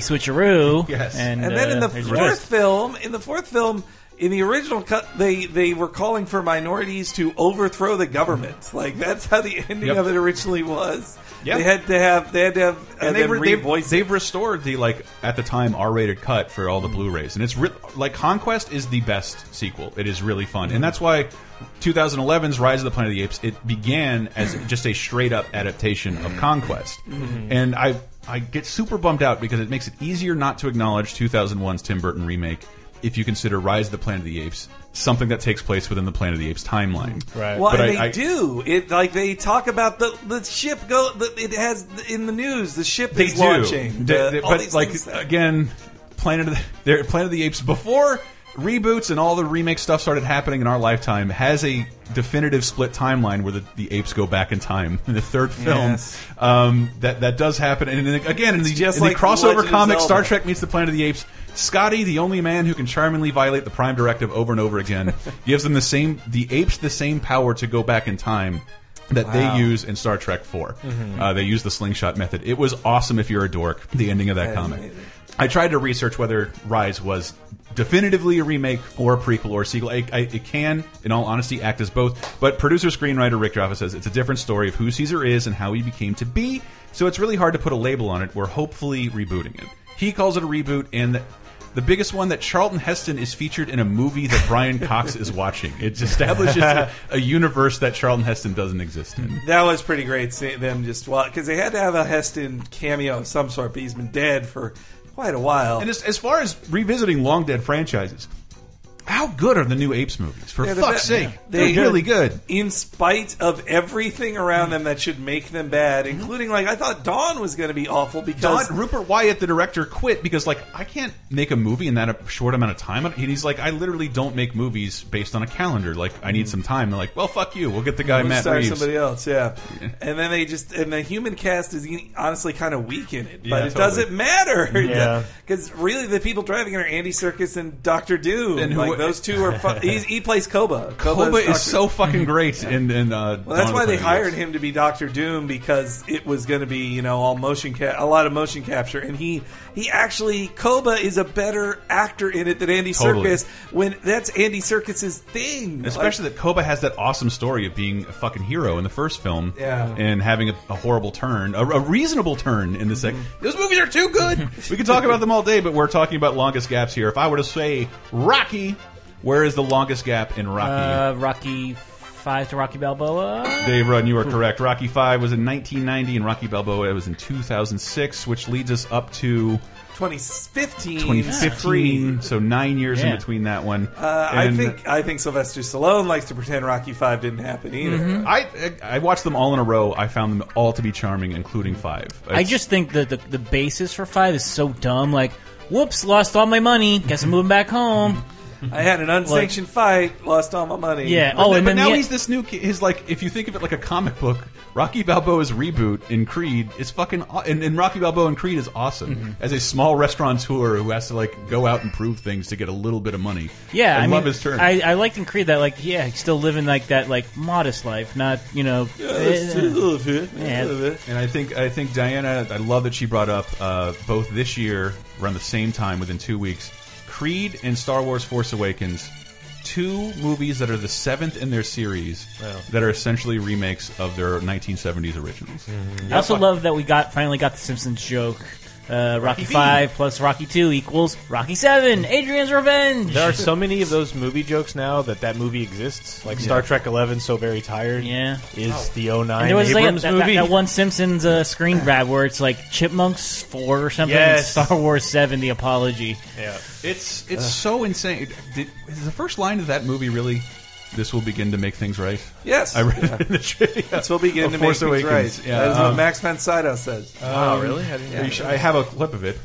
Speaker 7: [laughs]
Speaker 8: switcheroo.
Speaker 7: Yes.
Speaker 8: and,
Speaker 9: And, then
Speaker 8: uh,
Speaker 9: in the
Speaker 8: there's
Speaker 9: fourth
Speaker 8: your twist.
Speaker 9: film, in the fourth film, in the original cut, they they were calling for minorities to overthrow the government. Like that's how the ending
Speaker 7: Yep.
Speaker 9: of it originally was.
Speaker 7: Yep.
Speaker 9: They had to have they had to have uh,
Speaker 7: and they've,
Speaker 9: them
Speaker 7: re- they've,
Speaker 9: revoice
Speaker 7: they've restored the like at the time R-rated cut for all the Blu-rays, and it's re like Conquest is the best sequel. It is really fun, and that's why 2011's Rise of the Planet of the Apes it began as just a straight up adaptation of Conquest,
Speaker 10: Mhm.
Speaker 7: and I I get super bummed out because it makes it easier not to acknowledge 2001's Tim Burton remake if you consider Rise of the Planet of the Apes something that takes place within the Planet of the Apes timeline. Right,
Speaker 9: Well, and they do it like they talk about the the ship go. The, it has in the news the ship
Speaker 7: they
Speaker 9: is
Speaker 7: do.
Speaker 9: launching.
Speaker 7: They-
Speaker 9: the-
Speaker 7: they-
Speaker 9: all
Speaker 7: but
Speaker 9: these
Speaker 7: like
Speaker 9: things that-
Speaker 7: again, Planet of the their Planet of the Apes before reboots and all the remake stuff started happening in our lifetime has a definitive split timeline where the, the apes go back in time [laughs] in the third film.
Speaker 9: Yes.
Speaker 7: Um, that that does happen, and then again in the,
Speaker 9: It's just
Speaker 7: in the
Speaker 9: like Legend
Speaker 7: crossover
Speaker 9: of
Speaker 7: comic
Speaker 9: Zelda.
Speaker 7: Star Trek meets the Planet of the Apes. Scotty, the only man who can charmingly violate the Prime Directive over and over
Speaker 9: [laughs]
Speaker 7: again, gives them the same the apes the same power to go back in time that
Speaker 9: Wow.
Speaker 7: they use in Star Trek 4.
Speaker 9: Mhm.
Speaker 7: Uh, they use the slingshot method. It was awesome if you're a dork, the ending of that
Speaker 9: That's
Speaker 7: comic.
Speaker 9: amazing.
Speaker 7: I tried to research whether Rise was definitively a remake or a prequel or a sequel. I, I, it can, in all honesty, act as both. But producer screenwriter Rick Jaffa says it's a different story of who Caesar is and how he became to be. So it's really hard to put a label on it. We're hopefully rebooting it. He calls it a reboot, and the, the biggest one that Charlton Heston is featured in a movie that Brian Cox
Speaker 9: [laughs]
Speaker 7: is watching. It establishes a, a universe that Charlton Heston doesn't exist in.
Speaker 9: That was pretty great. See them just well because they had to have a Heston cameo of some sort. But he's been dead for quite a while.
Speaker 7: And as, as far as revisiting long dead franchises, how good are the new Apes movies? For
Speaker 9: They're the
Speaker 7: fuck's
Speaker 9: best.
Speaker 7: sake,
Speaker 9: Yeah.
Speaker 7: they're really good.
Speaker 9: In spite of everything around them that should make them bad,
Speaker 7: Mm-hmm.
Speaker 9: including like I thought Dawn was going to be awful because
Speaker 7: Don, Rupert Wyatt, the director, quit because like I can't make a movie in that a short amount of time. And he's like, I literally don't make movies based on a calendar. Like I need some time. They're like, well, fuck you. We'll get the guy
Speaker 9: Hmm. We'll
Speaker 7: Matt
Speaker 9: start
Speaker 7: Reeves.
Speaker 9: somebody else, yeah. And then they just and the human cast is e- honestly kind of weak in it, but
Speaker 7: Yeah,
Speaker 9: it
Speaker 7: totally.
Speaker 9: doesn't matter. [laughs]
Speaker 7: Yeah.
Speaker 9: because really the people driving it are Andy Circus and Doctor Doom.
Speaker 7: And
Speaker 9: And
Speaker 7: who-
Speaker 9: like those two
Speaker 7: [laughs]
Speaker 9: are. Fu- he's, he plays Koba.
Speaker 7: Koba
Speaker 9: Doctor
Speaker 7: is so fucking
Speaker 9: [laughs]
Speaker 7: great in in uh,
Speaker 9: Well,
Speaker 7: Dawn
Speaker 9: that's
Speaker 7: of
Speaker 9: why
Speaker 7: the
Speaker 9: they
Speaker 7: Planet
Speaker 9: hired him to be Doctor Doom because it was going to be, you know, all motion ca- a lot of motion capture, and he he actually Koba is a better actor in it than Andy
Speaker 7: Totally.
Speaker 9: Serkis when that's Andy Serkis's thing.
Speaker 7: Especially that Koba has that awesome story of being a fucking hero in the first film,
Speaker 9: Yeah.
Speaker 7: and having a, a horrible turn, a, a reasonable turn in the second.
Speaker 9: Mm-hmm.
Speaker 7: Those movies are too good. we could talk about them all day, but we're talking about longest gaps here. If I were to say Rocky, where is the longest gap in Rocky?
Speaker 8: Uh, Rocky Five to Rocky Balboa.
Speaker 7: Dave Rudden, you are correct. Rocky Five was in 1990, and Rocky Balboa was in 2006, which leads us up to
Speaker 9: twenty fifteen,
Speaker 7: 2015. So nine years in
Speaker 9: Yeah.
Speaker 7: between that one.
Speaker 9: Uh, I
Speaker 7: And-
Speaker 9: think I think Sylvester Stallone likes to pretend Rocky Five didn't happen either.
Speaker 7: Mm-hmm. I I watched them all in a row. I found them all to be charming, including five.
Speaker 8: I just think that the, the basis for five is so dumb. Like, whoops, lost all my money. Guess I'm moving back home.
Speaker 9: I had an unsanctioned fight, lost all my money.
Speaker 7: But
Speaker 8: oh,
Speaker 7: no- but now he's this new. ki- His like, if you think of it like a comic book, Rocky Balboa's reboot in Creed is fucking, aw- and, and Rocky Balboa in Creed is awesome
Speaker 9: Mm-hmm.
Speaker 7: as a small restaurateur who has to like go out and prove things to get a little bit of money.
Speaker 8: Yeah,
Speaker 7: I,
Speaker 8: I, mean,
Speaker 7: love his turn.
Speaker 8: I, I liked in Creed that, like, yeah, he's still living like that, like modest life, not you know. eh,
Speaker 7: it's a little bit,
Speaker 8: Yeah.
Speaker 7: And I think I think Diana, I love that she brought up uh, both this year around the same time within two weeks, Creed and Star Wars: Force Awakens, two movies that are the seventh in their series
Speaker 8: Wow.
Speaker 7: that are essentially remakes of their 1970s originals.
Speaker 8: eh. I also love that we got finally got the Simpsons joke. Uh, Rocky,
Speaker 7: Rocky
Speaker 8: Five plus Rocky Two equals Rocky Seven. Adrian's Revenge.
Speaker 2: There are so many of those movie jokes now that that movie exists. Like Star
Speaker 8: Yeah.
Speaker 2: Trek Eleven, so very tired.
Speaker 8: Yeah,
Speaker 2: is
Speaker 8: Oh.
Speaker 2: the 09
Speaker 8: And there was like that,
Speaker 2: Abrams
Speaker 8: that,
Speaker 2: movie.
Speaker 8: that one Simpsons uh, screen grab where it's like Chipmunks Four or something. and
Speaker 7: Yes.
Speaker 8: Star Wars Seven: The Apology.
Speaker 2: Yeah,
Speaker 7: it's it's
Speaker 8: Ugh.
Speaker 7: so insane. Did, is the first line of that movie really? This will begin to make things right.
Speaker 9: Yes.
Speaker 7: I read that [laughs] in the trivia.
Speaker 9: That's what begin
Speaker 7: Of
Speaker 9: to
Speaker 7: Force
Speaker 9: make things
Speaker 7: Awakens.
Speaker 9: right.
Speaker 7: Yeah,
Speaker 9: That is what
Speaker 7: um,
Speaker 9: Max von Sydow says.
Speaker 7: um, yeah, you should- I have a clip of it.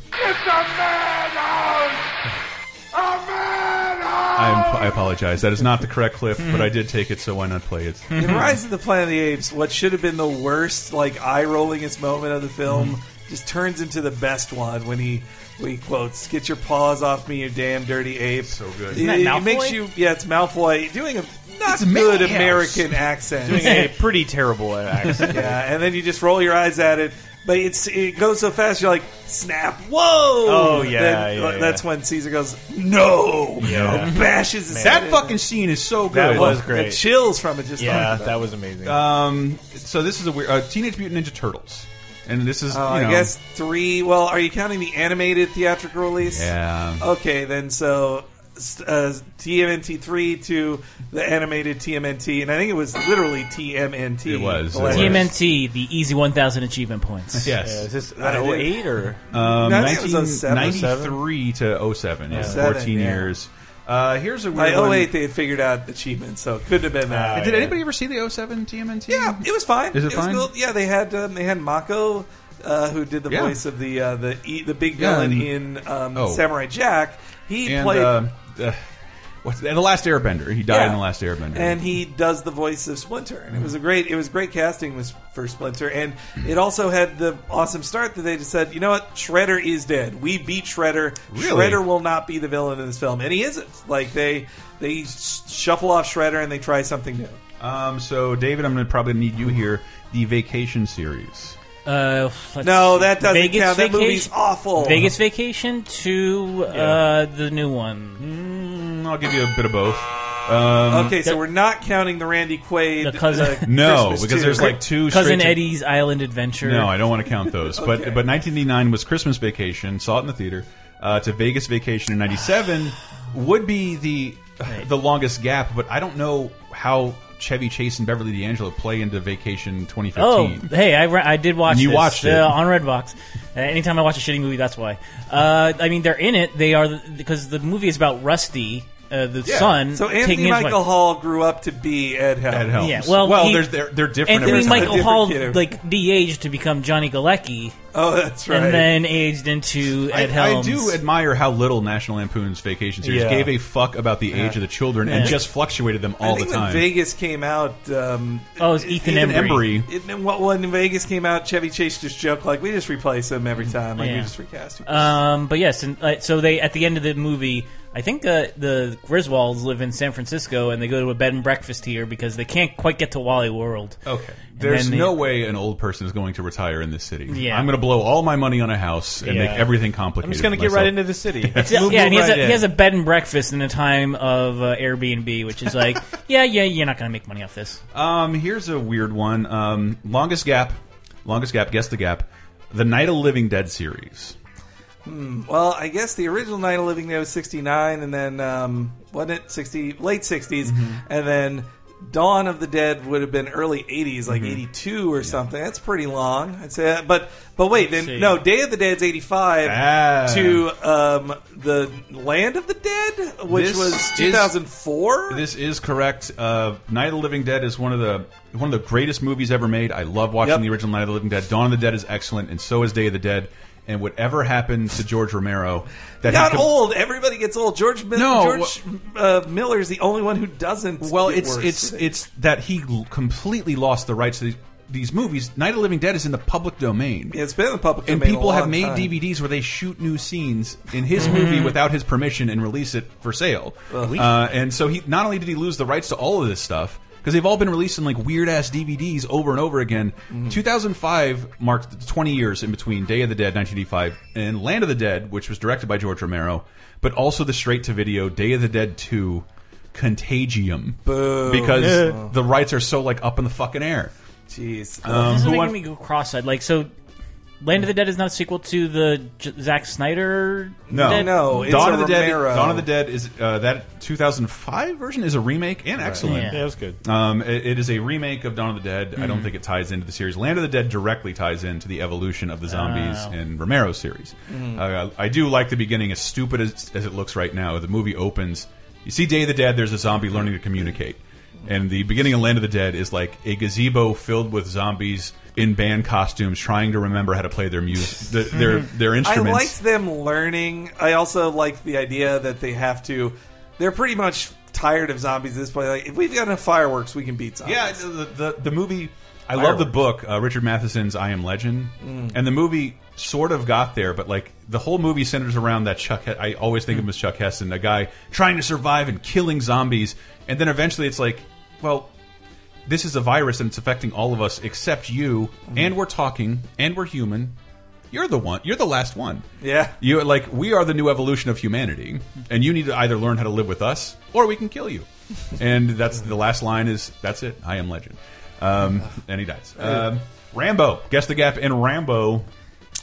Speaker 7: I'm, I apologize. That is not the correct clip, but I did take it, so why not play it?
Speaker 9: In Rise of the Planet of the Apes, what should have been the worst, like eye rollingest moment of the film, just turns into the best one when he when he quotes, "Get your paws off me, you damn dirty ape." So
Speaker 7: good.
Speaker 9: It,
Speaker 2: Isn't that
Speaker 9: it makes
Speaker 2: Malfoy?
Speaker 9: you, yeah, it's Malfoy doing a not good
Speaker 2: Milhouse.
Speaker 9: American accent,
Speaker 2: Doing a
Speaker 8: [laughs]
Speaker 2: pretty terrible accent.
Speaker 9: [laughs] yeah, and then you just roll your eyes at it. But it's it goes so fast, you're like, snap, whoa!
Speaker 2: Oh, yeah,
Speaker 9: Then,
Speaker 2: yeah,
Speaker 9: uh,
Speaker 2: yeah.
Speaker 9: That's when Caesar goes, no!
Speaker 2: Yeah.
Speaker 9: Bashes his head
Speaker 7: That
Speaker 9: in.
Speaker 7: fucking scene is so good.
Speaker 2: That was great.
Speaker 9: The chills from it just
Speaker 2: yeah,
Speaker 9: talking about
Speaker 2: that
Speaker 9: it.
Speaker 2: was amazing.
Speaker 7: Um, so this is a weird uh, Teenage Mutant Ninja Turtles, and this is
Speaker 9: Uh,
Speaker 7: you know,
Speaker 9: I guess three. Well, are you counting the animated theatrical release?
Speaker 7: Yeah.
Speaker 9: Okay, then so s- uh, TMNT three to the animated TMNT, and I think it was literally TMNT.
Speaker 7: It was,
Speaker 9: The
Speaker 7: it
Speaker 9: last-
Speaker 8: TMNT, the easy 1,000 achievement points.
Speaker 7: Yes. Yeah,
Speaker 2: is this
Speaker 9: I did.
Speaker 2: 08 or-
Speaker 7: um,
Speaker 9: No, I think it was 07.
Speaker 7: 1993 to 07, yeah,
Speaker 9: 07,
Speaker 7: 14
Speaker 9: Oh, yeah.
Speaker 7: years. Uh, here's a
Speaker 9: By
Speaker 7: weird one.
Speaker 9: 08, oh, they had figured out achievements, so it could have been that.
Speaker 7: Did anybody ever see the 07 TMNT?
Speaker 9: Yeah, it was fine.
Speaker 7: Is it
Speaker 9: was
Speaker 7: fine?
Speaker 9: cool. Yeah, they had um, they had Mako, uh, who did the
Speaker 7: Yeah.
Speaker 9: voice of the uh, the e- the big
Speaker 7: Yeah,
Speaker 9: villain
Speaker 7: and-
Speaker 9: in um,
Speaker 7: oh.
Speaker 9: Samurai Jack. He
Speaker 7: and,
Speaker 9: played
Speaker 7: uh, uh, what's and the Last Airbender. He died
Speaker 9: Yeah.
Speaker 7: in the Last Airbender.
Speaker 9: and he does the voice of Splinter, and it was a great it was great casting was for Splinter, and it also had the awesome start that they just said, you know what, Shredder is dead. We beat Shredder.
Speaker 7: Really?
Speaker 9: Shredder will not be the villain in this film, and he isn't. Like they they sh- shuffle off Shredder and they try something new.
Speaker 7: um, so David, I'm going to probably need you here. The Vacation series.
Speaker 8: Uh, let's
Speaker 9: No,
Speaker 8: see.
Speaker 9: that doesn't
Speaker 8: Vegas
Speaker 9: count. That
Speaker 8: Vacation-
Speaker 9: movie's awful.
Speaker 8: Vegas Vacation to uh, the new one.
Speaker 7: Mm, I'll give you a bit of both. Um,
Speaker 9: Okay, so we're not counting the Randy Quaid.
Speaker 8: Uh-huh. The cousin.
Speaker 9: uh,
Speaker 7: No,
Speaker 9: Christmas
Speaker 7: because
Speaker 9: too.
Speaker 7: there's like two
Speaker 8: Cousin
Speaker 7: straight to-
Speaker 8: Eddie's Island Adventure.
Speaker 7: No, I don't want to count those. But but 1989 was Christmas Vacation. Saw it in the theater. Uh, to Vegas Vacation in '97 would be the the longest gap. But I don't know how Chevy Chase and Beverly D'Angelo play into Vacation 2015.
Speaker 8: Oh, hey, I, re- I did watch.
Speaker 7: And you
Speaker 8: this,
Speaker 7: watched it.
Speaker 8: uh, on Redbox. Uh, anytime I watch a shitty movie, that's why. Uh, I mean, they're in it. They are because the movie is about Rusty, uh, the son.
Speaker 9: So
Speaker 8: taking
Speaker 9: Anthony
Speaker 8: his wife.
Speaker 9: Michael Hall grew up to be Ed Helms.
Speaker 7: Ed Helms.
Speaker 8: Yeah, well,
Speaker 7: well,
Speaker 8: he-
Speaker 7: there's- they're they're different.
Speaker 8: Anthony
Speaker 7: every time.
Speaker 8: Michael Hall
Speaker 9: kid.
Speaker 8: like de-aged to become Johnny Galecki.
Speaker 9: Oh, that's right.
Speaker 8: And then aged into
Speaker 7: I,
Speaker 8: Ed Helms.
Speaker 7: I do admire how little National Lampoon's Vacation series
Speaker 9: Yeah.
Speaker 7: gave a fuck about the age of the children and
Speaker 9: Yeah.
Speaker 7: just fluctuated them all
Speaker 9: I think
Speaker 7: the time.
Speaker 9: when Vegas came out, um,
Speaker 8: Oh, it was Ethan
Speaker 7: Embry.
Speaker 9: It- it- well, when Vegas came out, Chevy Chase just joked like, "We just replace him every time. Like we
Speaker 8: Yeah.
Speaker 9: just recast him."
Speaker 8: Um, but yes, and uh, so they at the end of the movie, I think uh, the Griswolds live in San Francisco and they go to a bed and breakfast here because they can't quite get to Wally World.
Speaker 7: Okay,
Speaker 8: And
Speaker 7: there's
Speaker 8: then they-
Speaker 7: no way an old person is going to retire in this city.
Speaker 8: Yeah.
Speaker 7: I'm going to blow all my money on a house and
Speaker 2: Yeah.
Speaker 7: make everything complicated.
Speaker 2: I'm just gonna
Speaker 7: for
Speaker 2: get
Speaker 7: myself.
Speaker 2: right into the
Speaker 7: [laughs]
Speaker 2: city. Let's
Speaker 8: Yeah,
Speaker 2: move
Speaker 8: yeah, and he has,
Speaker 2: right
Speaker 8: a,
Speaker 2: in.
Speaker 8: he has a bed and breakfast in a time of uh, Airbnb, which is like, [laughs] yeah, yeah, you're not going to make money off this.
Speaker 7: Um, here's a weird one. Um, longest gap, longest gap. Guess the gap. The Night of the Living Dead series.
Speaker 9: Hmm. Well, I guess the original Night of Living Dead was '69, and then um, wasn't it sixty late '60s,
Speaker 7: Mm-hmm.
Speaker 9: and then Dawn of the Dead would have been early '80s, like
Speaker 7: Mm-hmm.
Speaker 9: '82 or something. That's pretty long, I'd say. That. But but wait, then
Speaker 7: see.
Speaker 9: no, Day of the Dead's '85
Speaker 7: Ah.
Speaker 9: to um, the Land of the Dead, which
Speaker 7: This
Speaker 9: was
Speaker 7: is-
Speaker 9: 2004.
Speaker 7: This is correct. Uh, Night of the Living Dead is one of the one of the greatest movies ever made. I love watching
Speaker 9: Yep.
Speaker 7: the original Night of the Living Dead. Dawn of the Dead is excellent, and so is Day of the Dead. and whatever happened to George Romero, that he
Speaker 9: Got
Speaker 7: com-
Speaker 9: old. Everybody gets old. George, Mil-
Speaker 7: No,
Speaker 9: George uh, Miller's the only one who doesn't.
Speaker 7: Well,
Speaker 9: get
Speaker 7: it's
Speaker 9: worse.
Speaker 7: it's it's that he l- completely lost the rights to these, these movies. Night of the Living Dead is in the public domain.
Speaker 9: it's been in the public
Speaker 7: and
Speaker 9: domain a
Speaker 7: people have
Speaker 9: long
Speaker 7: made
Speaker 9: time.
Speaker 7: DVDs where they shoot new scenes in his movie without his permission and release it for sale.
Speaker 9: Ugh.
Speaker 7: Uh, and so he not only did he lose the rights to all of this stuff because they've all been released in like weird ass DVDs over and over again.
Speaker 9: Mm-hmm.
Speaker 7: 2005 marked 20 years in between Day of the Dead 1985 and Land of the Dead, which was directed by George Romero, but also the straight to video Day of the Dead 2 Contagium
Speaker 9: Boo.
Speaker 7: because
Speaker 8: Yeah.
Speaker 9: [laughs]
Speaker 7: the rights are so like up in the fucking air.
Speaker 9: Jeez,
Speaker 7: Um,
Speaker 8: this is
Speaker 7: who
Speaker 8: making
Speaker 7: won-
Speaker 8: me go cross-eyed. Like so, Land of the Dead is not a sequel to the J- Zack Snyder.
Speaker 7: No,
Speaker 8: Dead-
Speaker 7: Dawn of the Dead. Dawn of the Dead is uh, that 2005 version is a remake and
Speaker 2: Right.
Speaker 7: excellent.
Speaker 2: Yeah. Yeah, it was good.
Speaker 7: Um, it- it is a remake of Dawn of the Dead. I don't
Speaker 2: Mhm.
Speaker 7: think it ties into the series. Land of the Dead directly ties into the evolution of the zombies
Speaker 2: Oh.
Speaker 7: in Romero's series.
Speaker 2: Mhm.
Speaker 7: Uh, I do like the beginning, as stupid as, as it looks right now. The movie opens. You see Day of the Dead. There's a zombie learning to communicate. And the beginning of Land of the Dead is like a gazebo filled with zombies in band costumes trying to remember how to play their music, their, their, their instruments.
Speaker 9: I liked them learning. I also liked the idea that they have to. They're pretty much tired of zombies at this point. Like, if we've got enough fireworks, we can beat zombies.
Speaker 7: Yeah, the the, the movie. I love the book, uh, Richard Matheson's I Am Legend,
Speaker 9: Mm.
Speaker 7: and the movie sort of got there, but like the whole movie centers around that Chuck. He- I always think of him as Chuck Heston, a guy trying to survive and killing zombies, and then eventually it's like, well, this is a virus and it's affecting all of us except you, and we're talking, and we're human. You're the one. You're the last one.
Speaker 9: Yeah.
Speaker 7: You like we are the new evolution of humanity, and you need to either learn how to live with us, or we can kill you. And that's the last line. Is that's it? I am legend. Um, and he dies. Um, Rambo. Guess the gap in Rambo.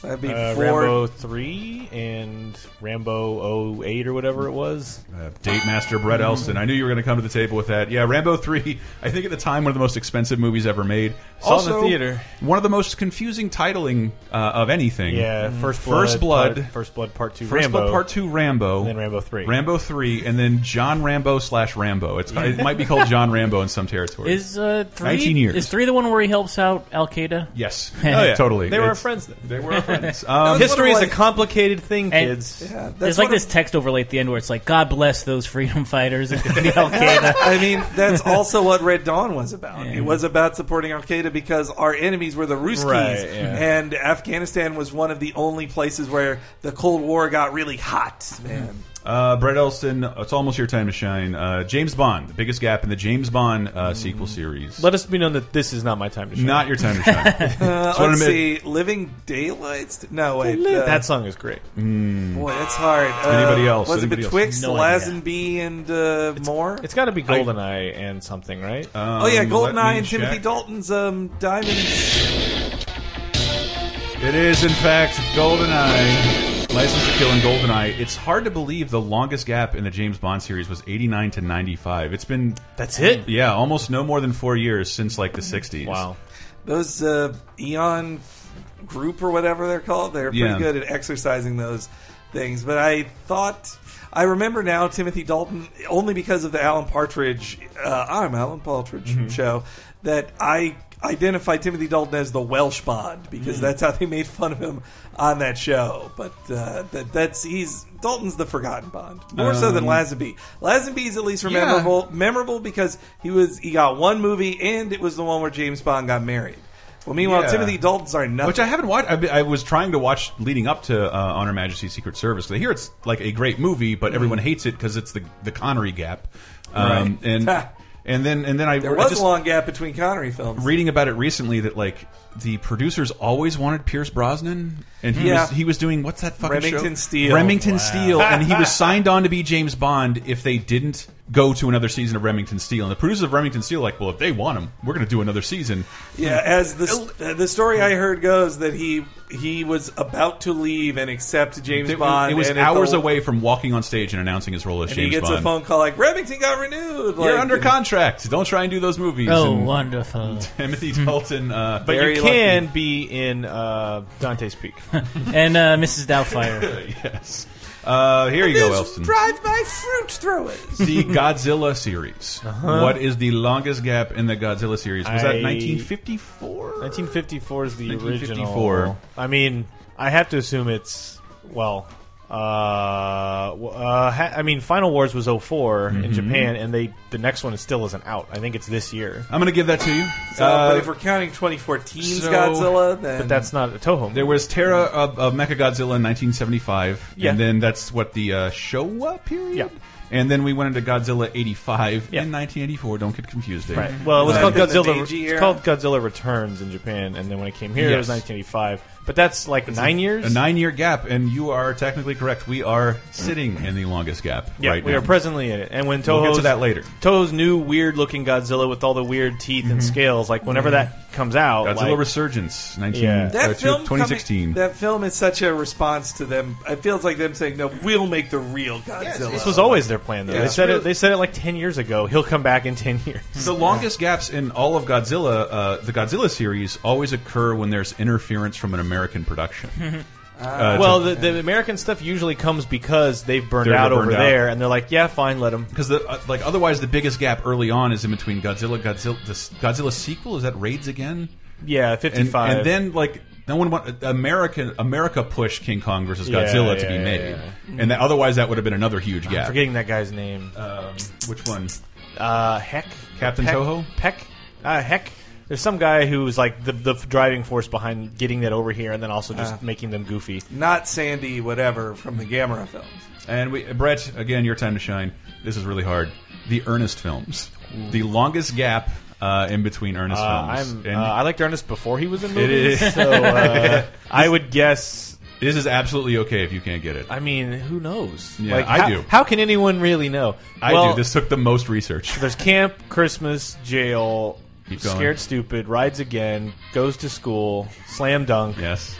Speaker 9: That'd be
Speaker 2: Uh, Rambo 3 and Rambo 08 or whatever it was.
Speaker 7: Uh, Date master Brett Elston. I knew you were going to come to the table with that. Yeah, Rambo three. I think at the time one of the most expensive movies ever made.
Speaker 2: Saw it in the theater.
Speaker 7: One of the most confusing titling uh, of anything.
Speaker 2: Yeah, First Blood.
Speaker 7: Mm-hmm. First Blood.
Speaker 2: Part, First Blood Part 2
Speaker 7: First
Speaker 2: Rambo.
Speaker 7: Blood Part Two Rambo,
Speaker 2: And then Rambo 3.
Speaker 7: Rambo Three, and then John Rambo slash Rambo. It's, it might be called John Rambo in some territories.
Speaker 8: Is uh, three?
Speaker 7: 19 years.
Speaker 8: Is three the one where he helps out Al Qaeda?
Speaker 2: [laughs]
Speaker 7: Yes. Oh, yeah. Totally.
Speaker 2: They were
Speaker 7: It's-
Speaker 2: friends then.
Speaker 7: They
Speaker 2: [laughs]
Speaker 7: were friends.
Speaker 2: Um, History is a complicated thing,
Speaker 8: And
Speaker 2: kids.
Speaker 8: There's like this text overlay at the end where it's like, "God bless those freedom [laughs] fighters and the Al Qaeda."
Speaker 7: [laughs]
Speaker 9: I mean, that's also what Red Dawn was about.
Speaker 8: Yeah.
Speaker 9: It was about supporting Al Qaeda because our enemies were the Ruskies,
Speaker 2: Right, yeah.
Speaker 9: and Afghanistan was one of the only places where the Cold War got really hot. Man,
Speaker 7: Uh, Brett Elston, it's almost your time to shine. Uh, James Bond, the biggest gap in the James Bond uh, sequel series.
Speaker 2: Let us be known that this is not my time to shine.
Speaker 7: Not your time
Speaker 2: [laughs]
Speaker 7: to shine.
Speaker 9: uh,
Speaker 7: It's one of
Speaker 9: let's
Speaker 7: the-
Speaker 9: see, Living Daylights. No wait, uh,
Speaker 2: that song is great.
Speaker 7: Mm.
Speaker 9: Boy, that's hard. Uh,
Speaker 7: Anybody else?
Speaker 9: Was
Speaker 7: Anybody
Speaker 9: it
Speaker 7: else?
Speaker 9: Betwixt,
Speaker 7: No
Speaker 9: Lazenby, and uh, Moore?
Speaker 2: It's got to be Goldeneye and something, right?
Speaker 7: Uh,
Speaker 9: oh yeah,
Speaker 2: Um, let
Speaker 9: Goldeneye
Speaker 2: me
Speaker 9: and Timothy
Speaker 2: check.
Speaker 9: Dalton's um, Diamond.
Speaker 7: It is, in fact, GoldenEye. License to Kill and GoldenEye. It's hard to believe the longest gap in the James Bond series was 89 to 95. It's been.
Speaker 2: That's it?
Speaker 7: Yeah, almost no more than four years since, like, the 60s. Wow.
Speaker 9: Those uh, Eon group or whatever they're called, they're pretty
Speaker 7: Yeah.
Speaker 9: good at exercising those things. But I thought I remember now Timothy Dalton only because of the Alan Partridge. Uh, I'm Alan Partridge
Speaker 2: Mm-hmm.
Speaker 9: show that I identified Timothy Dalton as the Welsh Bond because
Speaker 2: Mhm.
Speaker 9: that's how they made fun of him on that show. But uh, that, that's he's Dalton's the forgotten Bond more so than
Speaker 2: Um,
Speaker 9: Lazenby. Lazenby's at least
Speaker 2: Yeah.
Speaker 9: memorable, memorable because he was he got one movie and it was the one where James Bond got married. Well, meanwhile,
Speaker 7: Yeah.
Speaker 9: Timothy Dalton's are nothing.
Speaker 7: Which I haven't watched. I've been- I was trying to watch leading up to uh, Honor Majesty's Secret Service. 'cause I hear it's like a great movie, but everyone hates it because it's the the Connery gap. Um,
Speaker 9: Right.
Speaker 7: And
Speaker 9: [laughs]
Speaker 7: and then and then I
Speaker 9: there
Speaker 7: I
Speaker 9: was
Speaker 7: just-
Speaker 9: a long gap between Connery films.
Speaker 7: reading about it recently that like the producers always wanted Pierce Brosnan, and he
Speaker 9: Yeah.
Speaker 7: was he was doing what's that fucking
Speaker 9: Remington
Speaker 7: show?
Speaker 9: Steele.
Speaker 7: Remington
Speaker 9: Wow.
Speaker 7: Steele, and he
Speaker 9: [laughs]
Speaker 7: was signed on to be James Bond if they didn't go to another season of Remington Steele. And the producers of Remington Steele, like, well, if they want him, we're going to do another season.
Speaker 9: Yeah, as the the story I heard goes that he he was about to leave and accept James
Speaker 7: It-
Speaker 9: Bond.
Speaker 7: it was
Speaker 9: and at
Speaker 7: hours
Speaker 9: the-
Speaker 7: away from walking on stage and announcing his role as
Speaker 9: And
Speaker 7: James
Speaker 9: he gets
Speaker 7: Bond.
Speaker 9: a phone call like Remington got renewed.
Speaker 7: You're
Speaker 9: like,
Speaker 7: under
Speaker 9: and-
Speaker 7: contract. Don't try and do those movies.
Speaker 8: Oh,
Speaker 7: And
Speaker 8: wonderful.
Speaker 7: Timothy Dalton. Uh,
Speaker 2: But
Speaker 7: very
Speaker 2: you can be in uh, Dante's
Speaker 7: [laughs]
Speaker 2: Peak.
Speaker 8: and uh, Mrs. Doubtfire.
Speaker 7: lucky. [laughs] yes. Uh, here you go, Elston.
Speaker 9: Drive my fruit throwers.
Speaker 7: the Godzilla series.
Speaker 2: Uh-huh.
Speaker 7: What is the longest gap in the Godzilla series? Was that
Speaker 2: I-
Speaker 7: 1954?
Speaker 2: 1954 is the
Speaker 7: 1954.
Speaker 2: original. I mean, I have to assume it's well. Uh, w- uh, ha- I mean, Final Wars was 4 in
Speaker 7: Mhm.
Speaker 2: Japan, and they the next one is still isn't out. I think it's this year.
Speaker 7: I'm gonna give that to you. Uh,
Speaker 9: So, Uh, but if we're counting 2014's Godzilla, then
Speaker 2: but that's not a Toho.
Speaker 7: There was Terra of, of Mechagodzilla in 1975,
Speaker 2: Yeah.
Speaker 7: and then that's what the uh, Showa period. Yeah. And then we went into Godzilla 85 in 1984. Don't get confused there.
Speaker 2: Right. Well, it was
Speaker 7: Uh,
Speaker 2: called Godzilla. It's called Godzilla Returns in Japan, and then when it came here, it was
Speaker 7: Yes.
Speaker 2: 1985. But that's like
Speaker 7: It's a-
Speaker 2: nine years.
Speaker 7: A nine-year gap, and you are technically correct. We are sitting in the longest gap
Speaker 2: Yeah,
Speaker 7: right
Speaker 2: we
Speaker 7: now.
Speaker 2: are presently in it. And when
Speaker 7: We'll
Speaker 2: Toho's
Speaker 7: get to that later.
Speaker 2: Toho's new weird-looking Godzilla with all the weird teeth and
Speaker 7: Mhm.
Speaker 2: scales, like whenever
Speaker 7: Mhm.
Speaker 2: that comes out,
Speaker 7: Godzilla
Speaker 2: like-
Speaker 7: Resurgence, 19,
Speaker 2: Yeah.
Speaker 7: uh,
Speaker 9: that film
Speaker 7: 2016.
Speaker 9: coming- that film is such a response to them. It feels like them saying, "No, we'll make the real Godzilla."
Speaker 2: This was always their plan, though.
Speaker 9: Yeah.
Speaker 2: They said
Speaker 9: It's
Speaker 2: it. They said it like ten years ago. He'll come back in ten [laughs] years.
Speaker 7: The longest gaps in all of Godzilla, uh, the Godzilla series, always occur when there's interference from an American production. Uh, to-
Speaker 2: well, the, the American stuff usually comes because they've burned
Speaker 7: They're
Speaker 2: out
Speaker 7: burned
Speaker 2: over
Speaker 7: out.
Speaker 2: there, and they're like, "Yeah, fine, let them."
Speaker 7: Because the uh, like otherwise the biggest gap early on is in between Godzilla Godzilla the s- Godzilla sequel is that Raids again?
Speaker 2: Yeah,
Speaker 7: And-
Speaker 2: 55.
Speaker 7: And, then like no one want American America pushed King Kong versus
Speaker 2: Yeah,
Speaker 7: Godzilla to
Speaker 2: yeah,
Speaker 7: be
Speaker 2: yeah,
Speaker 7: made.
Speaker 2: yeah.
Speaker 7: And that, otherwise that would have been another huge
Speaker 2: I'm
Speaker 7: gap.
Speaker 2: forgetting that guy's name.
Speaker 7: Um, which one?
Speaker 2: Uh, Heck.
Speaker 7: Captain
Speaker 2: Peck?
Speaker 7: Toho?
Speaker 2: Peck. Uh, Heck. There's some guy who's like the the driving force behind getting that over here, and then also
Speaker 7: Uh.
Speaker 2: just
Speaker 9: Ah.
Speaker 2: making them goofy.
Speaker 9: not Sandy, whatever from the Gamera films.
Speaker 7: And we Brett, again your time to shine. This is really hard. The Ernest films. The longest gap uh, in between Ernest
Speaker 2: Uh,
Speaker 7: films.
Speaker 2: I'm, uh, I liked Ernest before he was in
Speaker 7: It
Speaker 2: movies,
Speaker 7: is.
Speaker 2: so
Speaker 7: [laughs]
Speaker 2: uh, I would guess.
Speaker 7: This is absolutely okay if you can't get it.
Speaker 2: I mean, who knows?
Speaker 7: Yeah,
Speaker 2: Like,
Speaker 7: I
Speaker 2: how-
Speaker 7: do.
Speaker 2: How can anyone really know?
Speaker 7: I
Speaker 2: Well,
Speaker 7: do. This took the most research.
Speaker 2: There's camp, Christmas, jail,
Speaker 7: Keep going.
Speaker 2: scared stupid, rides again, goes to school, slam dunk.
Speaker 7: Yes.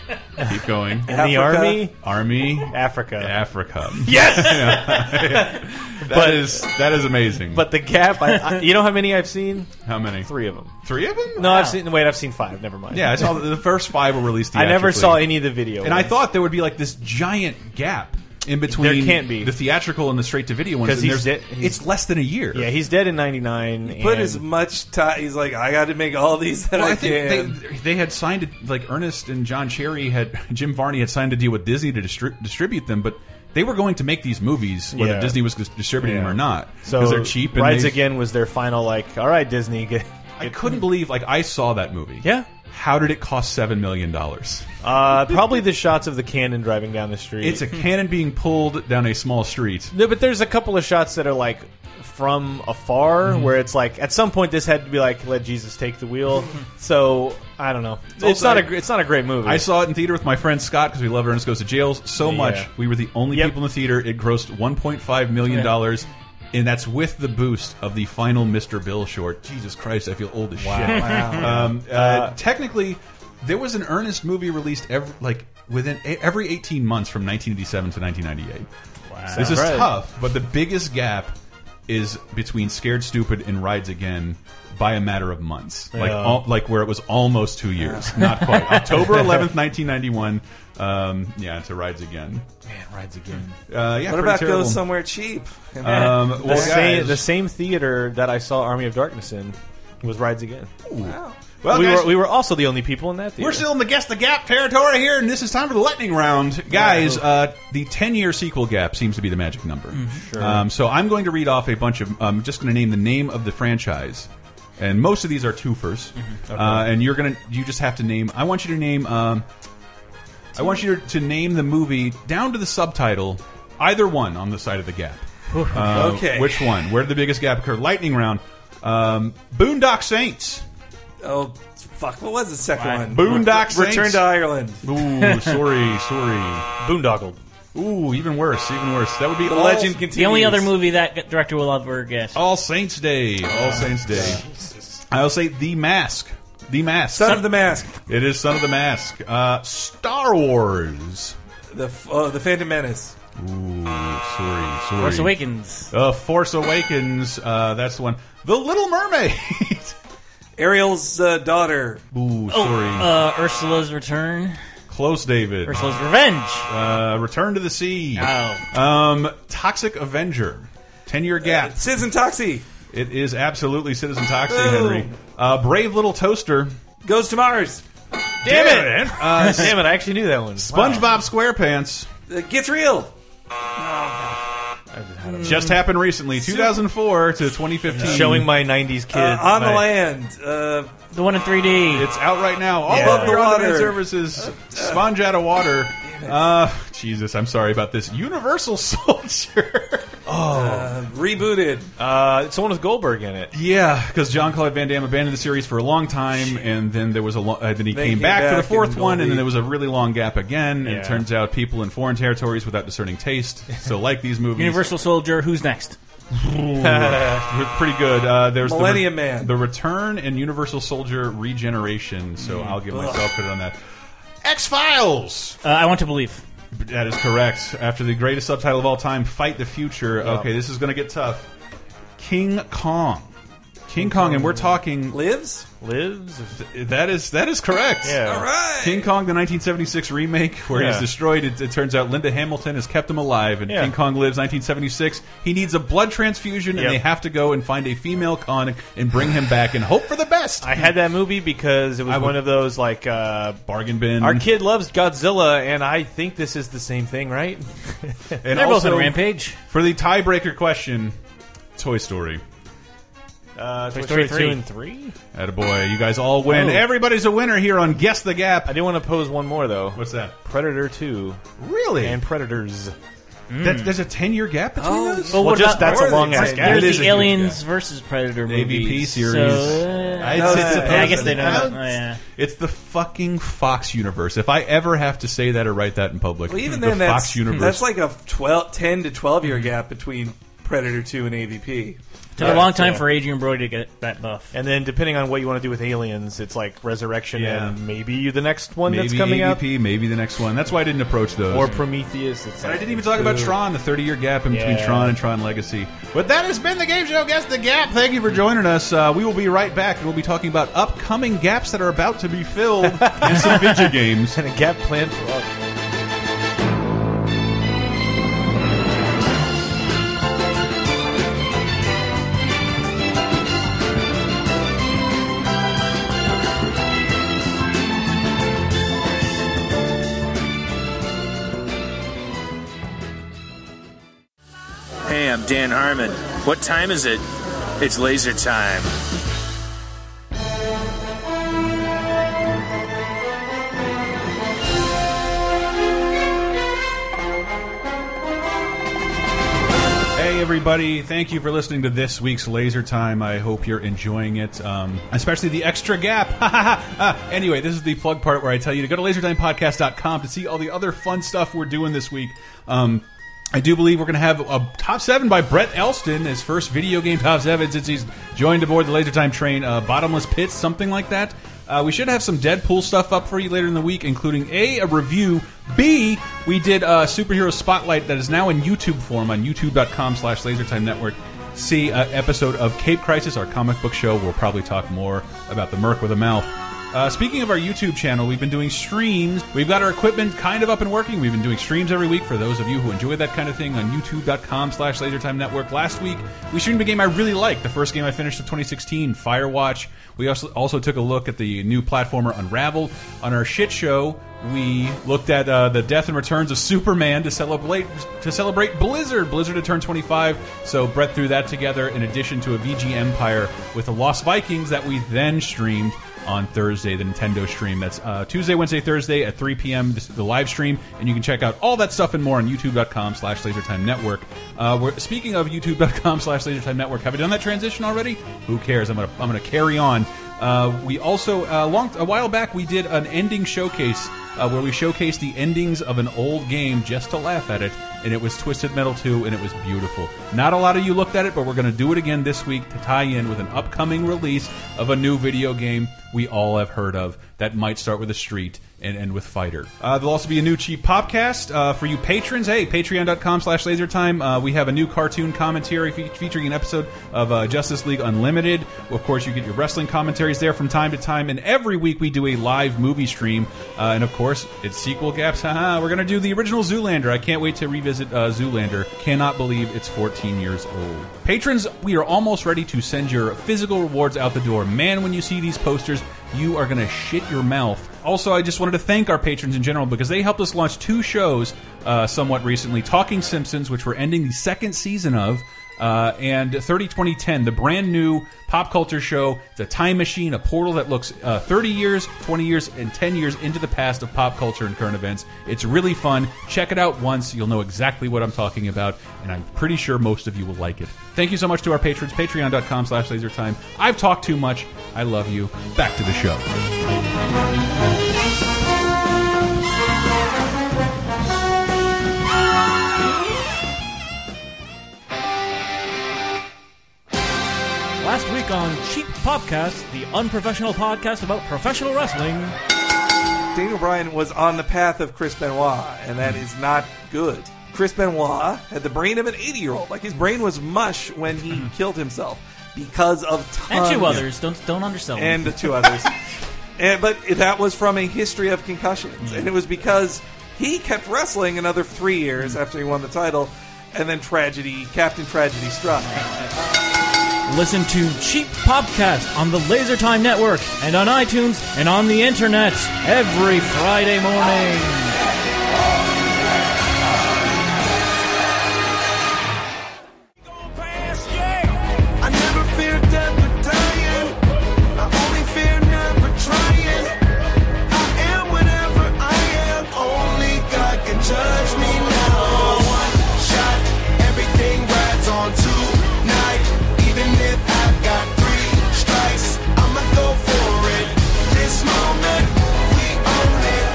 Speaker 7: Keep going.
Speaker 2: And the army.
Speaker 7: Army.
Speaker 2: Africa.
Speaker 7: Africa.
Speaker 2: [laughs] Yes!
Speaker 7: Yeah.
Speaker 2: But-
Speaker 7: that is that is amazing.
Speaker 2: But the gap, I, I, you know how many I've seen?
Speaker 7: how many?
Speaker 2: Three of them.
Speaker 7: Three of them?
Speaker 2: No, I've seen. Wait, I've seen five. Never mind.
Speaker 7: Yeah, I saw the, the first five were released.
Speaker 2: I never
Speaker 7: theatrically.
Speaker 2: saw any of the video.
Speaker 7: And I
Speaker 2: ones.
Speaker 7: thought there would be like this giant gap in between
Speaker 2: can't be.
Speaker 7: the theatrical and the straight to video ones.
Speaker 2: because
Speaker 7: and
Speaker 2: he's,
Speaker 7: there's-
Speaker 2: dead. he's-
Speaker 7: it's less than a year.
Speaker 2: Yeah, he's dead in '99.
Speaker 9: Put as much time. He's like, I got to make all these that
Speaker 7: Well,
Speaker 9: I,
Speaker 7: I think
Speaker 9: can.
Speaker 7: they, they had signed a, like Ernest and John Cherry had [laughs] Jim Varney had signed a deal with Disney to distri distribute them, but they were going to make these movies whether
Speaker 2: Yeah.
Speaker 7: Disney was dis- distributing them or not
Speaker 2: So
Speaker 7: because they're cheap. And
Speaker 2: Rides
Speaker 7: they-
Speaker 2: Again was their final. Like, all right, Disney. Get, [laughs]
Speaker 7: I couldn't believe like I saw that movie.
Speaker 2: Yeah.
Speaker 7: How did it cost seven million dollars?
Speaker 2: uh, probably the shots of the cannon driving down the street. [laughs]
Speaker 7: It's a cannon being pulled down a small street.
Speaker 2: No, but there's a couple of shots that are like from afar,
Speaker 7: Mm-hmm.
Speaker 2: where it's like at some point this had to be like let Jesus take the
Speaker 7: [laughs]
Speaker 2: wheel. so I don't know. It's,
Speaker 7: Also,
Speaker 2: not
Speaker 7: I-
Speaker 2: a gr- it's not a great movie.
Speaker 7: I saw it in theater with my friend Scott because we love Ernest Goes to Jail so
Speaker 2: Yeah.
Speaker 7: much. We were the only people in the theater. It grossed 1.5 million dollars, and that's with the boost of the final Mr. Bill short. Jesus Christ, I feel old as
Speaker 2: Wow.
Speaker 7: shit.
Speaker 2: Wow.
Speaker 7: Um, uh, technically, there was an Ernest movie released every like within e- every 18 months from 1987 to 1998. Wow. This is
Speaker 2: Right.
Speaker 7: tough, Uh, but the biggest gap is between Scared Stupid and Rides Again by a matter of months. Like
Speaker 2: Yeah.
Speaker 7: all, like where it was almost 2 years. Not quite.
Speaker 2: [laughs]
Speaker 7: October 11th, 1991. Um, yeah, to Rides Again.
Speaker 2: Man, Rides Again.
Speaker 7: Uh, yeah, pretty
Speaker 9: what about
Speaker 7: terrible.
Speaker 9: go somewhere cheap?
Speaker 7: Um,
Speaker 2: the,
Speaker 7: well,
Speaker 2: same,
Speaker 7: guys.
Speaker 2: the same theater that I saw Army of Darkness in was Rides Again.
Speaker 7: Wow.
Speaker 2: Well,
Speaker 7: Well,
Speaker 2: we,
Speaker 7: guys-
Speaker 2: were, we were also the only people in that theater.
Speaker 7: We're still in the guess the gap territory here, and this is time for the lightning round, guys. Uh, the ten-year sequel gap seems to be the magic number.
Speaker 2: Sure.
Speaker 7: Um, so I'm going to read off a bunch of. I'm just going to name the name of the franchise, and most of these are twofers.
Speaker 2: Mm-hmm. Okay.
Speaker 7: uh, and you're gonna. You just have to name. I want you to name. Um, I want you to name the movie down to the subtitle, either one on the side of the gap. Uh,
Speaker 9: Okay.
Speaker 7: Which one? Where did the biggest gap occur? Lightning round. Um, Boondock Saints.
Speaker 9: Oh, fuck. What was the second
Speaker 7: Why?
Speaker 9: one?
Speaker 7: Boondock
Speaker 9: Re- Return
Speaker 7: Saints.
Speaker 9: to Ireland.
Speaker 7: Ooh, sorry, sorry.
Speaker 2: Boondoggled.
Speaker 7: Ooh, even worse, even worse. That would be
Speaker 9: The
Speaker 7: all,
Speaker 9: legend
Speaker 8: The only other movie that director will ever guess.
Speaker 7: All Saints Day. All Saints Day. I'll say The Mask. The Mask.
Speaker 9: Son of the Mask.
Speaker 7: It is Son of the Mask. Uh, Star Wars.
Speaker 9: The, f- oh, the Phantom Menace.
Speaker 7: Ooh, sorry, sorry.
Speaker 8: Force Awakens.
Speaker 7: Uh, Force Awakens. Uh, that's the one. The Little Mermaid. [laughs]
Speaker 9: Ariel's uh, daughter.
Speaker 7: Ooh,
Speaker 8: Oh,
Speaker 7: sorry.
Speaker 8: uh, Ursula's Return.
Speaker 7: Close, David.
Speaker 8: Ursula's Revenge.
Speaker 7: Uh, Return to the Sea. Um, Toxic Avenger. Ten year gap.
Speaker 9: Citizen Toxie.
Speaker 7: It is absolutely Citizen Toxie,
Speaker 9: Boom.
Speaker 7: Henry. Uh, Brave Little Toaster
Speaker 9: Goes to Mars.
Speaker 2: Damn it! [laughs]
Speaker 7: Uh,
Speaker 2: Damn it! I actually knew that one.
Speaker 7: SpongeBob SquarePants.
Speaker 9: It gets real.
Speaker 2: Hmm.
Speaker 7: Just happened recently, 2004 to 2015.
Speaker 2: Showing my 90s kid.
Speaker 9: Uh, on the land. Uh,
Speaker 8: the one in 3D.
Speaker 7: It's out right now. All
Speaker 9: Yeah.
Speaker 7: of your
Speaker 9: Water.
Speaker 7: on-demand
Speaker 2: Uh,
Speaker 7: services. Sponge out of water. Uh, Jesus, I'm sorry about this. Universal [laughs] Soldier.
Speaker 2: Oh.
Speaker 9: rebooted.
Speaker 2: Uh, it's the one with Goldberg in it.
Speaker 7: Yeah, because John Claude Van Damme abandoned the series for a long time, and then there was a lo uh, then he
Speaker 2: Then
Speaker 7: came,
Speaker 2: he came
Speaker 7: back, for
Speaker 2: back
Speaker 7: the fourth
Speaker 2: and
Speaker 7: one, and
Speaker 2: Goldie-
Speaker 7: then there was a really long gap again. And
Speaker 2: Yeah.
Speaker 7: it turns out people in foreign territories without discerning taste so like these movies.
Speaker 8: Universal Soldier. Who's next?
Speaker 7: pretty good. Uh, there's
Speaker 8: Millennium
Speaker 7: the
Speaker 8: Man.
Speaker 7: the Return, and Universal Soldier Regeneration. So I'll give
Speaker 8: Ugh.
Speaker 7: myself credit on that. X Files.
Speaker 8: Uh, I want to believe.
Speaker 7: That is correct. After the greatest subtitle of all time, Fight the Future. Okay, this is going to get tough. King Kong. King Kong, and we're talking
Speaker 9: lives.
Speaker 7: Lives. That is that is correct.
Speaker 2: Yeah. All
Speaker 9: right.
Speaker 7: King Kong, the 1976 remake, where he's
Speaker 2: Yeah.
Speaker 7: destroyed. It, it turns out Linda Hamilton has kept him alive, and
Speaker 2: Yeah.
Speaker 7: King Kong lives. 1976. He needs a blood transfusion,
Speaker 2: Yep.
Speaker 7: and they have to go and find a female Kong and bring him back and hope for the best.
Speaker 2: I had that movie because it was
Speaker 7: I would-
Speaker 2: one of those like uh,
Speaker 7: bargain bin.
Speaker 2: Our kid loves Godzilla, and I think this is the same thing, right?
Speaker 7: And also, For the tiebreaker question, Toy Story.
Speaker 2: Uh, Toy,
Speaker 7: Toy
Speaker 2: Story,
Speaker 7: Story
Speaker 2: 2 and 3?
Speaker 7: Attaboy, you guys all win.
Speaker 2: Oh.
Speaker 7: Everybody's a winner here on Guess the Gap.
Speaker 2: I do want to pose one more, though.
Speaker 7: What's that?
Speaker 2: Predator 2.
Speaker 7: Really?
Speaker 2: And Predators.
Speaker 7: That, there's a 10 year gap
Speaker 9: Oh.
Speaker 7: between those?
Speaker 2: Well, just that's a long ass gap.
Speaker 8: There's the Aliens versus Predator
Speaker 7: AVP
Speaker 8: movie
Speaker 7: series.
Speaker 8: uh, I,
Speaker 7: I'd say it's a
Speaker 8: guess they don't.
Speaker 7: thousand.
Speaker 8: know. Oh, yeah.
Speaker 7: It's the fucking Fox universe. If I ever have to say that or write that in public,
Speaker 9: Well, even
Speaker 7: the
Speaker 9: then, that's,
Speaker 7: Fox universe.
Speaker 9: that's like a 12, 10 to 12 year gap between Predator 2 and AVP.
Speaker 8: Took a long time for Adrian Brody to get that buff.
Speaker 2: And then, depending on what you want to do with Aliens, it's like Resurrection
Speaker 7: Yeah.
Speaker 2: and maybe the next one
Speaker 7: maybe
Speaker 2: that's coming out.
Speaker 7: AVP, maybe the next one. That's why I didn't approach those.
Speaker 2: Or Prometheus. It's
Speaker 7: And I
Speaker 2: like-
Speaker 7: didn't even talk about
Speaker 2: Ooh.
Speaker 7: Tron, the 30 year gap in between
Speaker 2: Yeah.
Speaker 7: Tron and Tron Legacy. But that has been the game show, Guess the Gap. Thank you for joining us. Uh, we will be right back. We'll be talking about upcoming gaps that are about to be
Speaker 8: [laughs]
Speaker 7: filled and some video games.
Speaker 2: And a gap plan for all.
Speaker 21: Hey, I'm Dan Harmon. What time is it? It's laser time.
Speaker 7: Hey, everybody. Thank you for listening to this week's Laser Time. I hope you're enjoying it, um, especially the extra gap. [laughs] Ah, anyway, this is the plug part where I tell you to go to lasertimepodcast.com to see all the other fun stuff we're doing this week. Um, I do believe we're going to have a top seven by Brett Elston, his first video game top seven since he's joined aboard the Laser Time train. Uh, bottomless pits, something like that. Uh, we should have some Deadpool stuff up for you later in the week, including A, a review, B, we did a superhero spotlight that is now in YouTube form on youtube.com slash lasertime network. C, a episode of Cape Crisis, our comic book show. We'll probably talk more about the Merc with a Mouth. Uh, speaking of our YouTube channel, we've been doing streams. We've got our equipment kind of up and working. We've been doing streams every week for those of you who enjoy that kind of thing on youtube.com slash lasertime network. Last week, we streamed a game I really liked, the first game I finished of 2016, Firewatch. We also, also took a look at the new platformer Unraveled. On our shit show, we looked at uh, the death and returns of Superman to celebrate to celebrate Blizzard. Blizzard had turned 25, so Brett threw that together in addition to a VG Empire with the Lost Vikings that we then streamed on Thursday, the Nintendo stream. That's uh, Tuesday, Wednesday, Thursday at 3 p.m. This, the live stream, and you can check out all that stuff and more on YouTube.com/slash LaserTime Network. Uh, we're, speaking of [laughs] YouTube.com/slash LaserTime Network, have I done that transition already? Who cares? I'm gonna I'm gonna carry on. Uh, we also uh, long a while back we did an ending showcase uh, where we showcased the endings of an old game just to laugh at it, and it was Twisted Metal 2, and it was beautiful. Not a lot of you looked at it, but we're going to do it again this week to tie in with an upcoming release of a new video game we all have heard of that might start with a street and end with fighter. Uh, there'll also be a new cheap podcast uh, for you patrons. Hey, patreon.com slash lasertime. Uh, we have a new cartoon commentary fe featuring an episode of uh, Justice League Unlimited. Of course, you get your wrestling commentaries there from time to time. And every week we do a live movie stream. Uh, and of course, it's sequel gaps. Haha, we're going to do the original Zoolander. I can't wait to revisit revisit uh, Zoolander. Cannot believe it's 14 years old. Patrons, we are almost ready to send your physical rewards out the door. Man, when you see these posters, you are going to shit your mouth. Also, I just wanted to thank our patrons in general because they helped us launch two shows uh, somewhat recently Talking Simpsons, which we're ending the second season of. Uh, and 30 2010, the brand new pop culture show, the time machine, a portal that looks uh, 30 years, 20 years, and 10 years into the past of pop culture and current events. It's really fun. Check it out once. You'll know exactly what I'm talking about, and I'm pretty sure most of you will like it. Thank you so much to our patrons, patreon.com slash lasertime. I've talked too much. I love you. Back to the show.
Speaker 1: Last week on Cheap Podcast, the unprofessional podcast about professional wrestling.
Speaker 9: Daniel Bryan was on the path of Chris Benoit, and that is not good. Chris Benoit had the brain of an 80 year old. Like, his brain was mush
Speaker 7: [clears throat]
Speaker 9: when he killed himself because of tons
Speaker 8: And
Speaker 1: Um,
Speaker 8: two others. Don't don't undersell.
Speaker 9: and the
Speaker 7: [laughs]
Speaker 9: two others. and, but that was from a history of concussions, and it was because he kept wrestling another three years after he won the title, and then tragedy, Captain Tragedy struck.
Speaker 7: Uh,
Speaker 1: Listen to Cheap Podcast on the Lasertime Network and on iTunes and on the internet every Friday morning.
Speaker 10: I never fear death or dying. I only fear never trying. I am whatever I am. Only God can judge me now. One shot, everything rides on tonight. Even if I've got three strikes, I'ma go for it. This moment, we own it.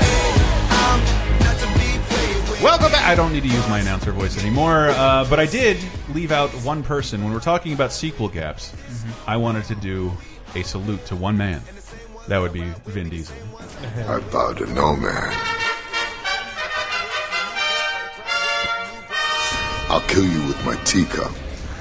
Speaker 10: I'm not to be played with.
Speaker 7: Welcome back. I don't need to use my announcer voice anymore, uh, but I did leave out one person. When we're talking about sequel gaps, I wanted to do a salute to one man. That would be Vin Diesel.
Speaker 5: I bow to no man. I'll kill you with my teacup.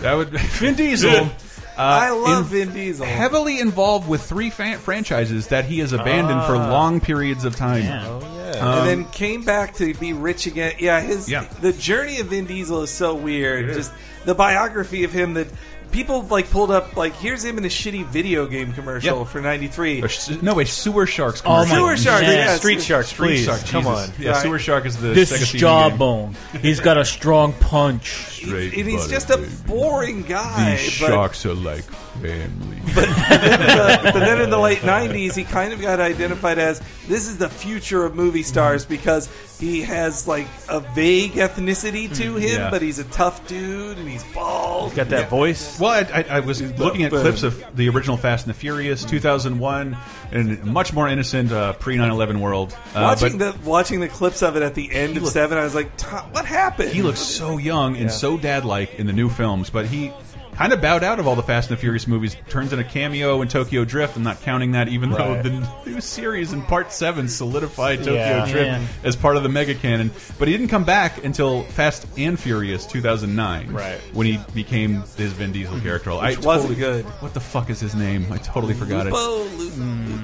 Speaker 7: That would [laughs] Vin Diesel.
Speaker 9: I love Vin Diesel.
Speaker 7: Heavily involved with three fan franchises that he has abandoned for
Speaker 9: Ah.
Speaker 7: long periods of time. Um,
Speaker 9: Oh, and then came back to be rich again. Yeah, his
Speaker 7: Yeah.
Speaker 9: the journey of Vin Diesel is so weird. Just the biography of him that people like pulled up like here's him in a shitty video game commercial
Speaker 7: Yep.
Speaker 9: for 93.
Speaker 7: A s- no, a sewer sharks.
Speaker 9: Oh my
Speaker 7: commercial.
Speaker 9: Sewer Sharks, goodness. yes.
Speaker 2: Street Sharks,
Speaker 7: Street
Speaker 2: please.
Speaker 7: Shark,
Speaker 2: Come
Speaker 7: Jesus.
Speaker 2: on.
Speaker 7: Yeah,
Speaker 2: Right.
Speaker 7: Sewer Shark is the
Speaker 8: this
Speaker 7: Sega
Speaker 8: is
Speaker 7: theme
Speaker 8: jawbone. He's got a strong punch.
Speaker 7: Straight
Speaker 9: And he's just a boring guy.
Speaker 7: Game. These
Speaker 9: but-
Speaker 7: sharks are like family.
Speaker 9: but then in the late 90s he kind of got identified as this is the future of movie stars
Speaker 7: Mm-hmm.
Speaker 9: because he has like a vague ethnicity to
Speaker 7: Mm,
Speaker 9: him
Speaker 7: yeah.
Speaker 9: but he's a tough dude and he's bald Yeah.
Speaker 7: voice. Well, I, I, I was looking at
Speaker 9: boom.
Speaker 7: clips of the original Fast and the Furious, 2001, and a much more innocent uh, pre 9 11 world. Uh,
Speaker 9: watching
Speaker 7: but
Speaker 9: the watching the clips of it at the end of
Speaker 7: looked-
Speaker 9: seven, I was like, "Tom, "What happened?"
Speaker 7: he looks so young and
Speaker 9: Yeah.
Speaker 7: so dad like in the new films, but he kind of bowed out of all the Fast and the Furious movies, turns in a cameo in Tokyo Drift. I'm not counting that, even
Speaker 2: Right.
Speaker 7: though the new series in part seven solidified Tokyo
Speaker 2: Yeah.
Speaker 7: Drift
Speaker 2: Yeah.
Speaker 7: as part of the mega canon. But he didn't come back until Fast and Furious 2009,
Speaker 2: Right.
Speaker 7: When he became his Vin Diesel character.
Speaker 9: Which wasn't good.
Speaker 7: What the fuck is his name? I totally forgot it.
Speaker 9: Lupo, Lu-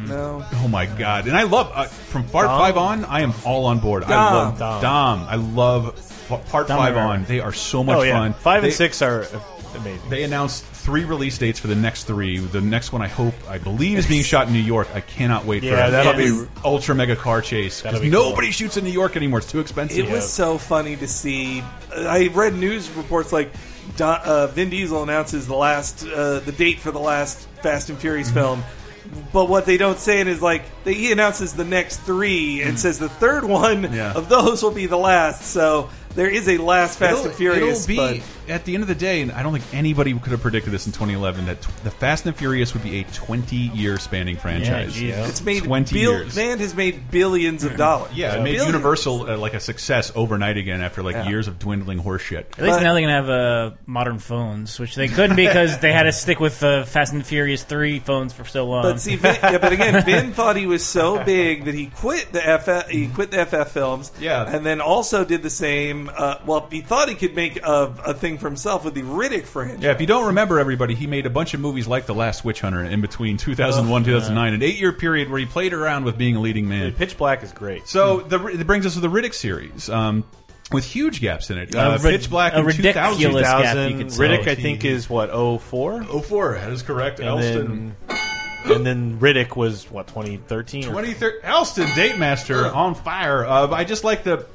Speaker 9: No.
Speaker 7: Oh my god! And I love uh, from part
Speaker 9: Dom?
Speaker 7: five on. I am all on board. I
Speaker 9: Dom.
Speaker 7: love Dom.
Speaker 9: Dom.
Speaker 7: I love f- part
Speaker 2: Dom
Speaker 7: five
Speaker 2: Herrera.
Speaker 7: on. They are so much
Speaker 2: Oh, yeah.
Speaker 7: fun.
Speaker 2: Five and
Speaker 7: They-
Speaker 2: six are uh, amazing.
Speaker 7: They announced three release dates for the next three. The next one, I hope, I believe, is being shot in New York. I cannot wait for
Speaker 2: Yeah,
Speaker 7: it.
Speaker 2: that'll
Speaker 7: It's
Speaker 2: be-
Speaker 7: ultra mega car chase. 'cause
Speaker 2: That'll be cool.
Speaker 7: nobody shoots in New York anymore. It's too expensive.
Speaker 9: It was so funny to see. I read news reports like Don, uh, Vin Diesel announces the last uh, the date for the last Fast and Furious
Speaker 7: Mm-hmm.
Speaker 9: film, but what they don't say it is like they, he announces the next three and says the third one
Speaker 7: Mm-hmm. Yeah.
Speaker 9: of those will be the last. So there is a last Fast
Speaker 7: It'll-
Speaker 9: and
Speaker 7: It'll
Speaker 9: Furious.
Speaker 7: be
Speaker 9: but
Speaker 7: at the end of the day, and I don't think anybody could have predicted this in 2011 that tw- the Fast and the Furious would be a 20 year spanning franchise.
Speaker 9: it's made
Speaker 7: 20
Speaker 9: bil-
Speaker 7: years.
Speaker 9: Man has made billions of dollars.
Speaker 7: Yeah, it made Universal uh, like a success overnight again after like years of dwindling horseshit.
Speaker 8: At least now they can have uh, modern phones, which they couldn't because they had to stick with uh, Fast and Furious three phones for so long.
Speaker 7: Um,
Speaker 9: But see, Vin, yeah, but
Speaker 7: [laughs]
Speaker 9: again, Vin thought he was so big that he quit the FF, he quit the FF films.
Speaker 7: Yeah.
Speaker 9: and then also did the same. Uh, well, he thought he could make a, a thing for himself with the Riddick franchise.
Speaker 7: Yeah, if you don't remember, everybody, he made a bunch of movies like The Last Witch Hunter in between 2001
Speaker 2: Oh,
Speaker 7: 2009, an eight year period where he played around with being a leading man.
Speaker 2: Pitch Black is great.
Speaker 7: So the, it brings us to the Riddick series. Um, with huge gaps in it.
Speaker 2: A
Speaker 7: Uh,
Speaker 2: rid-
Speaker 7: Pitch Black
Speaker 2: a
Speaker 7: in 2000.
Speaker 2: ridiculous gap, you could say. Riddick, I think, is, what, 04?
Speaker 7: 04, that is correct.
Speaker 2: And
Speaker 7: Elston.
Speaker 2: Then, and then Riddick was, what, 2013? or-
Speaker 7: 23rd Elston Date Master on fire. Uh, I just like the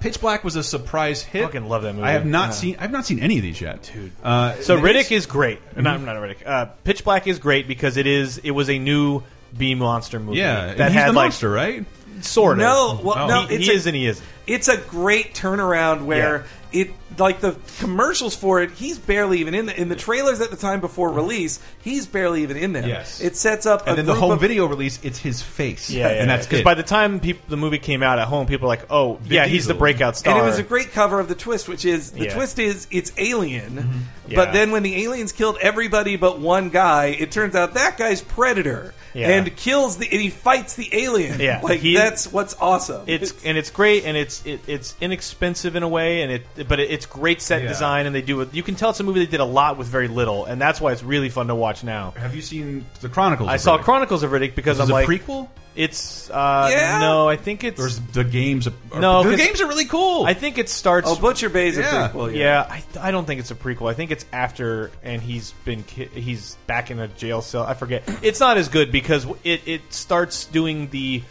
Speaker 7: Pitch Black was a surprise hit. Fucking
Speaker 2: love that movie.
Speaker 7: I have not
Speaker 2: Yeah.
Speaker 7: seen I've not seen any of these yet, Uh, dude.
Speaker 2: so Riddick is great. No, I'm not a Riddick. Uh, Pitch Black is great because it is it was a new B monster movie.
Speaker 7: Yeah, and
Speaker 2: that
Speaker 7: he's
Speaker 2: had
Speaker 7: the
Speaker 2: like,
Speaker 7: monster, right?
Speaker 2: Sort of.
Speaker 9: No, well, no,
Speaker 2: he,
Speaker 9: it's
Speaker 2: he
Speaker 9: a-
Speaker 2: is and he isn't.
Speaker 9: It's a great turnaround where it like the commercials for it. He's barely even in the in the trailers at the time before release. He's barely even in there.
Speaker 7: Yes.
Speaker 9: it sets up a
Speaker 7: and then the
Speaker 9: group
Speaker 7: home
Speaker 9: of-
Speaker 7: video release, it's his face.
Speaker 2: Yeah,
Speaker 7: and that's
Speaker 2: because
Speaker 7: it.
Speaker 2: by the time peop the movie came out at home, people were like, "Oh, yeah, he's the
Speaker 9: Diesel.
Speaker 2: breakout star."
Speaker 9: And it was a great cover of the twist, which is the
Speaker 2: Yeah. Mm-hmm.
Speaker 9: twist is it's alien,
Speaker 2: Yeah.
Speaker 9: but then when the aliens killed everybody but one guy, it turns out that guy's predator
Speaker 2: Yeah.
Speaker 9: and kills the and he fights the alien.
Speaker 2: Yeah,
Speaker 9: like
Speaker 2: he-
Speaker 9: that's what's awesome.
Speaker 2: It's and it's great and it's it, it's inexpensive in a way and it but it, it's great set
Speaker 7: Yeah.
Speaker 2: design and they do it. You can tell it's a movie they did a lot with very little and that's why it's really fun to watch now.
Speaker 7: Have you seen the Chronicles?
Speaker 2: I
Speaker 7: of
Speaker 2: saw
Speaker 7: Riddick?
Speaker 2: Chronicles of Riddick because
Speaker 7: This is
Speaker 2: I'm
Speaker 7: a
Speaker 2: like
Speaker 7: prequel?
Speaker 2: It's uh,
Speaker 7: Yeah.
Speaker 2: no, I think it's
Speaker 7: Or is the games. Are,
Speaker 2: no.
Speaker 7: the
Speaker 2: 'cause
Speaker 7: games are really cool.
Speaker 2: I think it starts.
Speaker 9: Oh, Butcher Bay's [laughs] a
Speaker 2: yeah.
Speaker 9: prequel,
Speaker 2: Yeah,
Speaker 9: yeah.
Speaker 2: I, I don't think it's a prequel. I think it's after, and he's been ki- he's back in a jail cell. I forget. It's not as good because it it starts doing the.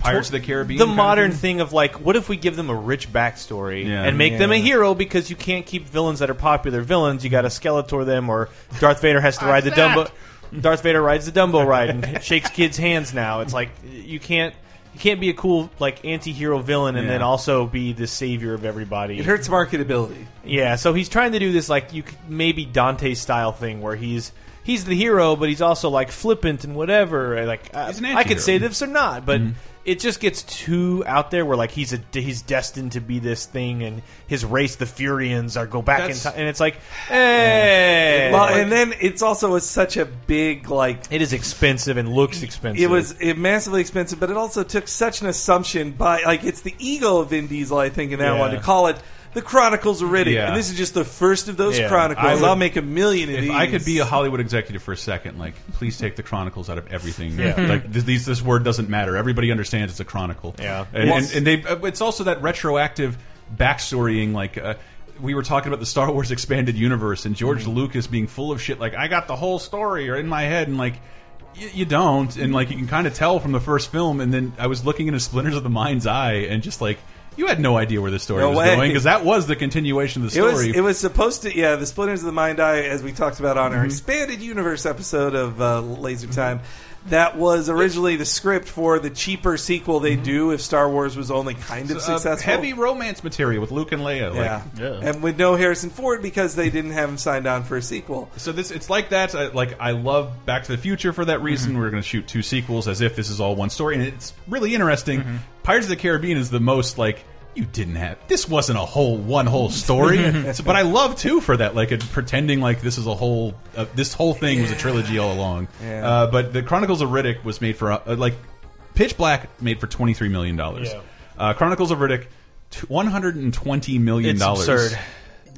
Speaker 7: Pirates of the Caribbean
Speaker 2: the
Speaker 7: kind of
Speaker 2: modern
Speaker 7: thing?
Speaker 2: thing of like, what if we give them a rich backstory
Speaker 7: Yeah.
Speaker 2: and make them a
Speaker 7: Yeah.
Speaker 2: hero? Because you can't keep villains that are popular villains. You got to Skeletor them, or Darth Vader has to ride the Dumbo. Darth Vader rides the Dumbo ride and [laughs] shakes kids' hands. Now it's like you can't you can't be a cool like anti-hero villain and
Speaker 9: Yeah.
Speaker 2: then also be the savior of everybody.
Speaker 9: it hurts marketability.
Speaker 2: Yeah, so he's trying to do this like you could, maybe Dante style thing where he's he's the hero, but he's also like flippant and whatever. and, Like I-
Speaker 7: He's an
Speaker 2: I could
Speaker 7: antihero.
Speaker 2: say this or not, but
Speaker 9: Mm-hmm.
Speaker 2: it just gets too out there where like he's a he's destined to be this thing, and his race, the Furians, are go back
Speaker 9: That's-
Speaker 2: in time, and it's
Speaker 7: [sighs]
Speaker 2: like, hey,
Speaker 9: Well, and then it's also a, such a big like
Speaker 2: it is expensive and looks expensive.
Speaker 9: It was it massively expensive, but it also took such an assumption by like it's the ego of Vin Diesel, I think, in that
Speaker 2: Yeah.
Speaker 9: one to call it the Chronicles of Riddick,
Speaker 7: Yeah.
Speaker 9: and this is just the first of those
Speaker 7: Yeah. I
Speaker 9: Chronicles.
Speaker 7: would-
Speaker 9: I'll make a million of
Speaker 7: If
Speaker 9: these.
Speaker 7: I could be a Hollywood executive for a second, like please take the Chronicles out of everything.
Speaker 9: Yeah.
Speaker 7: [laughs] like th- these, this word doesn't matter. Everybody understands it's a chronicle.
Speaker 2: Yeah.
Speaker 7: and,
Speaker 2: Well-
Speaker 7: and, and they. uh, It's also that retroactive backstorying, like. Uh, we were talking about the Star Wars expanded universe and George Lucas being full of shit. Like I got the whole story or in my head, and like y you don't, and like you can kind of tell from the first film. And then I was looking into Splinters of the Mind's Eye, and just like you had no idea where this story
Speaker 9: No
Speaker 7: was
Speaker 9: way.
Speaker 7: going because that was the continuation of the
Speaker 9: It was,
Speaker 7: story.
Speaker 9: it was supposed to, yeah. The Splinters of the Mind Eye, as we talked about on our
Speaker 7: Mhm.
Speaker 9: expanded universe episode of uh, Laser Time, that was originally the script for the cheaper sequel they do if Star Wars was only kind of
Speaker 7: Mm-hmm. So, uh,
Speaker 9: successful.
Speaker 7: heavy romance material with Luke and Leia.
Speaker 9: yeah.
Speaker 7: Like,
Speaker 9: and with no Harrison Ford because they didn't have him signed on for a sequel.
Speaker 7: So this it's like that. uh, Like I love Back to the Future for that
Speaker 2: Mm-hmm.
Speaker 7: reason. We're going to shoot two sequels as if this is all one story, and it's really interesting.
Speaker 2: Mm-hmm.
Speaker 7: Pirates of the Caribbean is the most like you didn't have this wasn't a whole one whole
Speaker 2: [laughs]
Speaker 7: story. So- but I love too for that, like it, pretending like this is a whole uh, this whole thing was a trilogy all along.
Speaker 9: Yeah.
Speaker 7: Uh, but the Chronicles of Riddick was made for uh, like Pitch Black made for twenty three million dollars.
Speaker 2: Yeah.
Speaker 7: Uh, Chronicles of Riddick. t- $120 million.
Speaker 2: It's absurd.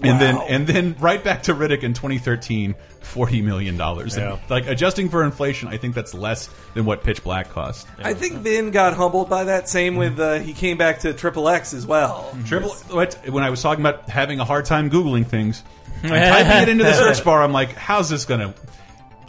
Speaker 7: And then
Speaker 2: Wow.
Speaker 7: and then right back to Riddick in 2013, 40 million dollars.
Speaker 2: Yeah.
Speaker 7: Like adjusting for inflation, I think that's less than what Pitch Black cost.
Speaker 9: I think Vin got humbled by that.
Speaker 7: Mm-hmm.
Speaker 9: Same with uh, he came back to Triple X as well.
Speaker 7: Triple what when I was talking about having a hard time googling things,
Speaker 2: [laughs]
Speaker 7: I'm typing it into the search bar, I'm like, how's this going to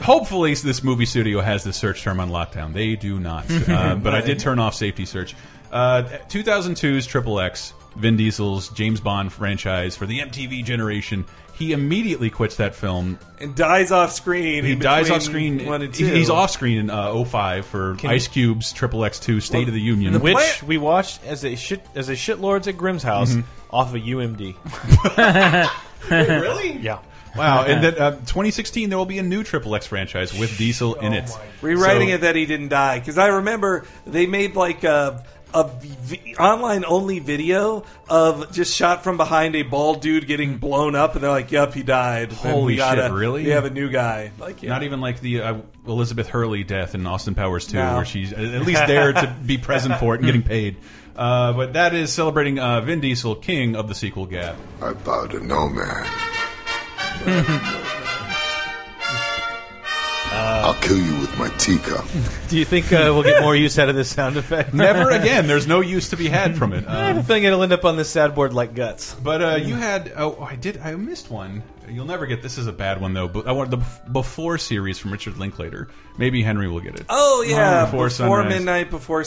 Speaker 7: Hopefully, this movie studio has the search term on lockdown. They do
Speaker 2: [laughs]
Speaker 7: not, uh, but I did turn off safety search. Uh, 2002's Triple X, Vin Diesel's James Bond franchise for the MTV generation. He immediately quits that film
Speaker 9: and dies off screen.
Speaker 7: He
Speaker 9: in
Speaker 7: dies
Speaker 9: between
Speaker 7: off screen.
Speaker 9: One and
Speaker 7: He-
Speaker 9: two.
Speaker 7: He's off screen in uh, 05 for
Speaker 2: Can-
Speaker 7: Ice Cube's Triple X 2 State of the Union.
Speaker 2: which we watched as a shit as a shitlords at Grimm's house
Speaker 7: Mhm.
Speaker 9: Mm-hmm.
Speaker 2: off of UMD.
Speaker 7: really?
Speaker 2: Yeah.
Speaker 7: Wow. And
Speaker 9: [laughs]
Speaker 7: that uh, 2016, there will be a new Triple X franchise with Diesel in
Speaker 9: Oh
Speaker 7: it.
Speaker 9: Rewriting
Speaker 7: So-
Speaker 9: it that he didn't die because I remember they made like a. A v- online only video of just shot from behind a bald dude getting blown up, and they're like, "Yep, he died." Then
Speaker 7: Holy
Speaker 9: we gotta-
Speaker 7: shit! Really?
Speaker 9: We have a new guy. Like, yeah.
Speaker 7: Not even like the uh, Elizabeth Hurley death in Austin Powers Two,
Speaker 9: No.
Speaker 7: where she's at least there to be present for it
Speaker 9: [laughs]
Speaker 7: and getting paid. Uh, but that is celebrating uh, Vin Diesel, king of the sequel gap.
Speaker 5: I bow to no man.
Speaker 2: I
Speaker 5: I'll kill you with my teacup.
Speaker 2: Do you think uh, we'll get more use out of this sound effect?
Speaker 9: [laughs]
Speaker 7: Never again. There's no use to be had from it. Um,
Speaker 2: I have a feeling it'll end up on this sad board like guts.
Speaker 7: But uh, you had oh I did I missed one. You'll never get this is a bad one though. But I wanted the before series from Richard Linklater. Maybe Henry will get it.
Speaker 9: Oh yeah,
Speaker 7: before,
Speaker 9: before,
Speaker 7: sunrise.
Speaker 9: midnight, before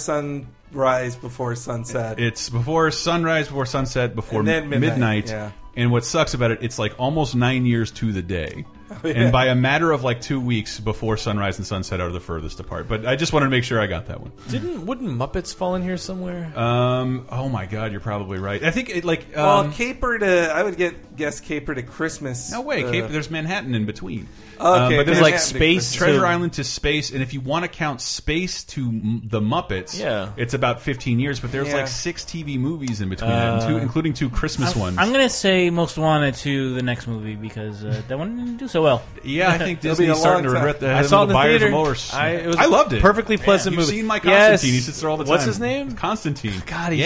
Speaker 9: sunrise, before sunset.
Speaker 7: It's before sunrise, before sunset, before
Speaker 9: And then midnight,
Speaker 7: midnight.
Speaker 9: yeah.
Speaker 7: And what sucks about it, it's like almost nine years to the
Speaker 9: [laughs]
Speaker 7: day.
Speaker 9: Oh, yeah.
Speaker 7: And by a matter of like two weeks, before sunrise and sunset are the furthest apart. But I just wanted to make sure I got that one.
Speaker 2: Didn't wouldn't Muppets fall in here somewhere?
Speaker 7: Um, oh my God, you're probably right. I think it like um,
Speaker 9: well, caper to I would get guess caper to Christmas.
Speaker 7: No way,
Speaker 9: uh,
Speaker 7: Cape, there's Manhattan in between. Uh,
Speaker 9: Okay,
Speaker 7: but there's
Speaker 9: Manhattan
Speaker 7: like
Speaker 9: to
Speaker 7: space,
Speaker 9: Christmas.
Speaker 7: Treasure Island to space, and if you want to count space to m- the Muppets,
Speaker 8: Yeah.
Speaker 7: it's about 15 years. But there's
Speaker 8: Yeah.
Speaker 7: like six TV movies in between, that, and two,
Speaker 8: Uh,
Speaker 7: including two Christmas
Speaker 8: I'm,
Speaker 7: ones.
Speaker 8: I'm gonna say most wanted to the next movie because uh, that one didn't do so well.
Speaker 7: Yeah,
Speaker 2: [laughs]
Speaker 7: I think Disney's starting to regret that.
Speaker 2: I saw it in the
Speaker 7: buyer's
Speaker 2: theater.
Speaker 7: remorse.
Speaker 2: I- it was
Speaker 7: I loved it.
Speaker 2: perfectly pleasant
Speaker 7: You've
Speaker 2: movie.
Speaker 7: seen my
Speaker 2: Yes.
Speaker 7: Constantine. He sits there all the time.
Speaker 2: What's his name? Oh,
Speaker 7: Constantine. God,
Speaker 2: he's-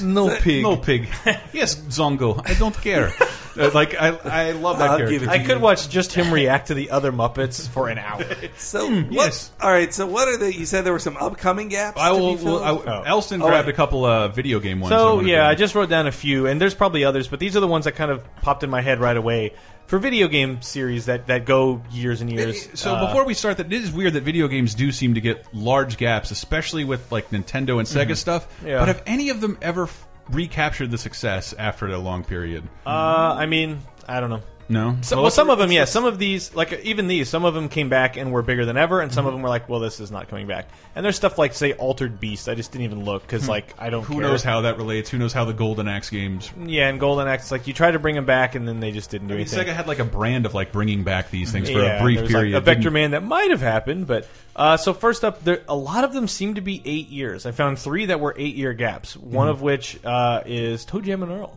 Speaker 2: [laughs] No pig.
Speaker 7: No pig.
Speaker 2: [laughs]
Speaker 7: yes, Zongo. I don't care. Uh, like I, I love that character.
Speaker 2: I could watch just him react to the other Muppets for an [laughs] hour.
Speaker 9: So what, All right. So what are the? You said there were some upcoming gaps.
Speaker 7: Hmm, I
Speaker 9: to be
Speaker 7: will.
Speaker 9: filled?
Speaker 7: will- I, Elston
Speaker 9: Oh,
Speaker 7: grabbed
Speaker 9: wait.
Speaker 7: a couple uh, video game ones. I
Speaker 2: So
Speaker 7: wanna
Speaker 2: yeah,
Speaker 7: grab.
Speaker 2: I just wrote down a few, and there's probably others, but these are the ones that kind of popped in my head right away for video game series that, that go years and years.
Speaker 7: So
Speaker 2: Uh,
Speaker 7: before we start, that it is weird that video games do seem to get large gaps, especially with like Nintendo and Sega
Speaker 2: Mhm.
Speaker 7: stuff.
Speaker 2: Yeah.
Speaker 7: But have any of them ever f- recaptured the success after a long period?
Speaker 2: uh, I mean, I don't know.
Speaker 7: No.
Speaker 2: So, well, some of them, yeah. Some of these, like even these, some of them came back and were bigger than ever, and some of them were like, "Well, this is not coming back." And there's stuff like, say, Altered Beast. I just didn't even look because,
Speaker 7: Hmm.
Speaker 2: like, I don't.
Speaker 7: Who
Speaker 2: care.
Speaker 7: knows how that relates? Who knows how the Golden Axe games?
Speaker 2: Yeah, and Golden Axe, like you try to bring them back, and then they just didn't do
Speaker 7: I mean,
Speaker 2: anything.
Speaker 7: Sega had like a brand of like bringing back these things for
Speaker 2: Yeah,
Speaker 7: a brief
Speaker 2: there was, like,
Speaker 7: period.
Speaker 2: a Vector
Speaker 7: didn't-
Speaker 2: Man that might have happened, but uh, so first up, there a lot of them seem to be eight years. I found three that were eight year gaps. One
Speaker 7: Mhm.
Speaker 2: of which uh, is Toe Jam and Earl.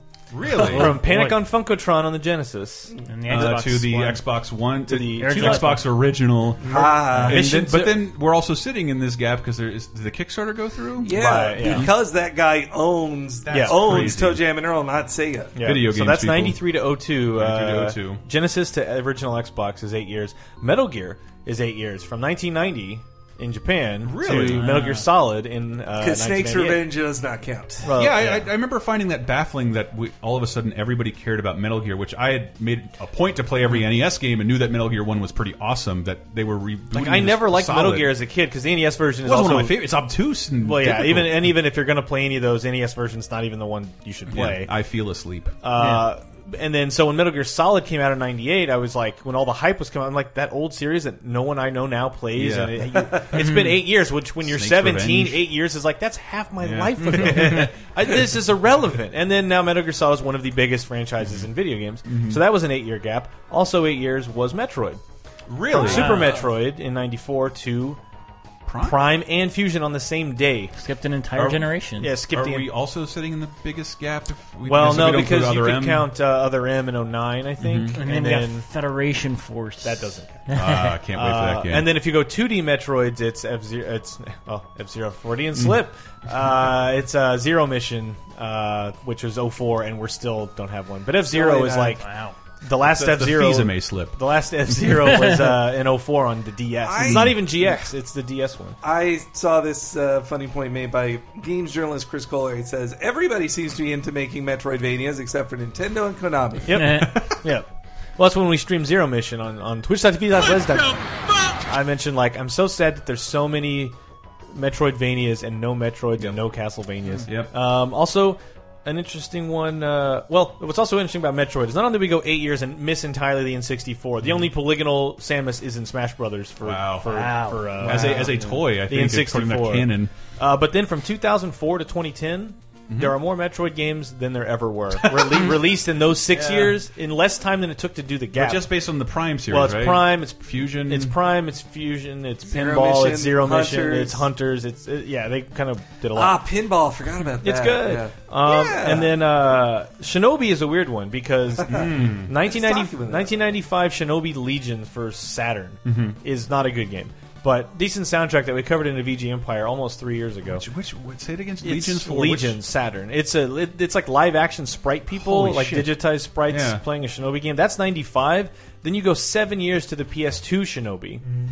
Speaker 2: [laughs]
Speaker 7: Really?
Speaker 2: From Panic
Speaker 7: Boy.
Speaker 2: on Funkotron on the Genesis
Speaker 7: the Uh, Xbox to the One. Xbox One
Speaker 2: to the
Speaker 7: to Xbox original.
Speaker 9: Ah.
Speaker 7: And then-
Speaker 9: Mission
Speaker 7: but
Speaker 9: to-
Speaker 7: then we're also sitting in this gap because there is did the Kickstarter go through?
Speaker 9: Yeah, because that guy owns
Speaker 7: That's
Speaker 9: owns
Speaker 7: crazy.
Speaker 9: Toe Jam and Earl, not Sega.
Speaker 2: Yeah.
Speaker 7: Video
Speaker 2: so
Speaker 7: games,
Speaker 2: that's
Speaker 7: people.
Speaker 2: 93 to 02. Uh,
Speaker 7: 93 to oh
Speaker 2: Genesis to original Xbox is eight years. Metal Gear is eight years from 1990 in Japan
Speaker 7: Really?
Speaker 2: to
Speaker 7: Wow.
Speaker 2: Metal Gear Solid in uh,
Speaker 9: Because Snake's
Speaker 2: 1998.
Speaker 9: Revenge does not count.
Speaker 2: Oh,
Speaker 7: yeah, I, I, I remember finding that baffling that we, all of a sudden everybody cared about Metal Gear, which I had made a point to play every
Speaker 2: Hmm.
Speaker 7: NES game and knew that Metal Gear One was pretty awesome. That they were re
Speaker 2: Like I never liked Metal Gear as a kid because the NES version
Speaker 7: It
Speaker 2: is
Speaker 7: wasn't
Speaker 2: also
Speaker 7: one of my favorite. It's obtuse and
Speaker 2: Well, yeah,
Speaker 7: difficult.
Speaker 2: even and even if you're going to play any of those, NES version's not even the one you should
Speaker 7: Yeah,
Speaker 2: play.
Speaker 7: I feel asleep.
Speaker 2: Uh, And then so when Metal Gear Solid came out in '98, I was like, when all the hype was coming, I'm like that old series that no one I know now plays,
Speaker 7: Yeah.
Speaker 2: and it, has been eight years. Which when you're
Speaker 7: Snake's
Speaker 2: 17,
Speaker 7: Revenge.
Speaker 2: eight years is like that's half my
Speaker 7: Yeah.
Speaker 2: life
Speaker 7: [laughs]
Speaker 2: ago. I, this is irrelevant. And then now Metal Gear Solid is one of the biggest franchises in video games,
Speaker 7: Mhm.
Speaker 2: so that was an eight year gap. Also, eight years was Metroid.
Speaker 7: Really?
Speaker 2: From Super
Speaker 7: Wow.
Speaker 2: Metroid in '94 to
Speaker 7: Prime?
Speaker 2: and Fusion on the same day.
Speaker 8: Skipped an entire generation.
Speaker 2: Yeah, skipped
Speaker 7: Are
Speaker 2: the
Speaker 7: we also sitting in the biggest gap? If we,
Speaker 2: well,
Speaker 7: if
Speaker 2: no,
Speaker 7: we don't include
Speaker 2: because you
Speaker 7: Other
Speaker 2: could
Speaker 7: M? Mm-hmm.
Speaker 2: count uh, other M in 09, I think,
Speaker 8: Mhm. And then we got Federation Force.
Speaker 2: That doesn't. Count.
Speaker 7: Ah, I can't wait for that
Speaker 2: Uh,
Speaker 7: game.
Speaker 2: And then if you go 2D Metroids, it's F zero. It's well F zero forty
Speaker 7: Mm.
Speaker 2: and slip. uh, it's uh, Zero Mission, uh, which was 04, and we're still don't have one. But F zero
Speaker 7: Really
Speaker 2: is
Speaker 7: not.
Speaker 2: like
Speaker 7: Wow.
Speaker 2: the last
Speaker 7: That's
Speaker 2: F
Speaker 7: the
Speaker 2: zero.
Speaker 7: Fizame slip.
Speaker 2: The last F
Speaker 7: [laughs]
Speaker 2: zero was uh, in 04 on the DS.
Speaker 9: I-
Speaker 2: it's not even GX. It's the DS one.
Speaker 9: I saw this uh, funny point made by games journalist Chris Kohler. It says everybody seems to be into making Metroidvanias except for Nintendo and Konami.
Speaker 7: [laughs]
Speaker 2: Yep. Eh. yep. Well, that's when we stream Zero Mission on, on twitch.tv. slash lesdivers. I mentioned, like, I'm so sad that there's so many Metroidvanias and no Metroids and no Castlevanias.
Speaker 7: Yep.
Speaker 2: Um, also, an interesting one. Uh, well, what's also interesting about Metroid is not only we go eight years and miss entirely the N64, the only polygonal Samus is in Smash Brothers for.
Speaker 7: Mm-hmm. Wow.
Speaker 2: for,
Speaker 7: Wow.
Speaker 2: for, uh,
Speaker 7: As a- as a toy, I
Speaker 2: the
Speaker 7: think,
Speaker 2: N64.
Speaker 7: according to canon.
Speaker 2: Uh, but then from 2004 to 2010.
Speaker 9: Mm-hmm.
Speaker 2: There are more Metroid games than there ever
Speaker 9: [laughs]
Speaker 2: were Rele- released in those six
Speaker 7: Yeah.
Speaker 2: years in less time than it took to do the gap.
Speaker 7: But just based on the Prime series,
Speaker 2: well, it's
Speaker 7: right?
Speaker 2: Prime, it's
Speaker 7: Fusion,
Speaker 2: it's Prime, it's Fusion, it's
Speaker 9: Zero
Speaker 2: Pinball,
Speaker 9: Mission,
Speaker 2: it's Zero Mission,
Speaker 9: Hunters.
Speaker 2: it's Hunters, it's it, yeah, they kind of did a lot.
Speaker 9: Ah, pinball. Forgot about that.
Speaker 2: It's good.
Speaker 9: Yeah.
Speaker 2: Um,
Speaker 9: Yeah.
Speaker 2: And then uh, Shinobi is a weird one
Speaker 9: [laughs]
Speaker 2: because
Speaker 9: Mm.
Speaker 2: 1990,
Speaker 9: Let's talk about that.
Speaker 2: 1995 Shinobi Legion for Saturn
Speaker 9: Mm-hmm.
Speaker 7: Mhm.
Speaker 2: is not a good game. But decent soundtrack that we covered in a VG Empire almost three years ago.
Speaker 7: Which, which say it again?
Speaker 2: It's
Speaker 7: Legions for which-
Speaker 2: Legion Saturn. It's a it, it's like live action sprite people,
Speaker 7: Holy
Speaker 2: like
Speaker 7: shit.
Speaker 2: digitized sprites
Speaker 7: Yeah.
Speaker 2: playing a Shinobi game. That's ninety five. Then you go seven years to the PS2 Shinobi.
Speaker 7: Mm-hmm.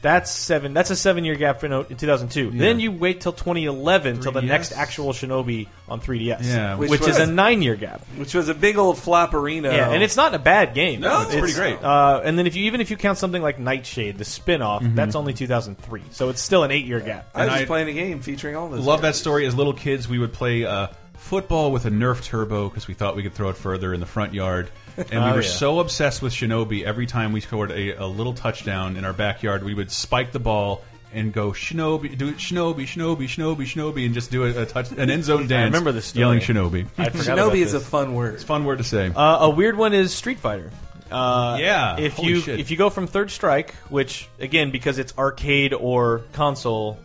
Speaker 2: That's seven. That's a seven year gap for no, in two thousand two.
Speaker 7: Yeah.
Speaker 2: Then you wait till twenty eleven till the
Speaker 9: 3DS?
Speaker 2: next actual Shinobi on three DS.
Speaker 9: Yeah.
Speaker 2: which,
Speaker 9: Which
Speaker 2: is
Speaker 9: was-
Speaker 2: a nine year gap.
Speaker 9: Which was a big old flopperino.
Speaker 2: Yeah, and it's not a bad game.
Speaker 9: No, it's pretty great.
Speaker 2: Uh, and then if you even if you count something like Nightshade, the spin-off,
Speaker 7: Mm-hmm.
Speaker 2: that's only 2003, so it's still an eight-year gap.
Speaker 9: I was just
Speaker 7: I-
Speaker 9: playing a game featuring all this.
Speaker 7: Love that story. As little kids, we would play uh, football with a Nerf turbo because we thought we could throw it further in the
Speaker 2: [laughs]
Speaker 7: front yard. And we
Speaker 2: Oh,
Speaker 7: were
Speaker 2: yeah.
Speaker 7: so obsessed with Shinobi. Every time we scored a, a little touchdown in our backyard, we would spike the ball and go Shinobi, do it Shinobi, Shinobi, Shinobi, Shinobi, and just do a, a touch an end zone
Speaker 2: I
Speaker 7: dance.
Speaker 2: remember this story.
Speaker 7: yelling Shinobi.
Speaker 2: [laughs] I forgot Shinobi about is this. a
Speaker 9: fun word.
Speaker 7: It's a fun word to say.
Speaker 2: Uh, a weird one is Street Fighter. Uh,
Speaker 7: Yeah,
Speaker 2: If
Speaker 7: holy
Speaker 2: you
Speaker 7: shit.
Speaker 2: if you go from Third Strike, which again because it's arcade or console,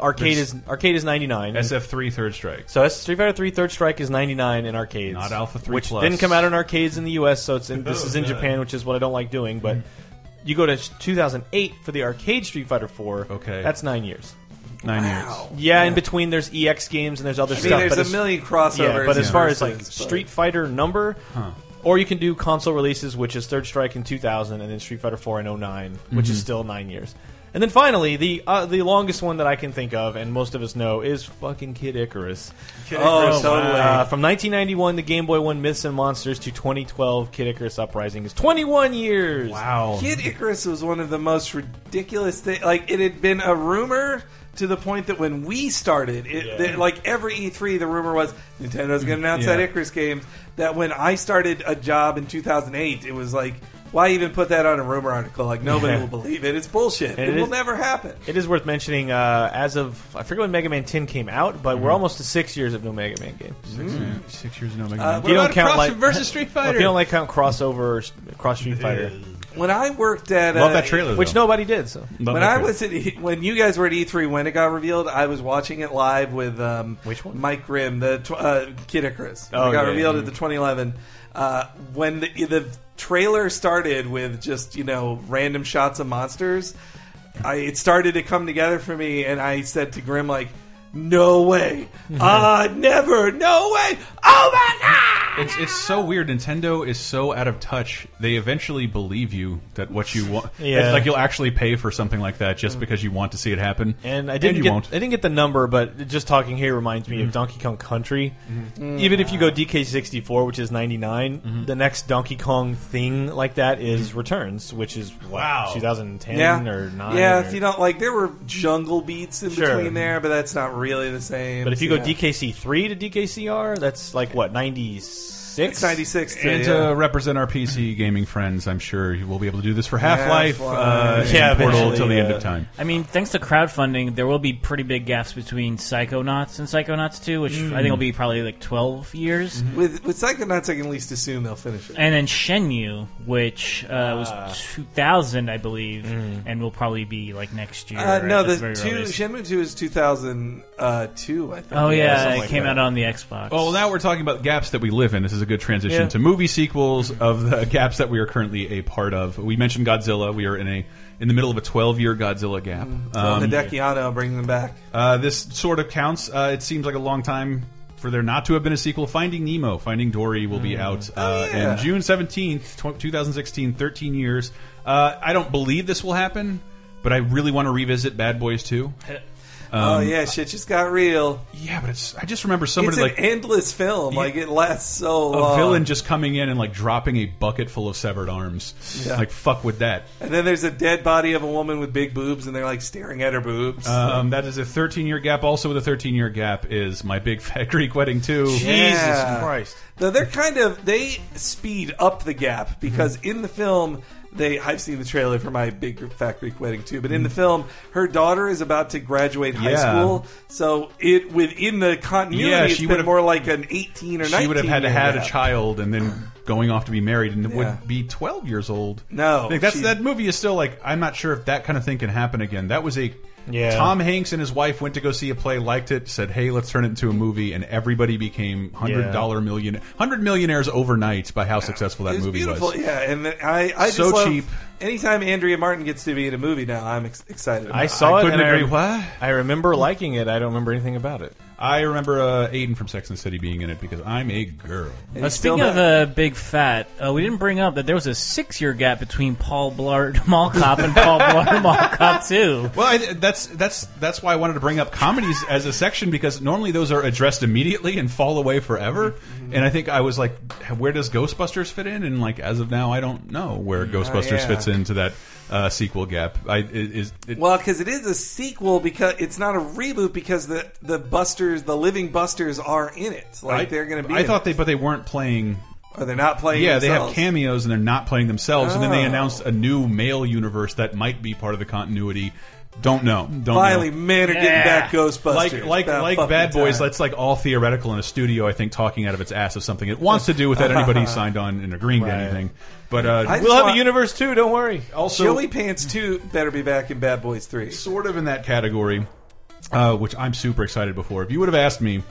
Speaker 2: arcade
Speaker 7: There's-
Speaker 2: is arcade is ninety nine.
Speaker 7: SF3 Third Strike.
Speaker 2: So that's Street Fighter 3 Third Strike is 99 in arcades.
Speaker 7: Not Alpha 3
Speaker 2: Which
Speaker 7: Plus.
Speaker 2: didn't come out in arcades in the US, so it's in, this is in
Speaker 7: Oh, Hmm. yeah.
Speaker 2: Japan, which is what I don't like doing, but you go to 2008 for the arcade Street Fighter 4. Okay. That's 9 years.
Speaker 7: Nine
Speaker 2: years. Yeah, in between there's EX games and there's other
Speaker 9: I mean,
Speaker 2: stuff.
Speaker 9: there's
Speaker 2: but
Speaker 9: a
Speaker 2: as-
Speaker 9: million crossovers
Speaker 2: Yeah, but as
Speaker 9: and
Speaker 2: far as
Speaker 9: verses,
Speaker 2: like
Speaker 9: but-
Speaker 2: Street Fighter number,
Speaker 7: Huh.
Speaker 2: or you can do console releases, which is Third Strike in 2000 and then Street Fighter 4 in 09, which
Speaker 7: Mhm.
Speaker 2: is still 9 years. And then finally, the uh, the longest one that I can think of, and most of us know, is fucking Kid Icarus.
Speaker 9: Kid Oh, Icarus, totally. wow.
Speaker 2: Uh, from 1991, the Game Boy One Myths and Monsters to 2012, Kid Icarus Uprising is 21 years. Wow.
Speaker 9: Kid Icarus was one of the most ridiculous things. Like it had been a rumor to the point that when we started, it,
Speaker 2: Yeah.
Speaker 9: that, like every E3, the rumor was Nintendo's going to announce
Speaker 2: Yeah.
Speaker 9: that Icarus game. That when I started a job in 2008, it was like, why even put that on a rumor article? Like nobody
Speaker 2: Yeah.
Speaker 9: will believe it. It's bullshit.
Speaker 2: And
Speaker 9: it
Speaker 2: it
Speaker 9: will
Speaker 2: is-
Speaker 9: never happen.
Speaker 2: It is worth mentioning uh, as of I forget when Mega Man 10 came out, but we're almost to six years of no Mega Man games.
Speaker 7: Six, six years no Mega
Speaker 2: Uh,
Speaker 7: Man.
Speaker 2: if you don't count like well, if you don't
Speaker 7: like
Speaker 2: like count crossover, cross Street Fighter.
Speaker 9: When I worked at
Speaker 2: Love
Speaker 9: uh,
Speaker 2: that trailer, Which though. nobody did, so. Love
Speaker 9: when
Speaker 2: that
Speaker 9: I
Speaker 2: trailer.
Speaker 9: was at E- when you guys were at E3 when it got revealed, I was watching it live with um, which one? Mike Grimm, the tw- uh, Kid Icarus. When
Speaker 2: Oh,
Speaker 9: it got
Speaker 2: yeah,
Speaker 9: revealed
Speaker 2: yeah.
Speaker 9: at the 2011. Uh, when the, the trailer started with just you know random shots of monsters, I, it started to come together for me, and I said to Grimm like.
Speaker 2: [laughs]
Speaker 9: No way! Ah, never! No way! Oh my god!
Speaker 7: It's it's so weird. Nintendo is so out of touch. They eventually believe you that what you want.
Speaker 2: Yeah. Mm.
Speaker 7: It's like you'll actually pay for something like that just because you want to see it happen.
Speaker 2: And I didn't
Speaker 7: you
Speaker 2: get
Speaker 7: won't. Mm-hmm.
Speaker 2: I didn't get the number, but just talking here reminds me of Donkey Kong Country.
Speaker 9: Mm-hmm.
Speaker 7: Mhm.
Speaker 2: Even if you go DK64, which is 99,
Speaker 7: Mm-hmm.
Speaker 2: the next Donkey Kong thing like that is Returns, which is what, 2010
Speaker 9: yeah.
Speaker 2: or 9.
Speaker 9: Yeah,
Speaker 2: or-
Speaker 9: if you don't like, there were jungle beats in
Speaker 2: Sure.
Speaker 9: between there, but that's not really the same.
Speaker 2: but if you go
Speaker 9: Yeah.
Speaker 2: DKC3 to DKCR, that's like what 96
Speaker 9: 96
Speaker 7: and to represent
Speaker 2: [clears throat]
Speaker 7: our PC gaming friends, I'm sure you will be able to do this for Half Life, uh,
Speaker 2: Half-Life.
Speaker 7: yeah,
Speaker 2: Yeah,
Speaker 7: Portal
Speaker 2: eventually,
Speaker 7: till the end
Speaker 2: yeah.
Speaker 7: of time.
Speaker 8: I mean, thanks to crowdfunding, there will be pretty big gaps between Psychonauts and Psychonauts 2, which I think will be probably like 12 years.
Speaker 9: With with Psychonauts, I can at least assume they'll finish it.
Speaker 8: And then Shenmue, which uh, was 2000, I believe, and will probably be like next year.
Speaker 9: Uh, no,
Speaker 8: at
Speaker 9: the
Speaker 8: very
Speaker 9: two
Speaker 8: earliest.
Speaker 9: Shenmue two is two thousand two. I think.
Speaker 8: Oh, yeah,
Speaker 9: something
Speaker 8: it
Speaker 9: like
Speaker 8: came
Speaker 9: that.
Speaker 8: out on the Xbox.
Speaker 7: Oh, well, now we're talking about gaps that we live in. This is a good transition
Speaker 8: Yeah.
Speaker 7: to movie sequels of the [laughs] gaps that we are currently a part of. We mentioned Godzilla. We are in a in the middle of a 12 year Godzilla gap.
Speaker 2: Mm.
Speaker 9: So Hidekiano bringing them back.
Speaker 7: Uh, this sort of counts. Uh, it seems like a long time for there not to have been a sequel. Finding Nemo, Finding Dory will be out uh,
Speaker 9: Mm. Oh, yeah.
Speaker 7: in June 17th, tw 2016, 13 years. Uh, I don't believe this will happen, but I really want to revisit Bad Boys 2.
Speaker 9: oh
Speaker 7: Um,
Speaker 9: yeah, shit just got real.
Speaker 7: Yeah, but it's I just remember somebody
Speaker 9: it's an
Speaker 7: like-
Speaker 9: endless film.
Speaker 7: Yeah.
Speaker 9: like it lasts
Speaker 7: A
Speaker 9: so long.
Speaker 7: villain just coming in and like dropping a bucket full of severed arms.
Speaker 9: Yeah.
Speaker 7: Like fuck with that.
Speaker 9: and then there's a dead body of a woman with big boobs, and they're like staring at her boobs.
Speaker 7: Um, that is a 13 year gap. Also, with a 13 year gap is my big [laughs] fat Greek wedding too.
Speaker 9: Yeah. Though they're kind of they speed up the gap because
Speaker 7: Mm-hmm.
Speaker 9: in the film they I've seen the trailer for my big fat Greek wedding too, but in the film her daughter is about to graduate high
Speaker 7: Yeah.
Speaker 9: school, so it within the continuity
Speaker 7: Yeah,
Speaker 9: it's
Speaker 7: she
Speaker 9: been
Speaker 7: would've-
Speaker 9: more like an eighteen or nineteen.
Speaker 7: She would have had to
Speaker 9: year
Speaker 7: had a
Speaker 9: gap.
Speaker 7: child and then going off to be married and
Speaker 9: Yeah.
Speaker 7: would be 12 years old.
Speaker 9: No,
Speaker 7: Like, that's
Speaker 9: she-
Speaker 7: that movie is still like I'm not sure if that kind of thing can happen again. That was a
Speaker 2: Yeah.
Speaker 7: Tom Hanks and his wife went to go see a play, liked it, said, "Hey, let's turn it into a movie," and everybody became hundred dollar million, hundred millionaires overnight by how successful that
Speaker 9: It's
Speaker 7: movie
Speaker 9: beautiful,
Speaker 7: was.
Speaker 9: yeah. And the- I, I just
Speaker 7: So
Speaker 9: love-
Speaker 7: cheap.
Speaker 9: Anytime Andrea Martin gets to be in a movie now, I'm ex- excited.
Speaker 2: I saw it.
Speaker 9: couldn't
Speaker 2: and I,
Speaker 9: agree
Speaker 2: rem- I remember liking it. I don't remember anything about it.
Speaker 7: I remember uh, Aiden from Sex and the City being in it because I'm a girl.
Speaker 8: Uh, speaking of uh, big fat, uh, we didn't bring up that there was a six-year gap between Paul Blart [laughs] Mall Cop and Paul Blart Mall Cop Two.
Speaker 7: Well, I, that's that's that's why I wanted to bring up comedies as a section because normally those are addressed immediately and fall away forever.
Speaker 9: Mm-hmm.
Speaker 7: And I think I was like, where does Ghostbusters fit in? And like as of now, I don't know where Ghostbusters
Speaker 9: Mm, yeah.
Speaker 7: fits into that uh, sequel gap. I it, is it,
Speaker 9: Well, because it is a sequel, because it's not a reboot, because the the Busters, the living Busters, are in it. Like
Speaker 7: I-
Speaker 9: they're going to be.
Speaker 7: I
Speaker 9: in
Speaker 7: thought they, but they weren't playing.
Speaker 9: Are they not playing
Speaker 7: Yeah, they have
Speaker 9: themselves?
Speaker 7: cameos and they're not playing themselves. And then they
Speaker 9: Oh.
Speaker 7: announced a new male universe that might be part of the continuity. Don't know. Don't
Speaker 9: Finally,
Speaker 7: know.
Speaker 9: men are getting Yeah. back Ghostbusters.
Speaker 7: Like
Speaker 9: Ah,
Speaker 7: like
Speaker 9: About
Speaker 7: like
Speaker 9: fucking
Speaker 7: Bad Boys.
Speaker 9: time.
Speaker 7: That's like all theoretical in a studio. I think talking out of its ass of something it wants to do
Speaker 9: [laughs]
Speaker 7: without anybody signed on and agreeing to anything. But uh,
Speaker 9: I just
Speaker 7: we'll have
Speaker 9: want-
Speaker 7: a universe too. Don't worry. Also,
Speaker 9: Joey Pants Two better be back in Bad Boys Three.
Speaker 7: Sort of in that category, uh, which I'm super excited before. If you would have asked me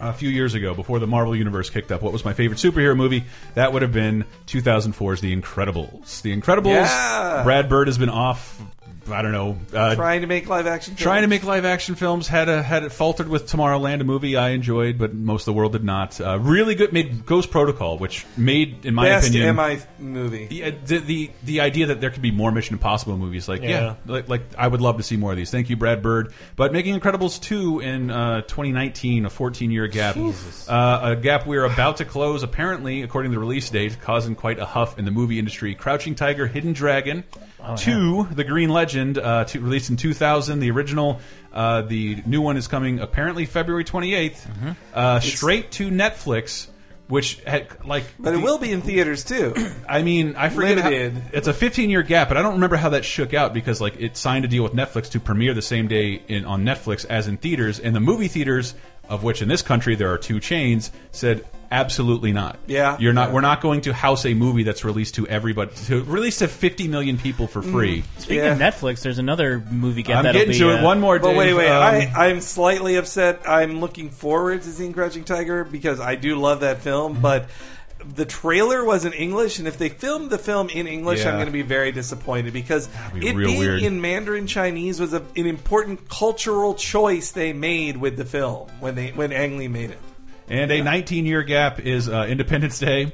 Speaker 7: a few years ago, before the Marvel Universe kicked up, what was my favorite superhero movie, that would have been 2004's The Incredibles. The Incredibles.
Speaker 9: Yeah.
Speaker 7: Brad Bird has been off. I don't know. Uh,
Speaker 9: trying to make live action.
Speaker 7: Trying to make live action films had a, had it faltered with Tomorrowland, a movie I enjoyed, but most of the world did not. Uh, really good made Ghost Protocol, which made, in my
Speaker 9: Best
Speaker 7: opinion,
Speaker 9: MI movie.
Speaker 7: Yeah, the, the the idea that there could be more Mission Impossible movies, like yeah,
Speaker 9: Yeah.
Speaker 7: like, like I would love to see more of these. Thank you, Brad Bird. But making Incredibles two in uh, 2019, a 14 year gap,
Speaker 9: Jesus.
Speaker 7: Uh, a gap we're about to close, apparently according to the release date, causing quite a huff in the movie industry. Crouching Tiger, Hidden Dragon,
Speaker 9: Oh,
Speaker 7: two, The Green Legend, uh, two, released in 2000, the original. Uh, the new one is coming apparently February 28th,
Speaker 9: Mm-hmm.
Speaker 7: uh, straight to Netflix. Which had, like,
Speaker 9: But it will be in theaters too.
Speaker 7: I mean, I forget. how-
Speaker 9: Limited.
Speaker 7: it's a 15 year gap, but I don't remember how that shook out because like it signed a deal with Netflix to premiere the same day in on Netflix as in theaters, and the movie theaters of which in this country there are two chains said absolutely not.
Speaker 9: Yeah.
Speaker 7: you're not. We're not going to house a movie that's released to everybody to release to 50 million people for
Speaker 9: Mm.
Speaker 7: free.
Speaker 8: Speaking of Netflix, there's another movie gap.
Speaker 7: I'm
Speaker 8: that'll
Speaker 7: getting
Speaker 8: be,
Speaker 7: to it.
Speaker 8: uh,
Speaker 7: One more,
Speaker 9: But wait,
Speaker 7: Dave,
Speaker 9: wait.
Speaker 7: um,
Speaker 9: I, I'm slightly upset. I'm looking forward to seeing Crouching Tiger because I do love that film, but the trailer was in English, and if they filmed the film in English, I'm
Speaker 7: Yeah.
Speaker 9: going to be very disappointed because
Speaker 7: be
Speaker 9: it
Speaker 7: real
Speaker 9: being
Speaker 7: weird.
Speaker 9: in Mandarin Chinese was a, an important cultural choice they made with the film when they when Ang Lee made it.
Speaker 7: And a 19 year gap is uh, Independence Day.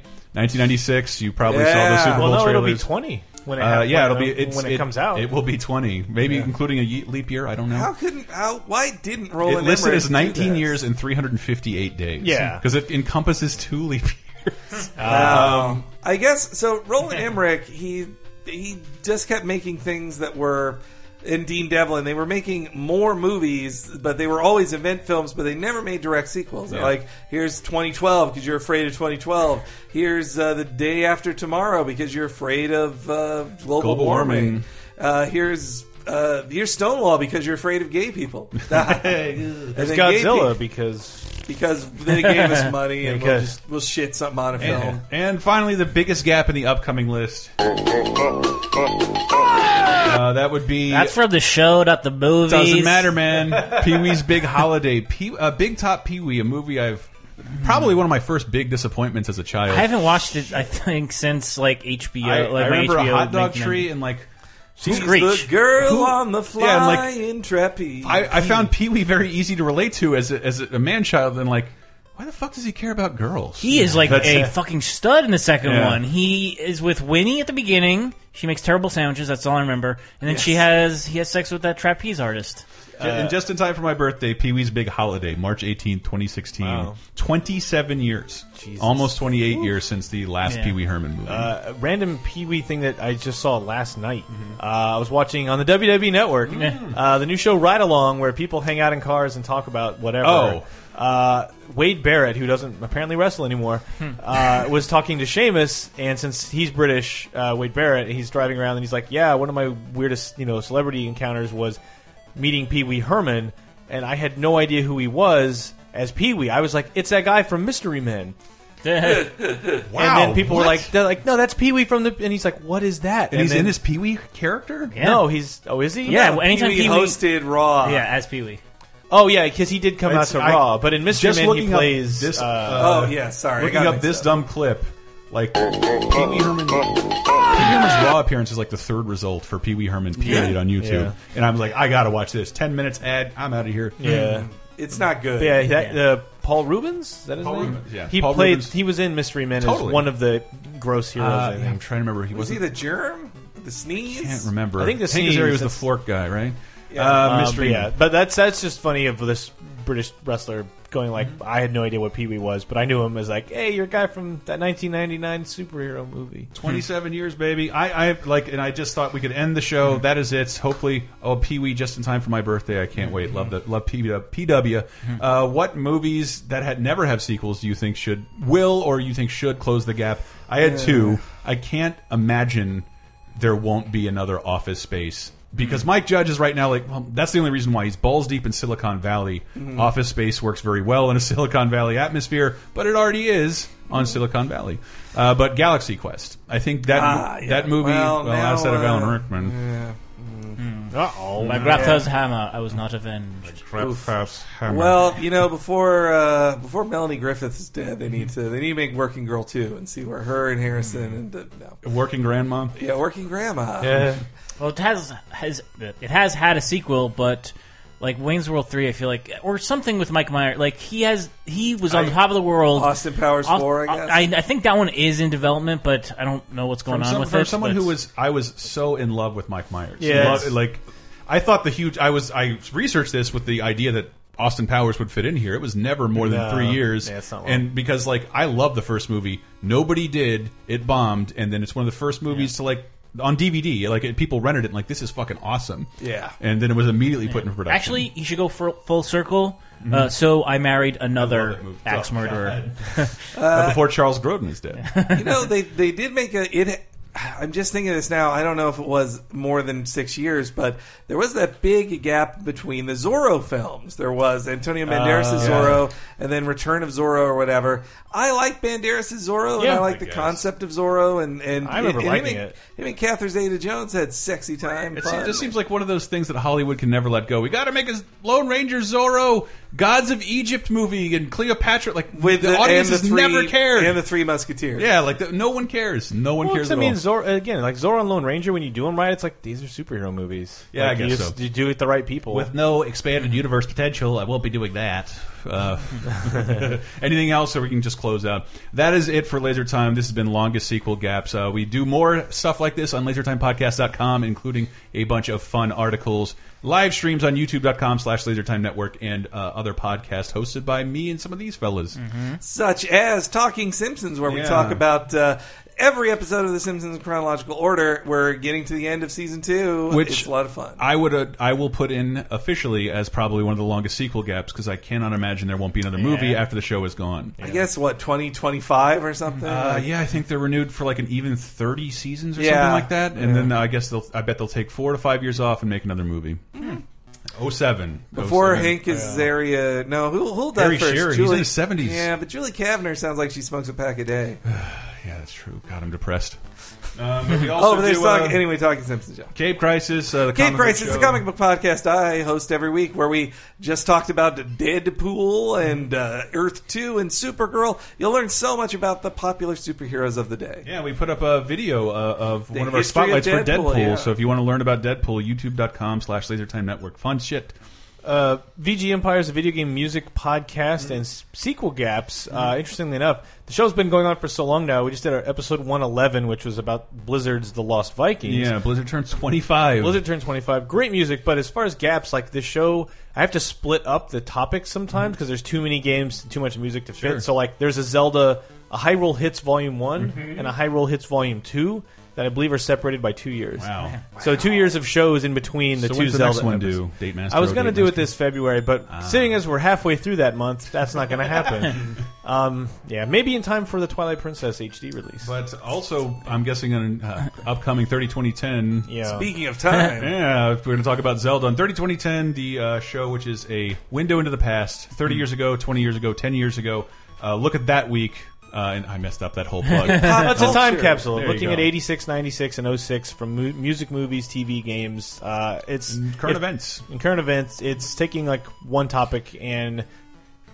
Speaker 7: 1996. You probably saw the
Speaker 2: Yeah.
Speaker 7: Super
Speaker 2: Well,
Speaker 7: Bowl
Speaker 2: no, it'll be
Speaker 7: trailers.
Speaker 2: 20 when it
Speaker 7: uh,
Speaker 2: hap-
Speaker 7: yeah,
Speaker 2: when
Speaker 7: it'll be
Speaker 2: it-
Speaker 7: it's,
Speaker 2: when it comes out.
Speaker 7: It will be 20, maybe including a ye- leap year. I don't know.
Speaker 9: How couldn't? How? Why didn't
Speaker 7: it
Speaker 9: Roland
Speaker 7: listed
Speaker 9: Emmerich
Speaker 7: as
Speaker 9: do
Speaker 7: 19
Speaker 9: that?
Speaker 7: years and 358 days.
Speaker 9: Yeah.
Speaker 7: because it encompasses two leap years.
Speaker 9: Um, I guess so. Roland Emmerich, he he just kept making things that were, and Dean Devlin, they were making more movies, but they were always event films, but they never made direct sequels. They're
Speaker 4: Yeah.
Speaker 9: Like here's 2012 because you're afraid of 2012. Here's uh, the day after tomorrow because you're afraid of uh, global,
Speaker 7: Global
Speaker 9: warming.
Speaker 7: warming.
Speaker 9: Uh, here's. Uh, here's Stonewall because you're afraid of gay people. There's
Speaker 2: There's Godzilla because
Speaker 9: because they gave us money and we'll
Speaker 7: Because-
Speaker 9: just we'll shit something on a film.
Speaker 7: and, and finally, the biggest gap in the upcoming list. Uh, that would be
Speaker 8: That's from the show, not the movies.
Speaker 7: Doesn't matter, man. Pee Wee's Big Holiday, Pee, uh, Big Top Pee Wee, a movie I've probably one of my first big disappointments as a
Speaker 8: I
Speaker 7: child.
Speaker 8: haven't watched it. I think since like HBO.
Speaker 7: I,
Speaker 8: like
Speaker 7: I
Speaker 8: my
Speaker 7: remember
Speaker 8: HBO
Speaker 7: a hot dog
Speaker 8: making
Speaker 7: tree
Speaker 8: them.
Speaker 7: and like
Speaker 9: She's
Speaker 7: Screech.
Speaker 9: the girl
Speaker 7: Who-
Speaker 9: on the flying
Speaker 7: Yeah, and, like,
Speaker 9: trapeze.
Speaker 7: I, I found Pee Wee very easy to relate to as a, as a man child, and like, why the fuck does he care about girls?
Speaker 8: He is like
Speaker 7: That's-
Speaker 8: a fucking stud in the second
Speaker 7: Yeah.
Speaker 8: one. He is with Winnie at the beginning. She makes terrible sandwiches. That's all I remember. And then she
Speaker 7: Yes.
Speaker 8: has he has sex with that trapeze artist. [laughs]
Speaker 7: Ju- and just in time for my birthday, Pee Wee's Big Holiday, March 18, 2016.
Speaker 8: Wow.
Speaker 7: 27 years. Almost 28 years since the last
Speaker 2: Yeah.
Speaker 7: Pee Wee Herman movie.
Speaker 2: Uh, a random Pee Wee thing that I just saw last night.
Speaker 7: Mm-hmm.
Speaker 2: Uh, I was watching on the WWE Network uh, the new show Ride Along, where people hang out in cars and talk about whatever.
Speaker 7: Oh.
Speaker 2: Uh, Wade Barrett, who doesn't apparently wrestle anymore,
Speaker 7: Hmm.
Speaker 2: uh, was talking to Seamus, and since he's British, uh, Wade Barrett, he's driving around and he's like, "Yeah, one of my weirdest, you know, celebrity encounters was meeting Pee Wee Herman, and I had no idea who he was as Pee Wee. I was like, it's that guy from Mystery Men." And then people were like, they're like, no, that's Pee Wee from the. And he's like, what is that?
Speaker 7: And he's in
Speaker 2: then-
Speaker 7: his Pee Wee character?
Speaker 2: No, he's. Oh, is he?
Speaker 8: Yeah, well, anytime Pee-wee
Speaker 9: hosted Raw.
Speaker 8: Yeah, as Pee Wee.
Speaker 2: Oh yeah, because he did come
Speaker 7: It's-
Speaker 2: out to
Speaker 7: I-
Speaker 2: Raw, but in Mystery
Speaker 7: just
Speaker 2: Man he
Speaker 7: looking up
Speaker 2: plays.
Speaker 7: this-
Speaker 9: Oh,
Speaker 2: uh,
Speaker 7: uh, Looking up this dumb clip, like Pee Wee Herman. Pee Wee Herman's Raw appearance is like the third result for Pee Wee Herman period
Speaker 2: Yeah.
Speaker 7: on YouTube,
Speaker 2: Yeah.
Speaker 7: and I'm like, I gotta watch this. Ten minutes ad, I'm out of here. Uh,
Speaker 2: Yeah.
Speaker 9: It's not good.
Speaker 2: But yeah, that, Uh, Paul Rubens. Is that his
Speaker 7: Paul
Speaker 2: name?
Speaker 7: Rubens, yeah.
Speaker 2: he
Speaker 7: Paul
Speaker 2: played.
Speaker 7: Rubens.
Speaker 2: He was in Mystery Men
Speaker 7: Totally.
Speaker 2: as one of the gross heroes.
Speaker 7: Uh,
Speaker 2: I think.
Speaker 7: yeah, I'm trying to remember. He
Speaker 9: Was he
Speaker 7: wasn't-
Speaker 9: the germ? The sneeze?
Speaker 7: can't remember.
Speaker 2: I think the
Speaker 7: Hank Azaria was the
Speaker 2: Sneeze,
Speaker 7: Flork guy, right?
Speaker 2: Yeah.
Speaker 7: Uh,
Speaker 2: Um,
Speaker 7: Mystery.
Speaker 2: but yeah, but that's that's just funny of this British wrestler going like,
Speaker 7: Mm-hmm.
Speaker 2: I had no idea what Pee Wee was, but I knew him as like, hey, you're a guy from that 1999 superhero movie.
Speaker 7: 27 years, baby. I, I like, and I just thought we could end the show. That is it. Hopefully, oh Pee Wee, just in time for my birthday. I can't wait. Love that. Love Pee- PW. Uh, what movies that had never have sequels do you think should will or you think should close the gap? I had
Speaker 2: Yeah.
Speaker 7: two. I can't imagine there won't be another Office Space because
Speaker 9: Mm-hmm.
Speaker 7: Mike Judge is right now like well, that's the only reason why he's balls deep in Silicon Valley.
Speaker 9: Mm-hmm.
Speaker 2: Mhm.
Speaker 7: Office Space works very well in a [laughs] Silicon Valley atmosphere, but it already is on
Speaker 9: Mm-hmm.
Speaker 7: Silicon Valley. Uh, but Galaxy Quest, I think that
Speaker 9: Ah, yeah.
Speaker 7: that movie, well,
Speaker 9: Well, now,
Speaker 7: outside of Alan
Speaker 9: uh,
Speaker 7: Rickman,
Speaker 2: Uh oh.
Speaker 8: My grandfather's hammer. I was not avenged.
Speaker 9: Well, you know, before uh, before Melanie Griffith is dead, they need to they need to make Working Girl too and see where her and Harrison and the, no.
Speaker 7: Working Grandma.
Speaker 9: yeah, Working Grandma.
Speaker 8: Well, it has has it has had a sequel, but like Wayne's World three, I feel like, or something with Mike Meyer. Like he has, he was on
Speaker 9: I-
Speaker 8: top of the world.
Speaker 9: Austin Powers
Speaker 8: Aus-
Speaker 9: 4, I guess?
Speaker 8: I, I think that one is in development, but I don't know what's going
Speaker 7: from
Speaker 8: on
Speaker 7: some-
Speaker 8: with
Speaker 7: from
Speaker 8: it.
Speaker 7: someone
Speaker 8: but-
Speaker 7: who was I was so in love with Mike Myers.
Speaker 8: Yeah.
Speaker 7: Love- like I thought the huge. I was I researched this with the idea that. Austin Powers would fit in here. It was never more than
Speaker 2: No.
Speaker 7: three years,
Speaker 2: Yeah, it's not long.
Speaker 7: and because like I love the first movie, nobody did. It bombed, and then it's one of the first movies to like on DVD. Like it, people rented it, and like this is fucking awesome.
Speaker 8: Yeah.
Speaker 7: and then it was immediately put into production.
Speaker 8: Actually, you should go for full circle.
Speaker 7: Mhm.
Speaker 8: Uh, so I married another axe murderer. [laughs]
Speaker 7: Uh, Oh, before Charles Grodin is dead.
Speaker 9: you know they they did make a it i'm just thinking of this now i don't know if it was more than six years but there was that big gap between the zorro films there was antonio banderas'
Speaker 2: Oh, yeah.
Speaker 9: zorro and then return of zorro or whatever i like banderas' zorro
Speaker 2: Yeah.
Speaker 9: and i like
Speaker 2: I
Speaker 9: the
Speaker 2: guess.
Speaker 9: concept of zorro and, and
Speaker 2: I remember
Speaker 9: and
Speaker 2: liking
Speaker 9: him and,
Speaker 2: it.
Speaker 9: him and catherine zeta jones had sexy time
Speaker 7: It
Speaker 9: fun.
Speaker 7: seems, just seems like one of those things that Hollywood can never let go. We got to make a Lone Ranger Zorro, Gods of Egypt movie, and Cleopatra. Like
Speaker 9: with
Speaker 7: the, audience
Speaker 9: and
Speaker 7: has
Speaker 9: the three,
Speaker 7: never cared.
Speaker 9: and the three musketeers
Speaker 7: yeah, like the, no one cares. No one
Speaker 2: Well,
Speaker 7: cares.
Speaker 2: I
Speaker 7: at
Speaker 2: mean,
Speaker 7: all.
Speaker 2: Zor again, like Zorro and Lone Ranger. When you do them right, it's like these are superhero movies.
Speaker 7: Yeah, I
Speaker 2: Like, you
Speaker 7: guess
Speaker 2: just-
Speaker 7: so.
Speaker 2: You do it the right people.
Speaker 7: With no expanded universe potential, I won't be doing that. Uh, [laughs] anything else so we can just close out? That is it for Laser Time. This has been Longest Sequel Gaps. Uh, we do more stuff like this on lasertimepodcast.com, including a bunch of fun articles, live streams on youtube.com slash lasertime network, and uh, other podcasts hosted by me and some of these fellas.
Speaker 9: Mm-hmm. such as Talking Simpsons, where we
Speaker 7: Yeah.
Speaker 9: talk about uh, every episode of The Simpsons in chronological order. We're getting to the end of season two,
Speaker 7: Which-
Speaker 9: it's a lot of fun.
Speaker 7: I would, uh, I will put in officially as probably one of the longest sequel gaps because I cannot imagine there won't be another movie
Speaker 9: Yeah.
Speaker 7: after the show is gone.
Speaker 9: I guess what twenty twenty five or something.
Speaker 7: Uh, yeah, I think they're renewed for like an even thirty seasons or
Speaker 9: Yeah.
Speaker 7: something like that, and
Speaker 9: Yeah.
Speaker 7: then uh, I guess they'll. I bet they'll take four to five years off and make another movie. Oh seven
Speaker 9: Hmm. Before
Speaker 7: 07.
Speaker 9: Hank Azaria, no, who who'll die
Speaker 7: Harry
Speaker 9: first?
Speaker 7: Shearer, he's in his 70s.
Speaker 9: Yeah, but Julie Kavner sounds like she smokes a pack
Speaker 7: [laughs]
Speaker 9: a day.
Speaker 7: Yeah, that's true. God, I'm
Speaker 9: [laughs]
Speaker 7: depressed. Um,
Speaker 9: oh, but there's talk, anyway. Talking Simpsons, yeah.
Speaker 7: Cape Crisis. Uh, the
Speaker 9: Cape
Speaker 7: comic uh, book
Speaker 9: Crisis, the
Speaker 7: show.
Speaker 9: comic book podcast I host every week, where we just talked about Deadpool and uh, Earth 2 and Supergirl. You'll learn so much about the popular superheroes of the day.
Speaker 7: Yeah, we put up a video uh, of
Speaker 9: The
Speaker 7: one of our
Speaker 9: history of
Speaker 7: spotlights for
Speaker 9: Deadpool,
Speaker 7: Deadpool.
Speaker 9: yeah.
Speaker 7: So if you want to learn about Deadpool, youtube.com slash lasertime network. Fun shit.
Speaker 2: uh, VG Empire is a video game music podcast and s- sequel gaps. Uh,
Speaker 7: Mm-hmm.
Speaker 2: interestingly enough, the show's been going on for so long now. We just did our episode 111, which was about Blizzard's The Lost Vikings.
Speaker 7: Yeah, Blizzard turns 25.
Speaker 2: Blizzard turns 25. Great music, but as far as gaps, like this show, I have to split up the topics sometimes because there's too many games, too much music to fit.
Speaker 7: Mm-hmm. Sure.
Speaker 2: So, like, there's a Zelda, a Hyrule Hits Volume one
Speaker 7: Mhm.
Speaker 2: and a Hyrule Hits Volume 2 that I believe are separated by two years.
Speaker 7: Wow.
Speaker 2: So, two years of shows in between the
Speaker 7: So
Speaker 2: two
Speaker 7: when's the
Speaker 2: Zelda
Speaker 7: next one
Speaker 2: episodes.
Speaker 7: due? Date Master
Speaker 2: I was
Speaker 7: or
Speaker 2: going to
Speaker 7: Date
Speaker 2: do it
Speaker 7: Master? Ah.
Speaker 2: this February, but seeing as we're halfway through that month, that's not
Speaker 7: [laughs]
Speaker 2: going to happen. um, yeah, maybe in time for the Twilight Princess HD release.
Speaker 7: But also, I'm guessing an uh, upcoming 30 2010.
Speaker 2: Yeah.
Speaker 9: Speaking
Speaker 2: [laughs]
Speaker 9: of time.
Speaker 7: yeah, we're going to talk about Zelda on 30 2010, the uh, show which is a window into the past 30 years ago, 20 years ago, 10 years ago. Uh, look at that week. Uh, and I messed up that whole plug.
Speaker 9: [laughs]
Speaker 2: Pop
Speaker 9: Oh,
Speaker 2: it's a time capsule
Speaker 7: There you
Speaker 2: looking
Speaker 7: go.
Speaker 2: at 86, 96, and 06 from mu- music, movies, TV, games. Uh, it's
Speaker 7: current
Speaker 2: it-
Speaker 7: events.
Speaker 2: In current events, it's taking like one topic and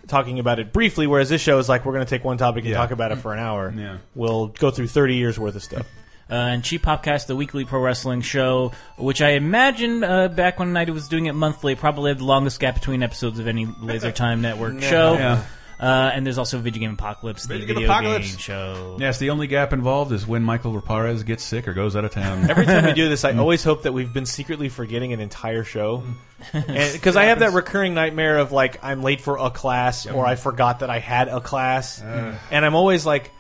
Speaker 2: talking about it briefly, whereas this show is like we're going to take one topic and
Speaker 8: Yeah.
Speaker 2: talk about it for an hour. Yeah. We'll go through 30 years worth of stuff.
Speaker 8: uh, and Cheap Popcast, the weekly pro wrestling show, which I imagine uh, back when I was doing it monthly, probably had the longest gap between episodes of
Speaker 7: [laughs]
Speaker 8: any Laser Time Network
Speaker 7: Yeah.
Speaker 8: show.
Speaker 7: Yeah.
Speaker 8: Uh, and there's also Video Game Apocalypse, the
Speaker 7: Video Game
Speaker 8: video
Speaker 7: Apocalypse.
Speaker 8: game show.
Speaker 7: Yes, the only gap involved is when Michael Raparez gets sick or goes out of town.
Speaker 2: Every time we do this, [laughs] I always hope that we've been secretly forgetting an entire [laughs] show. Because I have that recurring nightmare of like, I'm late for a class or I forgot that I had a class.
Speaker 7: Ugh.
Speaker 2: And I'm always like,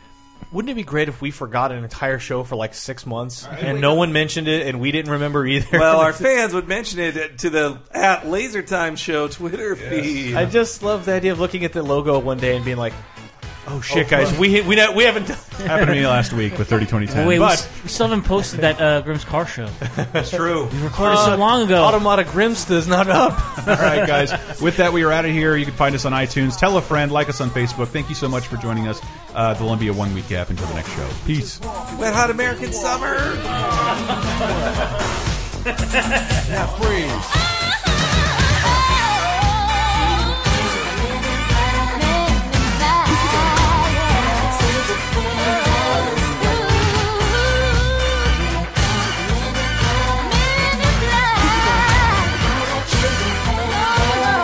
Speaker 2: wouldn't it be great if we forgot an entire show for like six months and no one mentioned it and we didn't remember either? [laughs]
Speaker 9: Well, our fans would mention it to the at Laser Time Show Twitter feed.
Speaker 2: I just love the idea of looking at the logo one day and being like, oh shit,
Speaker 9: Oh,
Speaker 2: guys,
Speaker 9: fuck.
Speaker 2: we, we, we [laughs] haven't done
Speaker 7: Happened to me last week with 30 20 10.
Speaker 8: Wait, we, [laughs]
Speaker 7: but
Speaker 8: s- we still haven't posted that uh, Grimm's Car Show.
Speaker 7: That's true.
Speaker 8: [laughs] We recorded
Speaker 7: Uh,
Speaker 8: so long ago.
Speaker 2: Automata Grimsta's not up.
Speaker 7: All right, guys. With that, we are out of here. You can find us on iTunes. Tell a friend. Like us on Facebook. Thank you so much for joining us. Uh, the Olympia one week gap until the next show. Peace.
Speaker 9: Wet Hot American Summer. now freeze.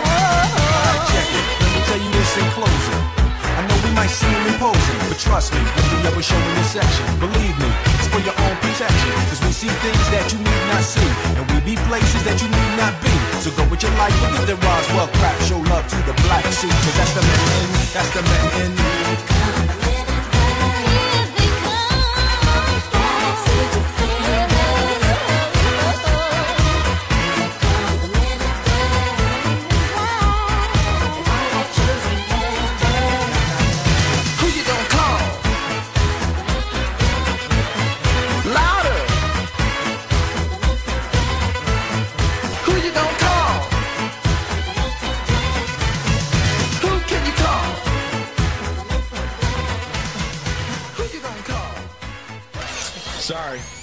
Speaker 10: Check it. Let me tell you this in closing. I know we might seem imposing, but trust me, we never show you this action. Believe me, it's for your own protection. Cause we see things that you need not see, and we be places that you need not be. So go with your life, forget the Roswell crap. Show love to the black suit, cause that's the man in, that's the man in. Who you gonna call? Louder. Who you gonna call? Who can you call? Who you gonna call? Sorry.